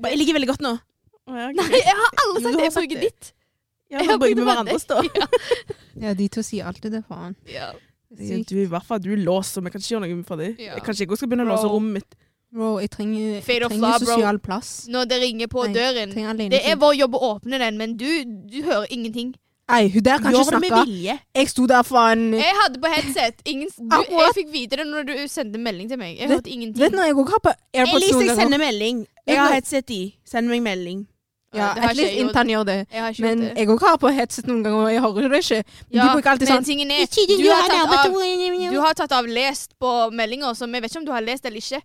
Speaker 1: Bare, Jeg ligger veldig godt nå. Å, ja, ok.
Speaker 3: Nei, jeg har
Speaker 1: Jo,
Speaker 3: aldri sagt
Speaker 1: du
Speaker 3: det.
Speaker 1: har
Speaker 3: Jeg
Speaker 1: sagt det.
Speaker 3: bruker ditt.
Speaker 1: Ja,
Speaker 3: jeg
Speaker 1: nå
Speaker 3: har
Speaker 1: bruker vi
Speaker 3: begynt med
Speaker 1: hverandres,
Speaker 3: *laughs*
Speaker 1: da.
Speaker 4: Ja, de to sier alltid det, faen.
Speaker 3: Ja.
Speaker 1: Ja, Du, I hvert fall du er låst, så vi kan ikke gjøre noe for det.
Speaker 3: Ja.
Speaker 1: Jeg Kanskje jeg også skal begynne å
Speaker 3: Bro.
Speaker 1: låse rommet mitt.
Speaker 4: Bro, jeg trenger, jeg
Speaker 3: Fade of
Speaker 4: trenger
Speaker 3: love, bro.
Speaker 4: sosial plass.
Speaker 3: Når det ringer på
Speaker 4: Nei,
Speaker 3: døren.
Speaker 4: Trenger alene.
Speaker 3: Det er vår jobb å åpne den, men du, du hører ingenting.
Speaker 4: Nei, hun der kan ikke
Speaker 1: Gjør det med
Speaker 4: snakke.
Speaker 1: vilje.
Speaker 4: Jeg sto der, faen.
Speaker 3: Jeg hadde på headset. Ingen, s- du, jeg
Speaker 4: Akkurat.
Speaker 3: fikk vite det når du sendte melding til meg. Jeg
Speaker 4: Vet-
Speaker 3: hørte ingenting.
Speaker 4: Vet du når jeg også har på AirPods
Speaker 1: Elise,
Speaker 4: noen
Speaker 1: jeg
Speaker 4: ganger?
Speaker 1: sender melding.
Speaker 4: Vet
Speaker 1: Jeg har
Speaker 4: nå-
Speaker 1: headset i. Send meg melding.
Speaker 4: Ja,
Speaker 3: Ja, det har
Speaker 4: at
Speaker 3: ikke
Speaker 4: least
Speaker 3: jeg gjort.
Speaker 4: intern gjør det.
Speaker 3: Jeg har ikke
Speaker 4: Men
Speaker 3: gjort det.
Speaker 4: jeg også har på headset noen ganger, og jeg hører det ikke. Men de bruker alltid
Speaker 3: men
Speaker 4: sånn
Speaker 3: tingen er, du har tatt av, du
Speaker 1: av
Speaker 3: har tatt av lest på meldinger, så vi vet ikke om du har lest eller ikke.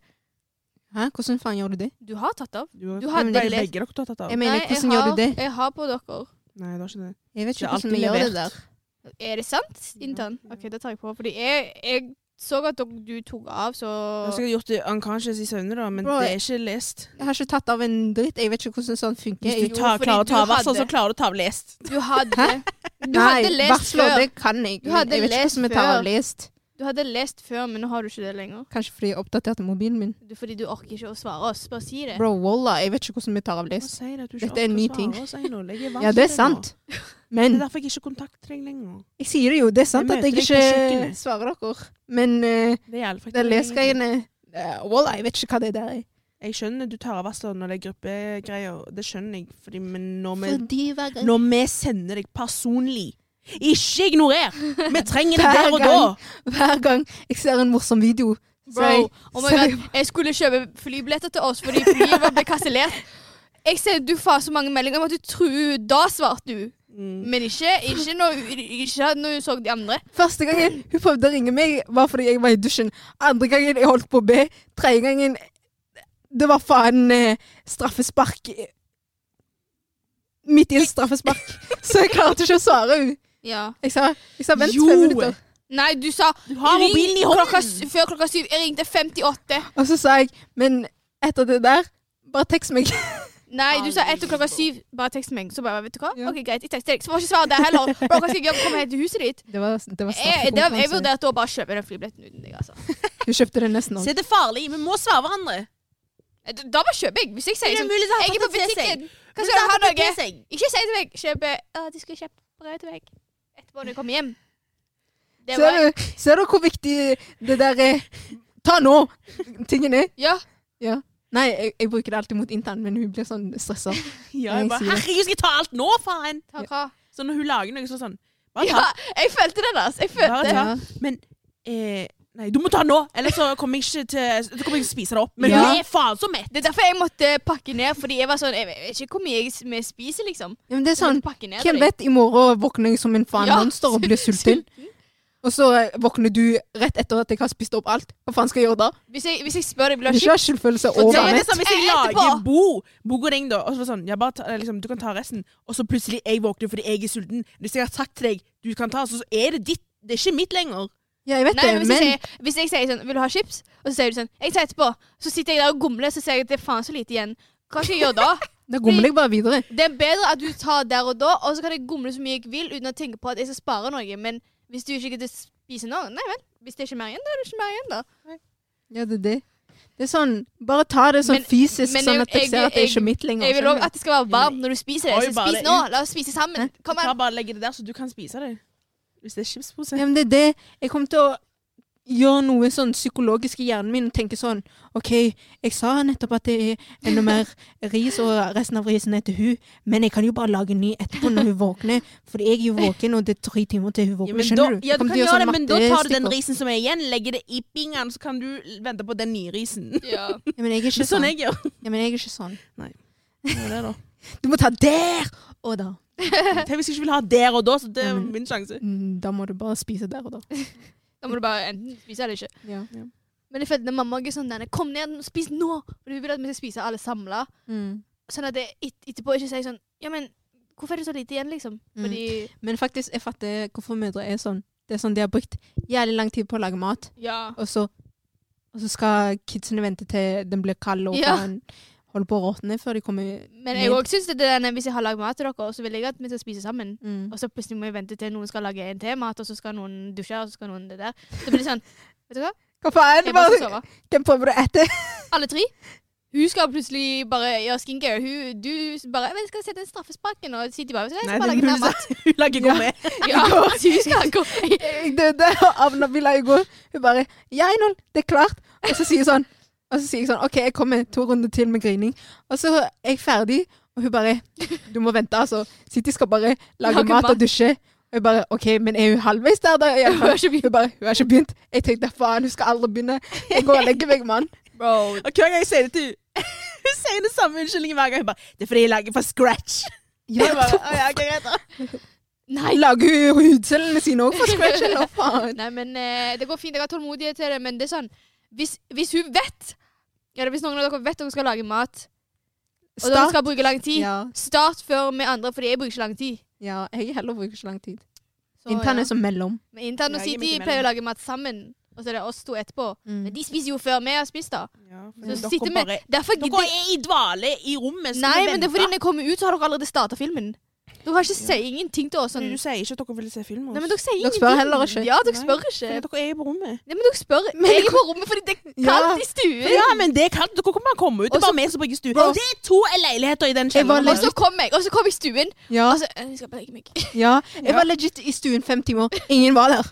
Speaker 4: Hæ, hvordan faen gjør du det?
Speaker 3: Du har tatt av.
Speaker 1: Du
Speaker 3: du
Speaker 1: har
Speaker 3: har
Speaker 1: begge
Speaker 3: lest-
Speaker 1: dere har tatt av.
Speaker 4: Jeg mener,
Speaker 3: Nei,
Speaker 4: hvordan
Speaker 3: jeg
Speaker 4: gjør
Speaker 3: har-
Speaker 4: du det?
Speaker 3: Jeg har på dere.
Speaker 1: Nei, du har ikke det.
Speaker 4: Jeg vet
Speaker 1: Det er
Speaker 4: ikke hvordan
Speaker 1: alltid
Speaker 4: vi gjør det
Speaker 1: levert.
Speaker 4: der.
Speaker 3: Er det sant? Intern? OK, da tar jeg på. Fordi jeg, jeg så at dere- du tok av, så
Speaker 1: Jeg har sikkert gjort det unconscious i søvne, da, men
Speaker 2: Bro,
Speaker 1: det er ikke lest.
Speaker 2: Jeg har ikke tatt av en dritt. Jeg vet ikke hvordan sånn funker.
Speaker 1: Hvis
Speaker 2: Jeg,
Speaker 1: du
Speaker 3: jo,
Speaker 1: tar,
Speaker 3: fordi
Speaker 1: klarer å ta
Speaker 3: du
Speaker 1: varsel, så
Speaker 3: hadde-
Speaker 1: klarer du å ta av lest.
Speaker 3: Du hadde Du
Speaker 2: nei,
Speaker 3: hadde lest
Speaker 2: varsler,
Speaker 3: før.
Speaker 2: det kan jeg.
Speaker 3: Du hadde
Speaker 2: jeg vet ikke
Speaker 3: lest
Speaker 2: hvordan vi tar
Speaker 3: før.
Speaker 2: av lest.
Speaker 3: Du hadde lest før, men nå har du ikke det lenger.
Speaker 2: Kanskje fordi jeg oppdaterte mobilen min.
Speaker 3: Du, fordi du orker ikke å svare oss. Bare si det.
Speaker 2: Bro, wallah, jeg vet ikke hvordan vi tar av lest.
Speaker 1: Sier at du
Speaker 2: Dette er en ny ting.
Speaker 1: meeting.
Speaker 2: Ja, det er
Speaker 3: *laughs*
Speaker 2: sant.
Speaker 1: Det
Speaker 2: Men
Speaker 1: er derfor jeg ikke kontakter deg lenger.
Speaker 2: jeg sier det jo, det er sant
Speaker 1: Jeg
Speaker 2: at jeg
Speaker 1: møter deg på
Speaker 2: ikke
Speaker 1: kjøkkenet.
Speaker 2: svarer dere. Men eh,
Speaker 1: Det gjelder faktisk
Speaker 2: det er
Speaker 1: ikke lenger.
Speaker 2: lesgreiene eh, Wallah, jeg vet ikke hva det der er.
Speaker 1: Jeg skjønner du tar av varsler når det er gruppegreier. Det skjønner jeg, fordi, men når vi,
Speaker 2: Fordi hver gang
Speaker 1: når vi sender deg personlig Ikke ignorer! Vi trenger det
Speaker 2: Hver
Speaker 1: der og da!
Speaker 2: gang. Hver gang jeg ser en morsom video så
Speaker 3: Bro,
Speaker 2: jeg-
Speaker 3: oh my
Speaker 2: så
Speaker 3: god,
Speaker 2: jeg-
Speaker 3: jeg skulle kjøpe flybilletter til oss fordi flyet vårt ble kansellert. Jeg ser du får så mange meldinger om at du truer. Da svarte du.
Speaker 1: Mm.
Speaker 3: Men ikke, ikke, når, ikke når du så de andre.
Speaker 2: Første gangen hun prøvde å ringe meg, var fordi jeg var i dusjen. Andre gangen jeg holdt på å be. Tredje gangen Det var faen eh, straffespark. Midt i et straffespark. Så jeg klarte ikke å svare henne.
Speaker 3: Ja.
Speaker 2: Jeg sa, jeg sa vent
Speaker 1: Jo.
Speaker 2: fem minutter.
Speaker 3: Nei, du sa
Speaker 1: Du har
Speaker 3: ring
Speaker 1: mobilen i
Speaker 3: klokka
Speaker 1: hånden!
Speaker 3: sy- før klokka syv. Jeg ringte 58.
Speaker 2: Og så sa jeg men etter det der, bare tekst meg.
Speaker 3: Nei, du sa etter klokka syv. Bare tekst meg. Så bare, vet du hva?
Speaker 2: Ja.
Speaker 3: Ok, greit, jeg tekster deg. Så får jeg ikke svare der heller. Bro, hva skal jeg gjøre? Komme helt til huset ditt?
Speaker 2: Det var, det var
Speaker 3: Jeg, Eh, det, jeg
Speaker 2: straffekonkurranse.
Speaker 3: vurderte å bare kjøpe den flybilletten uten deg, altså.
Speaker 2: Hun kjøpte det nesten òg.
Speaker 1: Se, det er farlig. Vi må svare hverandre.
Speaker 3: Eh, Da bare kjøper jeg. Hvis jeg sier sånn
Speaker 1: mulig
Speaker 3: Jeg er på butikken. Hva skal du ha, Norge? Ikke si til meg kjøpe Å, de skulle kjøpt brød til meg etterpå når jeg kommer hjem. Det
Speaker 2: Ser
Speaker 3: var
Speaker 2: du, ser du hvor viktig det der er? Ta nå! Tingen er
Speaker 3: Ja.
Speaker 2: Nei, jeg, jeg bruker det alltid mot intern, men hun blir sånn stressa.
Speaker 1: Ja,
Speaker 2: jeg
Speaker 1: jeg bare,
Speaker 2: sier det.
Speaker 1: Herregud, skal jeg ta alt nå, faen?
Speaker 3: Ta hva?
Speaker 1: Så når hun lager noe så er det sånn Bare ta.
Speaker 3: Ja, jeg følte den, altså. Jeg
Speaker 1: Bare
Speaker 3: følte
Speaker 1: ta. Men eh, Nei, du må ta nå, ellers så kommer jeg ikke til så kommer jeg til å spise det opp. Men
Speaker 2: Ja.
Speaker 1: hun er faen så mett.
Speaker 3: Det er derfor jeg måtte pakke ned, fordi jeg var sånn Jeg vet ikke hvor mye jeg s- vi spiser, liksom.
Speaker 2: Ja, men det er sånn,
Speaker 3: pakke ned
Speaker 2: Hvem
Speaker 3: til deg.
Speaker 2: vet, i morgen våkner jeg som en faen
Speaker 3: Ja,
Speaker 2: monster og blir sulten. Og så eh, våkner du rett etter at jeg har spist opp alt. Hva faen skal jeg gjøre da?
Speaker 3: Hvis jeg, hvis jeg spør deg, vil du
Speaker 2: Jeg
Speaker 3: ha
Speaker 2: vil
Speaker 3: chips?
Speaker 2: ikke ha skyldfølelse
Speaker 1: Og det
Speaker 2: over
Speaker 1: er det
Speaker 2: nett.
Speaker 1: samme hvis jeg
Speaker 3: Etterpå.
Speaker 1: lager bo, bo og ding, da. Og så var det sånn, ja, bare ta, eh, liksom, du kan ta resten. Og så plutselig jeg våkner fordi jeg er sulten. Hvis jeg har sagt til deg du kan ta, så så er det ditt. Det er ikke mitt lenger.
Speaker 2: Ja, jeg vet
Speaker 3: Nei, men
Speaker 2: det,
Speaker 3: hvis,
Speaker 2: men
Speaker 3: jeg sier, hvis jeg sier sånn Vil du ha chips? Og så sier du sånn Jeg tar etterpå. Så sitter jeg der og gomler, så sier jeg at det er faen så lite igjen. Hva skal jeg gjøre da?
Speaker 2: da gomler jeg bare videre.
Speaker 3: Det er bedre at du tar der og da, og så kan jeg gomle så mye jeg vil uten å tenke på at jeg skal spare noe. Men hvis du ikke gidder å spise noe, nei vel. Hvis det er ikke mer igjen, da er det ikke mer igjen, da.
Speaker 2: Ja, det er det. Det er sånn, Bare ta det sånn
Speaker 3: Men-
Speaker 2: fysisk,
Speaker 3: men
Speaker 2: sånn
Speaker 3: jeg-
Speaker 2: at jeg,
Speaker 3: jeg-
Speaker 2: ser at det er
Speaker 3: jeg-
Speaker 2: ikke mitt lenger.
Speaker 3: Jeg vil
Speaker 2: skjønner
Speaker 3: òg at det skal være varmt når du spiser det.
Speaker 1: Oi,
Speaker 3: Så
Speaker 1: bare
Speaker 3: spis
Speaker 1: det
Speaker 3: nå.
Speaker 1: ut.
Speaker 3: La oss spise sammen. Kom
Speaker 1: Ta
Speaker 3: an.
Speaker 1: bare legge det der, så du kan spise det. Hvis det er chipspose.
Speaker 2: Ja, men det er det. Jeg kommer til å gjøre noe sånn psykologisk i hjernen min og tenke sånn OK, jeg sa nettopp at det er *laughs* enda mer ris, og resten av risen er til hun, men jeg kan jo bare lage en ny etterpå når hun våkner, for jeg er jo våken, og det er tre timer til hun
Speaker 1: Ja,
Speaker 2: våkner.
Speaker 1: men da,
Speaker 2: skjønner du?
Speaker 1: ja,
Speaker 2: Jeg
Speaker 1: du kan
Speaker 2: kommer til å
Speaker 1: gjøre
Speaker 2: gjøre
Speaker 1: det,
Speaker 2: sånn
Speaker 1: men da tar du den
Speaker 2: mattestykker.
Speaker 1: risen som er igjen, legger det i bingene, så kan du vente på den nye risen. Det
Speaker 3: *laughs* Ja.
Speaker 2: Ja, men jeg er ikke
Speaker 1: er sånn
Speaker 2: sånn.
Speaker 1: jeg gjør.
Speaker 2: Ja, men jeg er ikke sånn.
Speaker 1: Det da.
Speaker 2: Du må ta der! Og da.
Speaker 1: *laughs* Tenk hvis jeg ikke vil ha der og da, så det
Speaker 2: Ja,
Speaker 1: er
Speaker 2: men-
Speaker 1: min sjanse. *laughs*
Speaker 2: Mm, Da må du bare spise der og da.
Speaker 3: Da må du bare enten spise eller ikke.
Speaker 2: *laughs* Ja.
Speaker 3: Men jeg følte mamma er sånn denne, Kom ned, spis nå! Fordi vi vil at vi skal spise alle samla.
Speaker 2: Mm.
Speaker 3: Sånn at det et, etterpå ikke sier sånn Ja, men hvorfor er det så lite igjen, liksom?
Speaker 2: Mm.
Speaker 3: Fordi
Speaker 2: Men faktisk, jeg fatter hvorfor mødre er sånn. Det er sånn de har brukt jævlig lang tid på å lage mat.
Speaker 3: Ja.
Speaker 2: Og så, og så skal kidsene vente til den blir kald og
Speaker 3: Ja.
Speaker 2: faen holder på å råtne før de kommer
Speaker 3: Men jeg òg syns det er denne, hvis jeg har lagd mat til dere, så vil jeg at vi skal spise sammen.
Speaker 2: Mm.
Speaker 3: Og så plutselig må jeg vente til noen skal lage en til mat, og så skal noen dusje, og så skal noen det der. Så blir
Speaker 1: *laughs*
Speaker 3: det sånn Vet du hva?
Speaker 2: Hva faen?
Speaker 3: Jeg bare skal sove.
Speaker 2: Hvem prøver du å
Speaker 3: *laughs*
Speaker 2: ete?
Speaker 3: Alle tre. Hun skal plutselig bare gjøre skincare. Hun, du bare Men jeg skal sette en straffespark nå. Så sitter de bare «Så Jeg
Speaker 1: Nei, det
Speaker 3: skal
Speaker 1: er
Speaker 3: bare lage mer
Speaker 1: mulig *laughs*
Speaker 3: mat.
Speaker 1: så hun lager
Speaker 2: Ja.
Speaker 1: god med.
Speaker 3: Ja, *laughs* så hun skal gå
Speaker 2: Jeg døde av Nabila i går. Hun bare Ja, Einol, det er klart. Og så sier hun sånn Og så sier jeg sånn OK, jeg kommer to runder til med grining. Og så er jeg ferdig, og hun bare Du må vente, altså. City skal bare lage
Speaker 3: Lage
Speaker 2: mat
Speaker 3: mat.
Speaker 2: og dusje. Og jeg bare OK, men er hun halvveis der, da? Jeg,
Speaker 3: Hun har ikke begynt.
Speaker 2: hun bare Hun har ikke begynt. Jeg tenkte faen, hun skal aldri begynne. Jeg går og legger meg,
Speaker 3: *laughs*
Speaker 2: mann.
Speaker 3: Bro.
Speaker 1: Og hver gang jeg sier det til henne Hun *laughs* sier den samme unnskyldningen hver gang. Hun bare 'Det er fordi jeg lager fra scratch'. *laughs*
Speaker 2: Ja,
Speaker 1: Jeg bare, «Å, ja, ok, greit da».
Speaker 3: Nei.
Speaker 2: Lager hun hudcellene sine òg fra scratch, eller faen?
Speaker 3: Nei, men eh, det går fint. Jeg har tålmodighet til det, men det er sånn Hvis, hvis hun vet Eller hvis noen av dere vet dere skal lage mat, *laughs* og dere skal bruke lang tid,
Speaker 2: Ja,
Speaker 3: start før med andre, fordi jeg bruker ikke lang tid.
Speaker 2: ja, jeg heller bruker ikke lang tid.
Speaker 3: Så,
Speaker 2: Intern
Speaker 3: ja.
Speaker 2: er som mellom.
Speaker 3: Men intern og
Speaker 1: Jeg er midt
Speaker 3: City
Speaker 1: imellom.
Speaker 3: pleier å lage mat sammen. Og så er det oss to etterpå. Men de spiser jo før vi har spist, da.
Speaker 1: Ja, for
Speaker 3: Så
Speaker 1: dere
Speaker 3: sitter vi
Speaker 1: bare-
Speaker 3: Derfor
Speaker 1: Dere
Speaker 3: gidder
Speaker 1: er i dvale i rommet. Skal
Speaker 3: Nei,
Speaker 1: vi
Speaker 3: men det er
Speaker 1: vente?
Speaker 3: fordi når jeg kommer ut, så har dere allerede starta filmen. Dere har ikke sagt ingenting til oss. Sånn.
Speaker 1: Fordi Du sier ikke at Mm. dere vil se film med
Speaker 3: Nei,
Speaker 1: oss.
Speaker 3: men dere sier
Speaker 2: Dere
Speaker 3: ingenting.
Speaker 2: spør heller ikke.
Speaker 3: Ja, dere
Speaker 1: Nei.
Speaker 3: spør ikke.
Speaker 1: Fordi dere er jo på rommet.
Speaker 3: Nei, men dere spør. Jeg er på rommet fordi det er kaldt i stuen.
Speaker 1: Ja, men det kan dere kan bare komme ut. Det er
Speaker 3: Også-
Speaker 1: bare vi som bruker stue.
Speaker 2: Bro.
Speaker 1: Det er to leiligheter i den
Speaker 2: Jeg var
Speaker 1: kjelleren.
Speaker 3: Og så kom jeg, og så kom jeg i stuen.
Speaker 2: Ja,
Speaker 3: Og så eh, jeg skal bare legge meg. *laughs*
Speaker 2: ja. Jeg var legit i stuen fem timer. Ingen var der.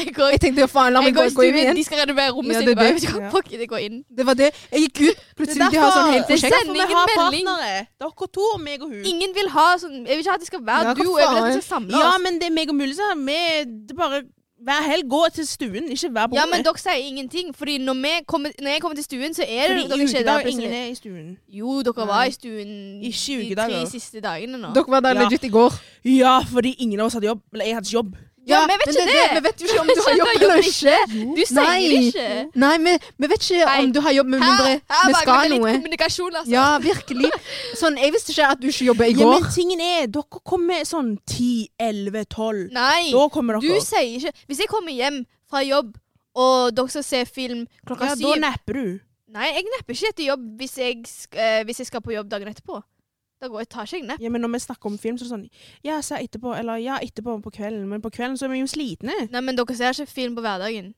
Speaker 3: Jeg går,
Speaker 2: Jeg tenkte faen, la meg
Speaker 3: jeg
Speaker 2: gå,
Speaker 3: går i
Speaker 2: gå inn
Speaker 3: stuen,
Speaker 2: igjen.
Speaker 3: de skal renovere rommet
Speaker 2: Ja,
Speaker 3: sitt.
Speaker 2: det er
Speaker 3: Jeg bare,
Speaker 2: det.
Speaker 3: *laughs* vet du hva,
Speaker 1: Ja.
Speaker 3: fuck it, jeg går inn.
Speaker 2: Det var det. Jeg gikk ut. Plutselig de har sånn helt
Speaker 3: Det er
Speaker 2: prosjekt.
Speaker 3: derfor- sender ingen melding.
Speaker 1: partnere. Dere to og meg og hun.
Speaker 3: Ingen vil ha sånn Jeg vil ikke at det skal være
Speaker 2: Ja,
Speaker 3: du,
Speaker 2: hva
Speaker 3: jeg vil at
Speaker 2: faen?
Speaker 3: vi skal samle
Speaker 1: Ja,
Speaker 3: oss.
Speaker 1: men det er meg og Mulle som er med. Det er bare hver helg gå til stuen, ikke hver på
Speaker 3: Ja, men
Speaker 1: rommet.
Speaker 3: dere sier ingenting, Fordi når, vi kommer, når jeg kommer til stuen, så er det
Speaker 1: Fordi
Speaker 3: dere
Speaker 1: i
Speaker 3: ikke er der
Speaker 1: ukedager ingen
Speaker 3: plutselig.
Speaker 1: er i stuen.
Speaker 3: Jo, dere var i stuen
Speaker 1: Ikke i
Speaker 3: de tre
Speaker 1: ukedager.
Speaker 3: siste dagene nå.
Speaker 2: Dere var der
Speaker 1: Ja.
Speaker 2: legit i går.
Speaker 1: Ja, fordi ingen av oss hadde jobb. Eller jeg hadde ikke jobb.
Speaker 3: Ja, men jeg vet
Speaker 2: men
Speaker 3: ikke
Speaker 2: det er
Speaker 3: det.
Speaker 2: Vi vet jo ikke om du har jobb eller ikke.
Speaker 3: Du sier det
Speaker 2: Nei.
Speaker 3: ikke.
Speaker 2: Nei, vi, vi vet ikke
Speaker 3: Nei.
Speaker 2: om du har jobb, med mindre
Speaker 3: her
Speaker 2: vi
Speaker 3: mangler det
Speaker 2: skal
Speaker 3: litt
Speaker 2: noe.
Speaker 3: kommunikasjon, altså.
Speaker 2: Ja, virkelig. Sånn, Jeg visste ikke at du ikke jobber i
Speaker 1: Ja,
Speaker 2: går.
Speaker 1: men tingen er, dere kommer sånn 10, 11, 12.
Speaker 3: Nei,
Speaker 1: Da kommer
Speaker 3: du
Speaker 1: dere.
Speaker 3: sier ikke Hvis jeg kommer hjem fra jobb, og dere skal se film klokka
Speaker 1: Ja, da
Speaker 3: syv
Speaker 1: napper du.
Speaker 3: Nei, jeg napper ikke etter jobb hvis jeg, sk- eh, hvis jeg skal på jobb dagen etterpå. Da går jeg, tar ikke jeg napp.
Speaker 1: Ja, men når vi snakker om film, så er det sånn Ja, se etterpå. Eller ja, etterpå på kvelden. Men på kvelden så er vi jo slitne.
Speaker 3: Nei, men dere ser ikke film på hverdagen.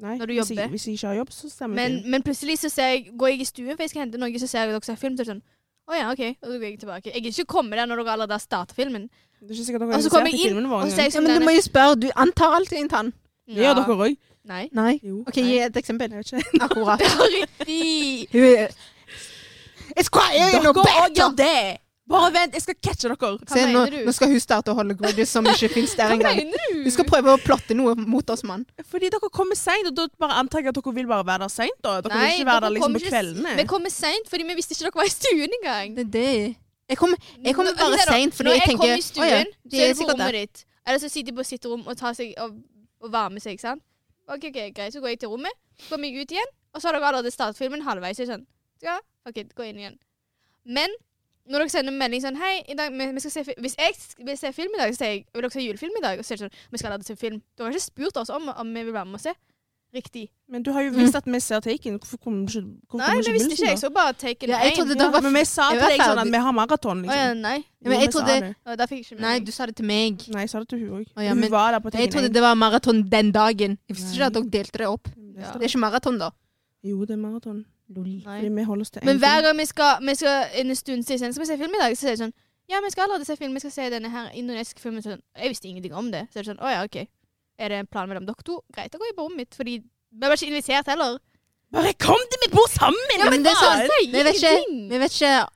Speaker 1: Nei,
Speaker 3: Når du
Speaker 1: hvis jeg-
Speaker 3: jobber.
Speaker 1: Hvis jeg ikke har jobb, så
Speaker 2: Mm.
Speaker 1: stemmer
Speaker 3: Men,
Speaker 1: film.
Speaker 3: men plutselig så ser jeg, går jeg i stuen, for jeg skal hente noe, så ser jeg dere ser film. Så er det sånn, å ja, ok, og så går jeg tilbake. Jeg gidder ikke komme der når dere allerede har startet filmen.
Speaker 1: Det er ikke sikkert dere
Speaker 3: Og
Speaker 1: har
Speaker 3: så kommer
Speaker 1: sett
Speaker 3: jeg inn,
Speaker 1: filmene våre
Speaker 3: Og så
Speaker 1: engang.
Speaker 3: er jeg
Speaker 2: Ja,
Speaker 3: sånn,
Speaker 2: men du
Speaker 3: denne-
Speaker 2: må jo spørre. Du antar alltid en tann.
Speaker 1: Det gjør dere òg.
Speaker 3: Nei.
Speaker 2: Nei.
Speaker 1: Jo.
Speaker 2: OK, gi et eksempel.
Speaker 1: Jeg vet ikke.
Speaker 2: Akkurat.
Speaker 3: *laughs* Det er riktig.
Speaker 2: Hun er It's quiet in
Speaker 1: Dere
Speaker 2: your
Speaker 1: òg
Speaker 2: back.
Speaker 1: gjør det! Bare vent, jeg skal catche dere.
Speaker 3: Hva
Speaker 2: Se, nå,
Speaker 3: mener du?
Speaker 2: nå skal hun starte å holde grudges som ikke fins der
Speaker 3: Hva
Speaker 2: engang.
Speaker 3: mener du?
Speaker 2: Hun skal prøve å plotte noe mot oss, mann.
Speaker 1: Fordi dere kommer seint, og da bare antar jeg at dere vil bare være der seint. da. Dere vil
Speaker 3: Nei,
Speaker 1: ikke være der
Speaker 3: dere
Speaker 1: liksom
Speaker 3: kommer
Speaker 1: på
Speaker 3: ikke-
Speaker 1: kveldene.
Speaker 3: Vi kommer sent, fordi vi visste ikke dere var i stuen engang.
Speaker 2: Det er det. Jeg kommer, jeg kommer
Speaker 3: Nå-
Speaker 2: bare
Speaker 3: se da,
Speaker 2: sent, fordi
Speaker 3: når
Speaker 2: jeg tenker
Speaker 3: kommer i stuen,
Speaker 2: «Å ja, de
Speaker 3: så er
Speaker 2: er
Speaker 3: det på
Speaker 2: sikkert
Speaker 3: rommet
Speaker 2: der».
Speaker 3: ditt. Eller så sitter de på sitt rom og, tar seg, og, og varmer seg, ikke sant? Ok, ok, greit, så går jeg til rommet, så kommer jeg ut igjen, og så har dere allerede startet filmen halvveis. så er det Sånn. Ja, ok, gå inn igjen. Men når dere sender en melding sånn Hei, i dag, vi vi skal se film. hvis jeg sk- vil se film i dag, så sier jeg vil dere se julefilm i dag. Og så er det sånn Vi skal allerede se film. Dere har ikke spurt oss om, om vi vil være med og se. Riktig.
Speaker 1: Men du har jo visst at vi ser Taken. Hvorfor kommer du ikke hvorfor
Speaker 3: Nei,
Speaker 1: kommer
Speaker 3: vi
Speaker 1: ikke
Speaker 3: visste
Speaker 1: Wilson,
Speaker 3: ikke. Jeg
Speaker 1: da?
Speaker 3: så bare Taken
Speaker 2: Ja, jeg trodde
Speaker 3: 1.
Speaker 2: dere var
Speaker 1: Men vi sa
Speaker 2: Jeg
Speaker 1: til
Speaker 2: var
Speaker 1: deg sånn
Speaker 2: ferdig.
Speaker 1: at vi har maraton,
Speaker 3: Å ja,
Speaker 1: liksom.
Speaker 2: Ja,
Speaker 3: nei.
Speaker 2: men jeg
Speaker 1: Jo, vi sa
Speaker 2: trodde
Speaker 1: det.
Speaker 3: Å, der fikk jeg ikke med
Speaker 2: Nei,
Speaker 3: meg.
Speaker 2: du sa det til meg.
Speaker 1: Nei, jeg sa det til hun òg.
Speaker 2: Å ja,
Speaker 1: hun
Speaker 2: men-
Speaker 1: var der på
Speaker 2: Jeg
Speaker 1: Taken.
Speaker 2: trodde
Speaker 1: 1.
Speaker 2: det var maraton den dagen. Jeg visste ikke
Speaker 1: Nei.
Speaker 2: at dere delte det opp.
Speaker 1: Ja.
Speaker 2: Det er ikke maraton, da.
Speaker 1: Jo, det er maraton.
Speaker 3: Nei.
Speaker 1: Fordi vi holder oss til
Speaker 3: Men
Speaker 1: én
Speaker 3: hver
Speaker 1: film.
Speaker 3: gang vi skal, vi skal en stund til sånn, skal vi se film i dag, så sier jeg sånn Ja, vi skal allerede se film, vi skal se denne her indonesiske filmen. Sånn, jeg visste ingenting om det. Så er det sånn Å ja, OK. Er det en plan mellom dere to? Greit, da går jeg på rommet mitt, fordi vi var ikke invitert heller.
Speaker 1: Bare kom til mitt bord sammen! liksom.
Speaker 2: Ja, men det er
Speaker 1: faen!
Speaker 2: sant.
Speaker 3: Sier
Speaker 2: Vi vet ikke,
Speaker 3: ingenting.
Speaker 2: vi vet ikke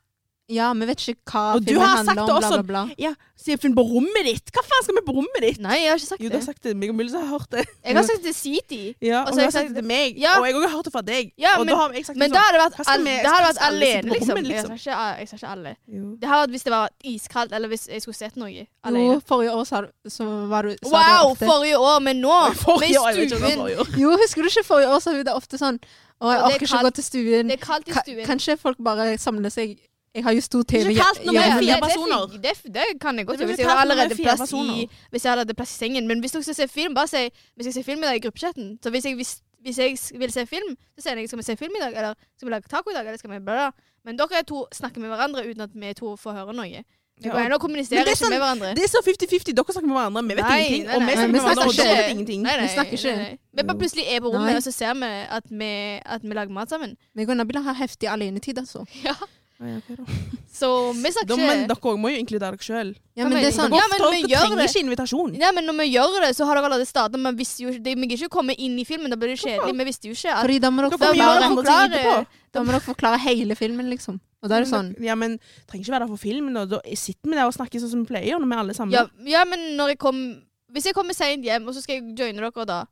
Speaker 2: Ja, vi vet ikke hva
Speaker 1: Og du
Speaker 2: filmen
Speaker 1: har sagt
Speaker 2: handler
Speaker 1: det
Speaker 2: om, bla,
Speaker 1: også.
Speaker 2: bla, bla.
Speaker 1: Ja, sier Finn på rommet ditt. Hva faen skal vi på rommet ditt?
Speaker 3: Nei, jeg har ikke sagt
Speaker 1: Jo, du
Speaker 3: det.
Speaker 1: har sagt det. Meg og Mulle har hørt det.
Speaker 3: Jeg har sagt det til Sweetie.
Speaker 1: Ja, og
Speaker 3: Og så
Speaker 1: du har
Speaker 3: har jeg
Speaker 1: sagt
Speaker 3: sagt
Speaker 1: det til meg.
Speaker 3: Ja.
Speaker 1: Og jeg også har hørt det fra deg.
Speaker 3: Ja,
Speaker 1: og
Speaker 3: men-
Speaker 1: da har jeg sagt det
Speaker 3: Men
Speaker 1: sånn.
Speaker 3: da hadde det vært,
Speaker 1: Hva skal
Speaker 3: al
Speaker 1: vi-
Speaker 3: det hadde vært
Speaker 1: skal alle sitte
Speaker 3: alene,
Speaker 1: på
Speaker 3: liksom.
Speaker 1: rommet,
Speaker 3: Jeg
Speaker 1: liksom?
Speaker 3: sa ikke, jeg sa ikke alle.
Speaker 1: sånn. *laughs* Jo.
Speaker 3: Det hadde vært hvis det var iskaldt, eller hvis jeg skulle sett noe
Speaker 2: Jo,
Speaker 3: alene.
Speaker 2: forrige år sa, du- så var du sa du
Speaker 3: Wow,
Speaker 2: ofte.
Speaker 3: forrige år, men nå! Vi
Speaker 1: *laughs* Forrige år,
Speaker 3: er
Speaker 1: jeg vet
Speaker 3: i
Speaker 1: ikke om det
Speaker 3: stuen.
Speaker 1: var
Speaker 3: *laughs*
Speaker 1: forrige år.
Speaker 2: Jo, husker du ikke forrige år sa hun det ofte sånn Å, jeg
Speaker 3: Og det er
Speaker 2: orker ikke å gå
Speaker 3: kaldt.
Speaker 2: til stuen.
Speaker 3: Det er kaldt i
Speaker 2: Ka-
Speaker 3: stuen.
Speaker 2: Kanskje folk bare samler seg Jeg har jo stor TV
Speaker 1: ikke kaldt når vi
Speaker 2: hjemme.
Speaker 1: er
Speaker 3: det-
Speaker 1: fire
Speaker 3: det-
Speaker 1: personer.
Speaker 3: Det, det, det kan jeg
Speaker 1: Det blir
Speaker 3: godt gjøre. Hvis
Speaker 1: ikke
Speaker 3: jeg har
Speaker 1: kaldt når vi er
Speaker 3: allerede
Speaker 1: fire
Speaker 3: plass i,
Speaker 1: personer.
Speaker 3: hvis jeg har allerede plass i sengen. Men hvis dere skal se film, bare si vi skal se film i dag i gruppechatten. Så hvis jeg, hvis, hvis jeg s- vil se film, så sier jeg skal vi se film i dag, eller skal vi lage taco i dag, eller skal vi bla, bla. Men dere to snakker med hverandre uten at vi to får høre noe. Vi
Speaker 1: Ja.
Speaker 3: går inn og kommuniserer
Speaker 1: Men det er sånn-
Speaker 3: ikke med hverandre.
Speaker 1: Det er så 50-50. Dere snakker med hverandre, vi vet
Speaker 3: Nei,
Speaker 1: ingenting.
Speaker 3: nei,
Speaker 1: Og
Speaker 3: nei.
Speaker 1: vi snakker
Speaker 2: Nei,
Speaker 1: med
Speaker 2: vi
Speaker 1: hverandre, og dere
Speaker 2: snakker ikke.
Speaker 1: vet ingenting.
Speaker 3: Nei, nei,
Speaker 2: Vi snakker ikke.
Speaker 3: nei, nei. Vi bare plutselig er på rommet,
Speaker 2: Nei.
Speaker 3: og så ser vi at vi, at vi lager mat sammen.
Speaker 2: Meg og Nabila har heftig alenetid, altså.
Speaker 3: Ja.
Speaker 1: Å, ja, ok da.
Speaker 3: Så vi
Speaker 1: Da-
Speaker 3: snakker
Speaker 1: Men
Speaker 3: ikke.
Speaker 1: dere også må jo inkludere dere sjøl.
Speaker 2: Ja,
Speaker 3: Hva
Speaker 2: men det er
Speaker 3: mener
Speaker 2: sånn
Speaker 3: du? Ja, men vi
Speaker 1: Dere
Speaker 3: gjør
Speaker 1: trenger
Speaker 3: det.
Speaker 1: ikke invitasjon.
Speaker 3: Nei, men når vi gjør det, så har dere allerede startet. Vi visste jo ikke, det- vi gidder ikke komme inn i filmen, da blir det kjedelig. Vi visste jo ikke at
Speaker 2: Fordi da må
Speaker 1: Dere må
Speaker 2: dere
Speaker 3: bare
Speaker 1: gjøre
Speaker 2: forklare,
Speaker 1: andre ting etterpå.
Speaker 3: forklare.
Speaker 2: da må dere forklare hele filmen, liksom. Og da er det sånn
Speaker 1: Ja, men trenger ikke være der for filmen. Og da sitter vi der og snakker sånn som vi pleier når vi er alle sammen.
Speaker 3: Ja, ja, men når jeg kom Hvis jeg kommer seint hjem, og så skal jeg joine dere da,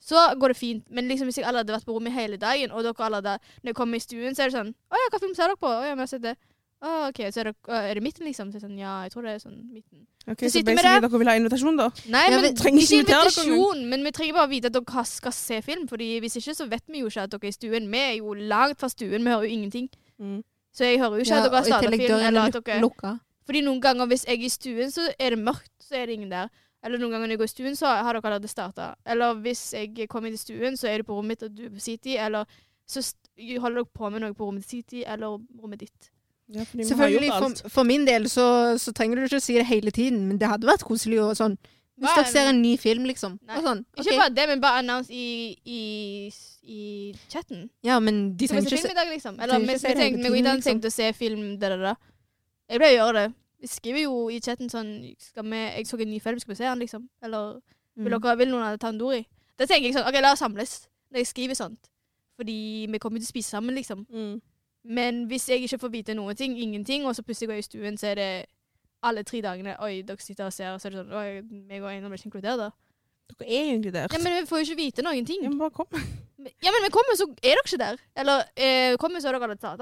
Speaker 3: så går det fint. Men liksom hvis jeg allerede har vært på rommet hele dagen, og dere allerede Når jeg kommer i stuen, så er det sånn Å ja, hva film ser dere på? Å ja, vi har sett det. Å, OK, så er det, å, er det midten, liksom? Så er det sånn, ja, jeg tror det er sånn midten.
Speaker 1: Ok,
Speaker 3: Så
Speaker 1: så
Speaker 3: sitter vi
Speaker 1: basically
Speaker 3: der.
Speaker 1: dere vil ha invitasjon, da?
Speaker 3: Nei,
Speaker 2: Ja,
Speaker 3: men
Speaker 2: vi
Speaker 3: ikke
Speaker 1: trenger ikke invitere dere
Speaker 3: invitasjon, men vi trenger bare vite at dere har- skal se film. Fordi hvis ikke, så vet vi jo ikke at dere er i stuen. Vi er jo langt fra stuen, vi hører jo ingenting.
Speaker 1: Mm.
Speaker 3: Så jeg hører jo ikke
Speaker 2: ja,
Speaker 3: at dere
Speaker 2: og i
Speaker 3: har starta
Speaker 2: tillegg
Speaker 3: film,
Speaker 2: døren
Speaker 3: eller
Speaker 2: er
Speaker 3: at dere
Speaker 2: luk- lukka.
Speaker 3: Fordi noen ganger hvis jeg er i stuen, så er det mørkt, så er det ingen der. Eller noen ganger når jeg går i stuen, så har dere allerede starta. Eller hvis jeg kommer inn i stuen, så er det på rommet mitt og du er på City, eller så st- holder dere på med noe på rommet til City, eller rommet ditt.
Speaker 1: Ja, fordi vi har
Speaker 2: Selvfølgelig,
Speaker 1: gjort alt.
Speaker 2: for, for min del så, så trenger du ikke å si det hele tiden, men det hadde vært koselig og sånn. Hvis
Speaker 3: Hva er
Speaker 2: dere ser en ny film, liksom.
Speaker 3: Nei.
Speaker 2: Og sånn.
Speaker 3: Ikke
Speaker 2: ok.
Speaker 3: bare det, men bare announce i, i, i chatten.
Speaker 2: Ja, men de
Speaker 3: Skal vi
Speaker 2: trenger
Speaker 3: se
Speaker 2: ikke
Speaker 3: film i dag, liksom? Eller
Speaker 2: trenger ikke
Speaker 3: vi, vi
Speaker 2: se det hele
Speaker 3: tenkte, meg og
Speaker 2: tiden,
Speaker 3: Ida
Speaker 2: liksom.
Speaker 3: tenkte å se film da, da, da. Jeg pleier å gjøre det. Vi skriver jo i chatten sånn skal vi, 'Jeg så en ny film, skal vi se den?' liksom. Eller vil,
Speaker 2: Mm.
Speaker 3: dere, 'Vil noen ta en Dori?' Da tenker jeg sånn OK, la oss samles når jeg skriver sånt. Fordi vi kommer jo til å spise sammen, liksom.
Speaker 2: *laughs*
Speaker 1: Mm.
Speaker 3: Men hvis jeg ikke får vite noen ting, ingenting, og så plutselig går jeg i stuen, så er det alle tre dagene 'Oi, dere sitter og ser', og så er det sånn 'Oi, meg og Einar ble ikke inkludert', da.
Speaker 1: Dere er jo inkludert.
Speaker 3: Ja, men vi får jo ikke vite noen ting.
Speaker 1: Ja, men bare kom.
Speaker 3: Ja, men vi kommer, så er dere ikke der. Eller eh, kommer, så er dere allerede tatt.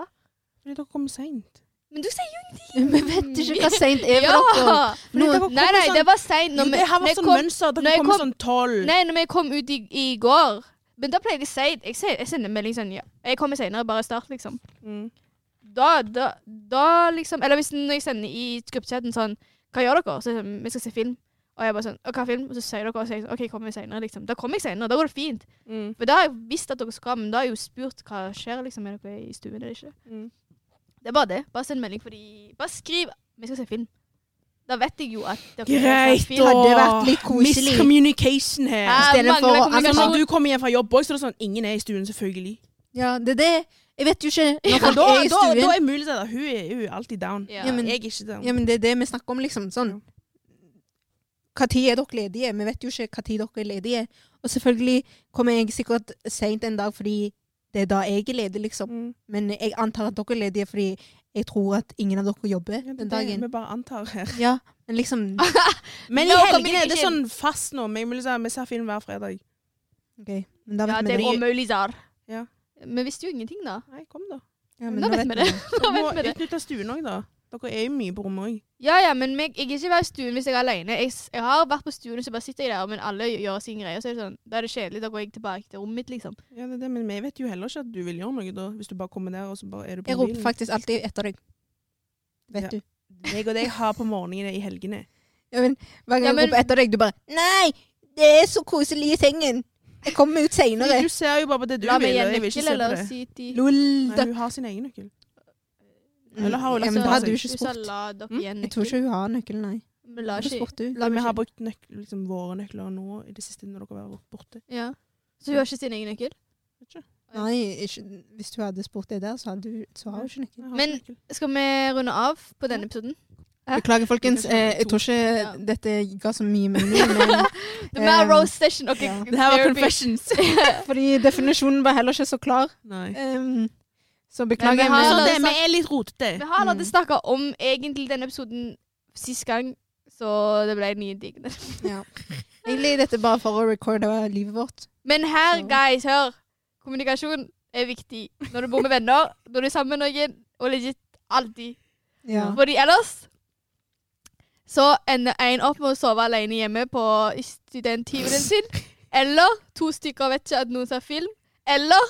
Speaker 1: Fordi dere kom seint.
Speaker 3: Men du sier
Speaker 2: Vi vet ikke hva seint er for dere.
Speaker 3: Ja!
Speaker 2: Noen-
Speaker 3: Nei, nei, det var seint. Når, vi-
Speaker 1: sånn? Det har
Speaker 3: når jeg
Speaker 1: vært sånn
Speaker 3: kom-
Speaker 1: mønster.
Speaker 3: når
Speaker 1: Dere
Speaker 3: jeg
Speaker 1: kommer
Speaker 3: kom-
Speaker 1: sånn tolv.
Speaker 3: nei, når vi kom ut i, i går Men da pleier de seint. Jeg, sier- jeg sender en melding sånn ja. Jeg kommer seinere, bare start, liksom.
Speaker 1: Mm.
Speaker 3: Da, da, da liksom Eller hvis når jeg sender i gruppechatten sånn Hva gjør dere? Så er det sånn, vi skal se film. Og jeg bare sånn «Å, Hva film? Og så sier dere og så er jeg sånn, OK, kommer vi seinere, liksom. Da kommer jeg seinere. Da går det fint.
Speaker 1: Mm.
Speaker 3: For da har jeg visst at dere skal, men da har jeg jo spurt hva skjer, liksom. Er dere i stuen eller ikke?
Speaker 1: Mm.
Speaker 3: Det er bare det. Bare send melding, fordi Bare skriv 'Vi skal se film'. Da vet jeg jo at dere
Speaker 1: Greit,
Speaker 3: skal se
Speaker 1: da.
Speaker 3: film.
Speaker 2: Hadde vært litt koselig.
Speaker 1: Miscommunication her.
Speaker 3: Her
Speaker 2: stedet for
Speaker 3: mangler
Speaker 2: å-
Speaker 1: Altså,
Speaker 3: kommunikasjon.
Speaker 1: når du kommer hjem fra jobb også, så er det sånn Ingen er i stuen, selvfølgelig.
Speaker 2: Ja, det er det. Jeg vet jo ikke når
Speaker 1: For
Speaker 2: folk
Speaker 1: da,
Speaker 2: er i
Speaker 1: da, da
Speaker 2: stuen.
Speaker 1: er muligheten at hun er, hun er alltid down.
Speaker 3: Ja.
Speaker 2: Ja, men-
Speaker 1: Jeg er ikke down.
Speaker 2: Ja, men det er det vi snakker om, liksom. Sånn. Hva tid er dere ledige? Vi vet jo ikke hva tid dere er ledige. Og selvfølgelig kommer jeg sikkert seint en dag fordi det er da jeg er ledig, liksom.
Speaker 1: Mm.
Speaker 2: Men jeg antar at dere er ledige fordi jeg tror at ingen av dere jobber
Speaker 1: Ja, det
Speaker 2: den
Speaker 1: er det
Speaker 2: dagen.
Speaker 1: vi bare antar
Speaker 2: *laughs*
Speaker 1: her.
Speaker 2: Ja, men liksom
Speaker 1: Men
Speaker 3: No
Speaker 1: i helgene er det
Speaker 3: communication.
Speaker 1: sånn fast nå. men jeg må liksom- Vi ser film hver fredag.
Speaker 2: OK. Men da
Speaker 3: Ja,
Speaker 2: vet
Speaker 3: det
Speaker 2: vi
Speaker 3: er
Speaker 2: det.
Speaker 3: umulig, Zar.
Speaker 1: Ja.
Speaker 3: Vi visste jo ingenting, da.
Speaker 1: Nei, kom da.
Speaker 2: Ja,
Speaker 3: *laughs* Nå vet vi det. Da
Speaker 1: Dere må
Speaker 3: vet vi det.
Speaker 1: utnytte stuen òg, da. Dere er jo mye på rommet òg.
Speaker 3: Ja, ja, men meg, jeg er ikke være i stuen hvis jeg er alene. Jeg, s- jeg har vært på stuen, så bare sitter jeg der, men alle gjør sin greie. Så er det sånn, Da er det kjedelig. Da går jeg tilbake til rommet mitt, liksom.
Speaker 1: Ja, det er det, men vi vet jo heller ikke at du vil gjøre noe da, hvis du bare kommer der og så bare er du på
Speaker 2: Jeg roper
Speaker 1: mobilen.
Speaker 2: faktisk alltid etter deg. Vet
Speaker 1: Ja.
Speaker 2: du.
Speaker 1: Jeg og deg har på morgenene i helgene.
Speaker 2: Ja, men hver gang
Speaker 3: Ja, men-
Speaker 2: jeg roper etter deg, du bare Nei! Det er så koselig i sengen! Jeg kommer ut seinere.
Speaker 1: Du ser jo bare på det du
Speaker 3: La meg
Speaker 1: vil,
Speaker 3: gi
Speaker 1: og
Speaker 3: en
Speaker 1: jeg vil ikke
Speaker 3: nøkkel,
Speaker 1: se på
Speaker 3: eller
Speaker 1: det.
Speaker 3: si til
Speaker 2: Lol.
Speaker 1: Nei, hun har sin egen nøkkel. Eller har hun
Speaker 2: ja,
Speaker 1: lagt
Speaker 2: men
Speaker 1: den
Speaker 2: da
Speaker 1: fra
Speaker 2: hadde
Speaker 1: seg?
Speaker 2: hun ikke
Speaker 3: Du sa
Speaker 2: spurt.
Speaker 3: la dere
Speaker 1: Mm,
Speaker 3: gi en
Speaker 2: Jeg tror
Speaker 3: nøkkel.
Speaker 2: ikke hun har nøkkelen, nei.
Speaker 3: Men la
Speaker 2: Hvorfor
Speaker 3: ikke
Speaker 2: spurte hun?
Speaker 3: la meg
Speaker 1: Vi har
Speaker 3: ikke-
Speaker 1: brukt nøk liksom, våre nøkler nå i det siste når dere har vært borte.
Speaker 3: Ja. Så hun har ikke sin egen nøkkel?
Speaker 2: Nei, ikke, hvis hun hadde spurt det der, så, hadde hun, så har hun ikke nøkkel.
Speaker 1: Jeg har
Speaker 3: Men-
Speaker 1: ikke nøkkel.
Speaker 3: Skal vi runde av på denne episoden? Hæ?
Speaker 2: Beklager, folkens.
Speaker 1: Kanskje
Speaker 2: Eh, jeg tror ikke
Speaker 3: Ja.
Speaker 2: dette ga så mye mening. *laughs* Men
Speaker 3: The
Speaker 2: Um,
Speaker 3: Melrose Session. ok,
Speaker 2: ja.
Speaker 1: Det her var
Speaker 3: therapy.
Speaker 1: confessions.
Speaker 2: fordi definisjonen var heller ikke så klar.
Speaker 1: *laughs* Nei.
Speaker 2: Um, så
Speaker 3: Men vi
Speaker 2: beklager.
Speaker 3: har-
Speaker 1: Så
Speaker 2: men-
Speaker 1: sånn, det, vi er litt rotete.
Speaker 3: Vi har allerede
Speaker 2: Mm.
Speaker 3: snakka om egentlig denne episoden sist gang, så det ble mye digg. *laughs*
Speaker 2: Sånn, ja. Egentlig er dette bare for å recorde livet vårt.
Speaker 3: Men her,
Speaker 2: Så-
Speaker 3: guys, hør. Kommunikasjon er viktig når du bor
Speaker 2: *laughs*
Speaker 3: med venner, når du er sammen med noen, og legit alltid.
Speaker 2: Ja.
Speaker 3: Fordi ellers så ender en opp med å sove alene hjemme på studenttimen
Speaker 2: *laughs*
Speaker 3: sin. Eller to stykker vet ikke at noen ser film. Eller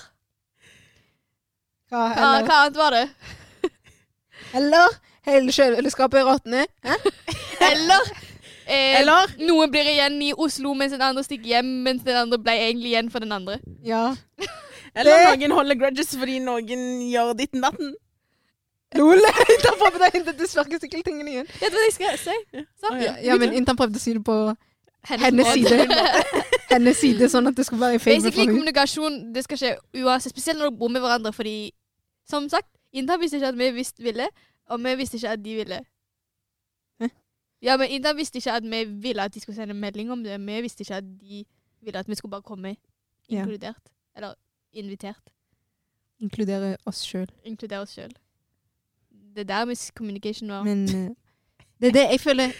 Speaker 2: Hva,
Speaker 3: hva,
Speaker 2: eller,
Speaker 3: hva
Speaker 2: *laughs*
Speaker 3: annet var det?
Speaker 2: eller hele kjøleskapet råtner.
Speaker 3: Eller, eh,
Speaker 1: Eller?
Speaker 3: noen blir igjen i Oslo mens den andre stikker hjem, mens den andre ble egentlig igjen for den andre.
Speaker 2: Ja.
Speaker 1: Eller noen holder grudges fordi noen gjør ditten datten.
Speaker 2: Lol!
Speaker 1: *laughs*
Speaker 2: Internprøve, da hentet du sparkesykkeltingen igjen.
Speaker 3: Vet du hva jeg skal si? Så,
Speaker 1: Å,
Speaker 2: Ja, ja, men Intern prøvde å si det på
Speaker 3: hennes
Speaker 2: hennes
Speaker 3: måte. *laughs*
Speaker 2: side. Hennes side, sånn at det skulle være i favor
Speaker 3: Basically
Speaker 2: for henne.
Speaker 3: kommunikasjon det skal skje uansett, spesielt når dere bor med hverandre, fordi som sagt, Intan visste ikke at vi visst ville, og vi visste ikke at de ville.
Speaker 2: Hæ?
Speaker 3: Ja, men Intan visste ikke at vi ville at de skulle sende melding om det. Vi visste ikke at de ville at vi skulle bare komme
Speaker 2: Ja.
Speaker 3: inkludert. Eller invitert.
Speaker 2: Inkludere oss sjøl.
Speaker 3: Inkludere oss sjøl. Det er der miscommunication var.
Speaker 2: Men eh, det er det jeg føler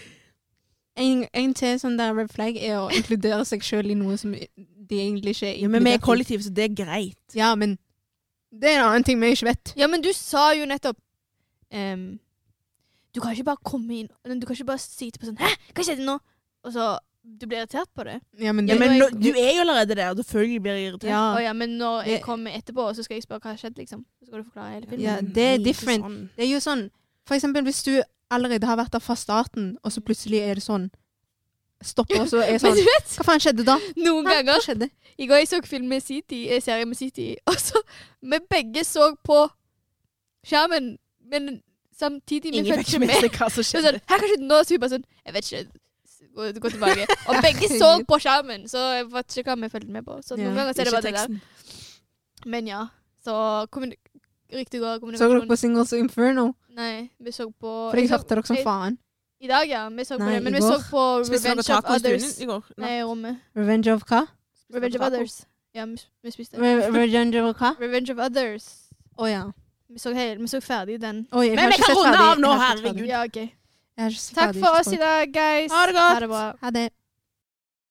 Speaker 2: En, en til sånn der red flag er å inkludere seg sjøl i noe som de egentlig ikke er
Speaker 1: Ja, men vi er
Speaker 2: inkludert i.
Speaker 1: kollektiv, så det er greit.
Speaker 2: Ja, men det er en annen ting vi ikke vet.
Speaker 3: Ja, men du sa jo nettopp ehm, Du kan ikke bare komme inn eller Du kan ikke bare si til personen 'Hæ, hva skjedde nå?' Og så Du blir irritert på det.
Speaker 2: Ja, men
Speaker 1: Ja,
Speaker 2: det,
Speaker 1: men
Speaker 3: nå-
Speaker 1: nå, du er jo allerede der, og selvfølgelig blir jeg irritert.
Speaker 2: ja,
Speaker 3: Å ja, men når jeg
Speaker 2: Det-
Speaker 3: kommer etterpå, så skal jeg spørre hva har skjedd, liksom. Så skal du forklare hele filmen.
Speaker 2: Ja,
Speaker 1: Men
Speaker 2: det er
Speaker 1: ikke
Speaker 2: different.
Speaker 1: sånn.
Speaker 2: det er jo sånn For eksempel hvis du allerede har vært der fra starten, og så plutselig er det sånn stopper, og så
Speaker 1: *laughs*
Speaker 2: er jeg
Speaker 3: Men
Speaker 2: sånn
Speaker 3: du vet,
Speaker 2: Hva faen skjedde da?
Speaker 3: noen
Speaker 2: Hæ? Hva
Speaker 3: ganger
Speaker 2: skjedde?
Speaker 3: I går jeg så film med City, eh, serie med City, og så Vi begge så på skjermen, men samtidig vi
Speaker 1: Ingen
Speaker 3: følte
Speaker 1: fikk
Speaker 3: ikke
Speaker 1: med
Speaker 3: med.
Speaker 1: seg *laughs* hva som
Speaker 3: Det var
Speaker 1: skjedde.
Speaker 3: sånn, Her kan skje nå, så vi bare sånn Jeg vet ikke. s- Gå, gå tilbake. Og
Speaker 2: *laughs*
Speaker 3: begge så på skjermen, så jeg vet ikke hva vi fulgte med på. Så
Speaker 2: Ja,
Speaker 3: noen ganger så er det
Speaker 1: Ikke
Speaker 3: bare det der.
Speaker 1: teksten.
Speaker 3: Men ja. Så kommuni riktig god
Speaker 2: Så dere
Speaker 3: kommunikasjon.
Speaker 2: på Singles Inferno?
Speaker 3: Nei, vi så på
Speaker 2: For jeg
Speaker 3: så-
Speaker 2: hørte dere som
Speaker 3: jeg-
Speaker 2: faen.
Speaker 3: I dag, ja. Vi så på
Speaker 2: Nei,
Speaker 3: det. Men
Speaker 2: i
Speaker 3: vi
Speaker 2: går.
Speaker 3: så på
Speaker 1: Spiste dere
Speaker 3: Revenge of
Speaker 1: taco i
Speaker 3: Others.
Speaker 1: stuen i går?
Speaker 3: Nei, rommet.
Speaker 2: Revenge of hva?
Speaker 3: Revenge of
Speaker 1: taco?
Speaker 3: Others. Ja, vi, vi spiste.
Speaker 2: Re- Revenge of hva?
Speaker 3: *laughs* Revenge of Others.
Speaker 2: Å ja.
Speaker 3: Vi så, hel, vi så ferdig den.
Speaker 2: Oi, jeg
Speaker 1: Men
Speaker 2: har
Speaker 1: vi
Speaker 2: ikke
Speaker 1: kan
Speaker 2: sett
Speaker 1: runde
Speaker 2: ferdig.
Speaker 1: av nå,
Speaker 2: Jeg har ikke sett ferdig.
Speaker 1: herregud.
Speaker 3: Ja, ok.
Speaker 2: Jeg har ikke sett
Speaker 3: Takk
Speaker 2: ferdig,
Speaker 3: for
Speaker 2: ikke
Speaker 3: oss i dag, guys.
Speaker 1: Ha det godt.
Speaker 3: Ha det bra.
Speaker 2: Ha det.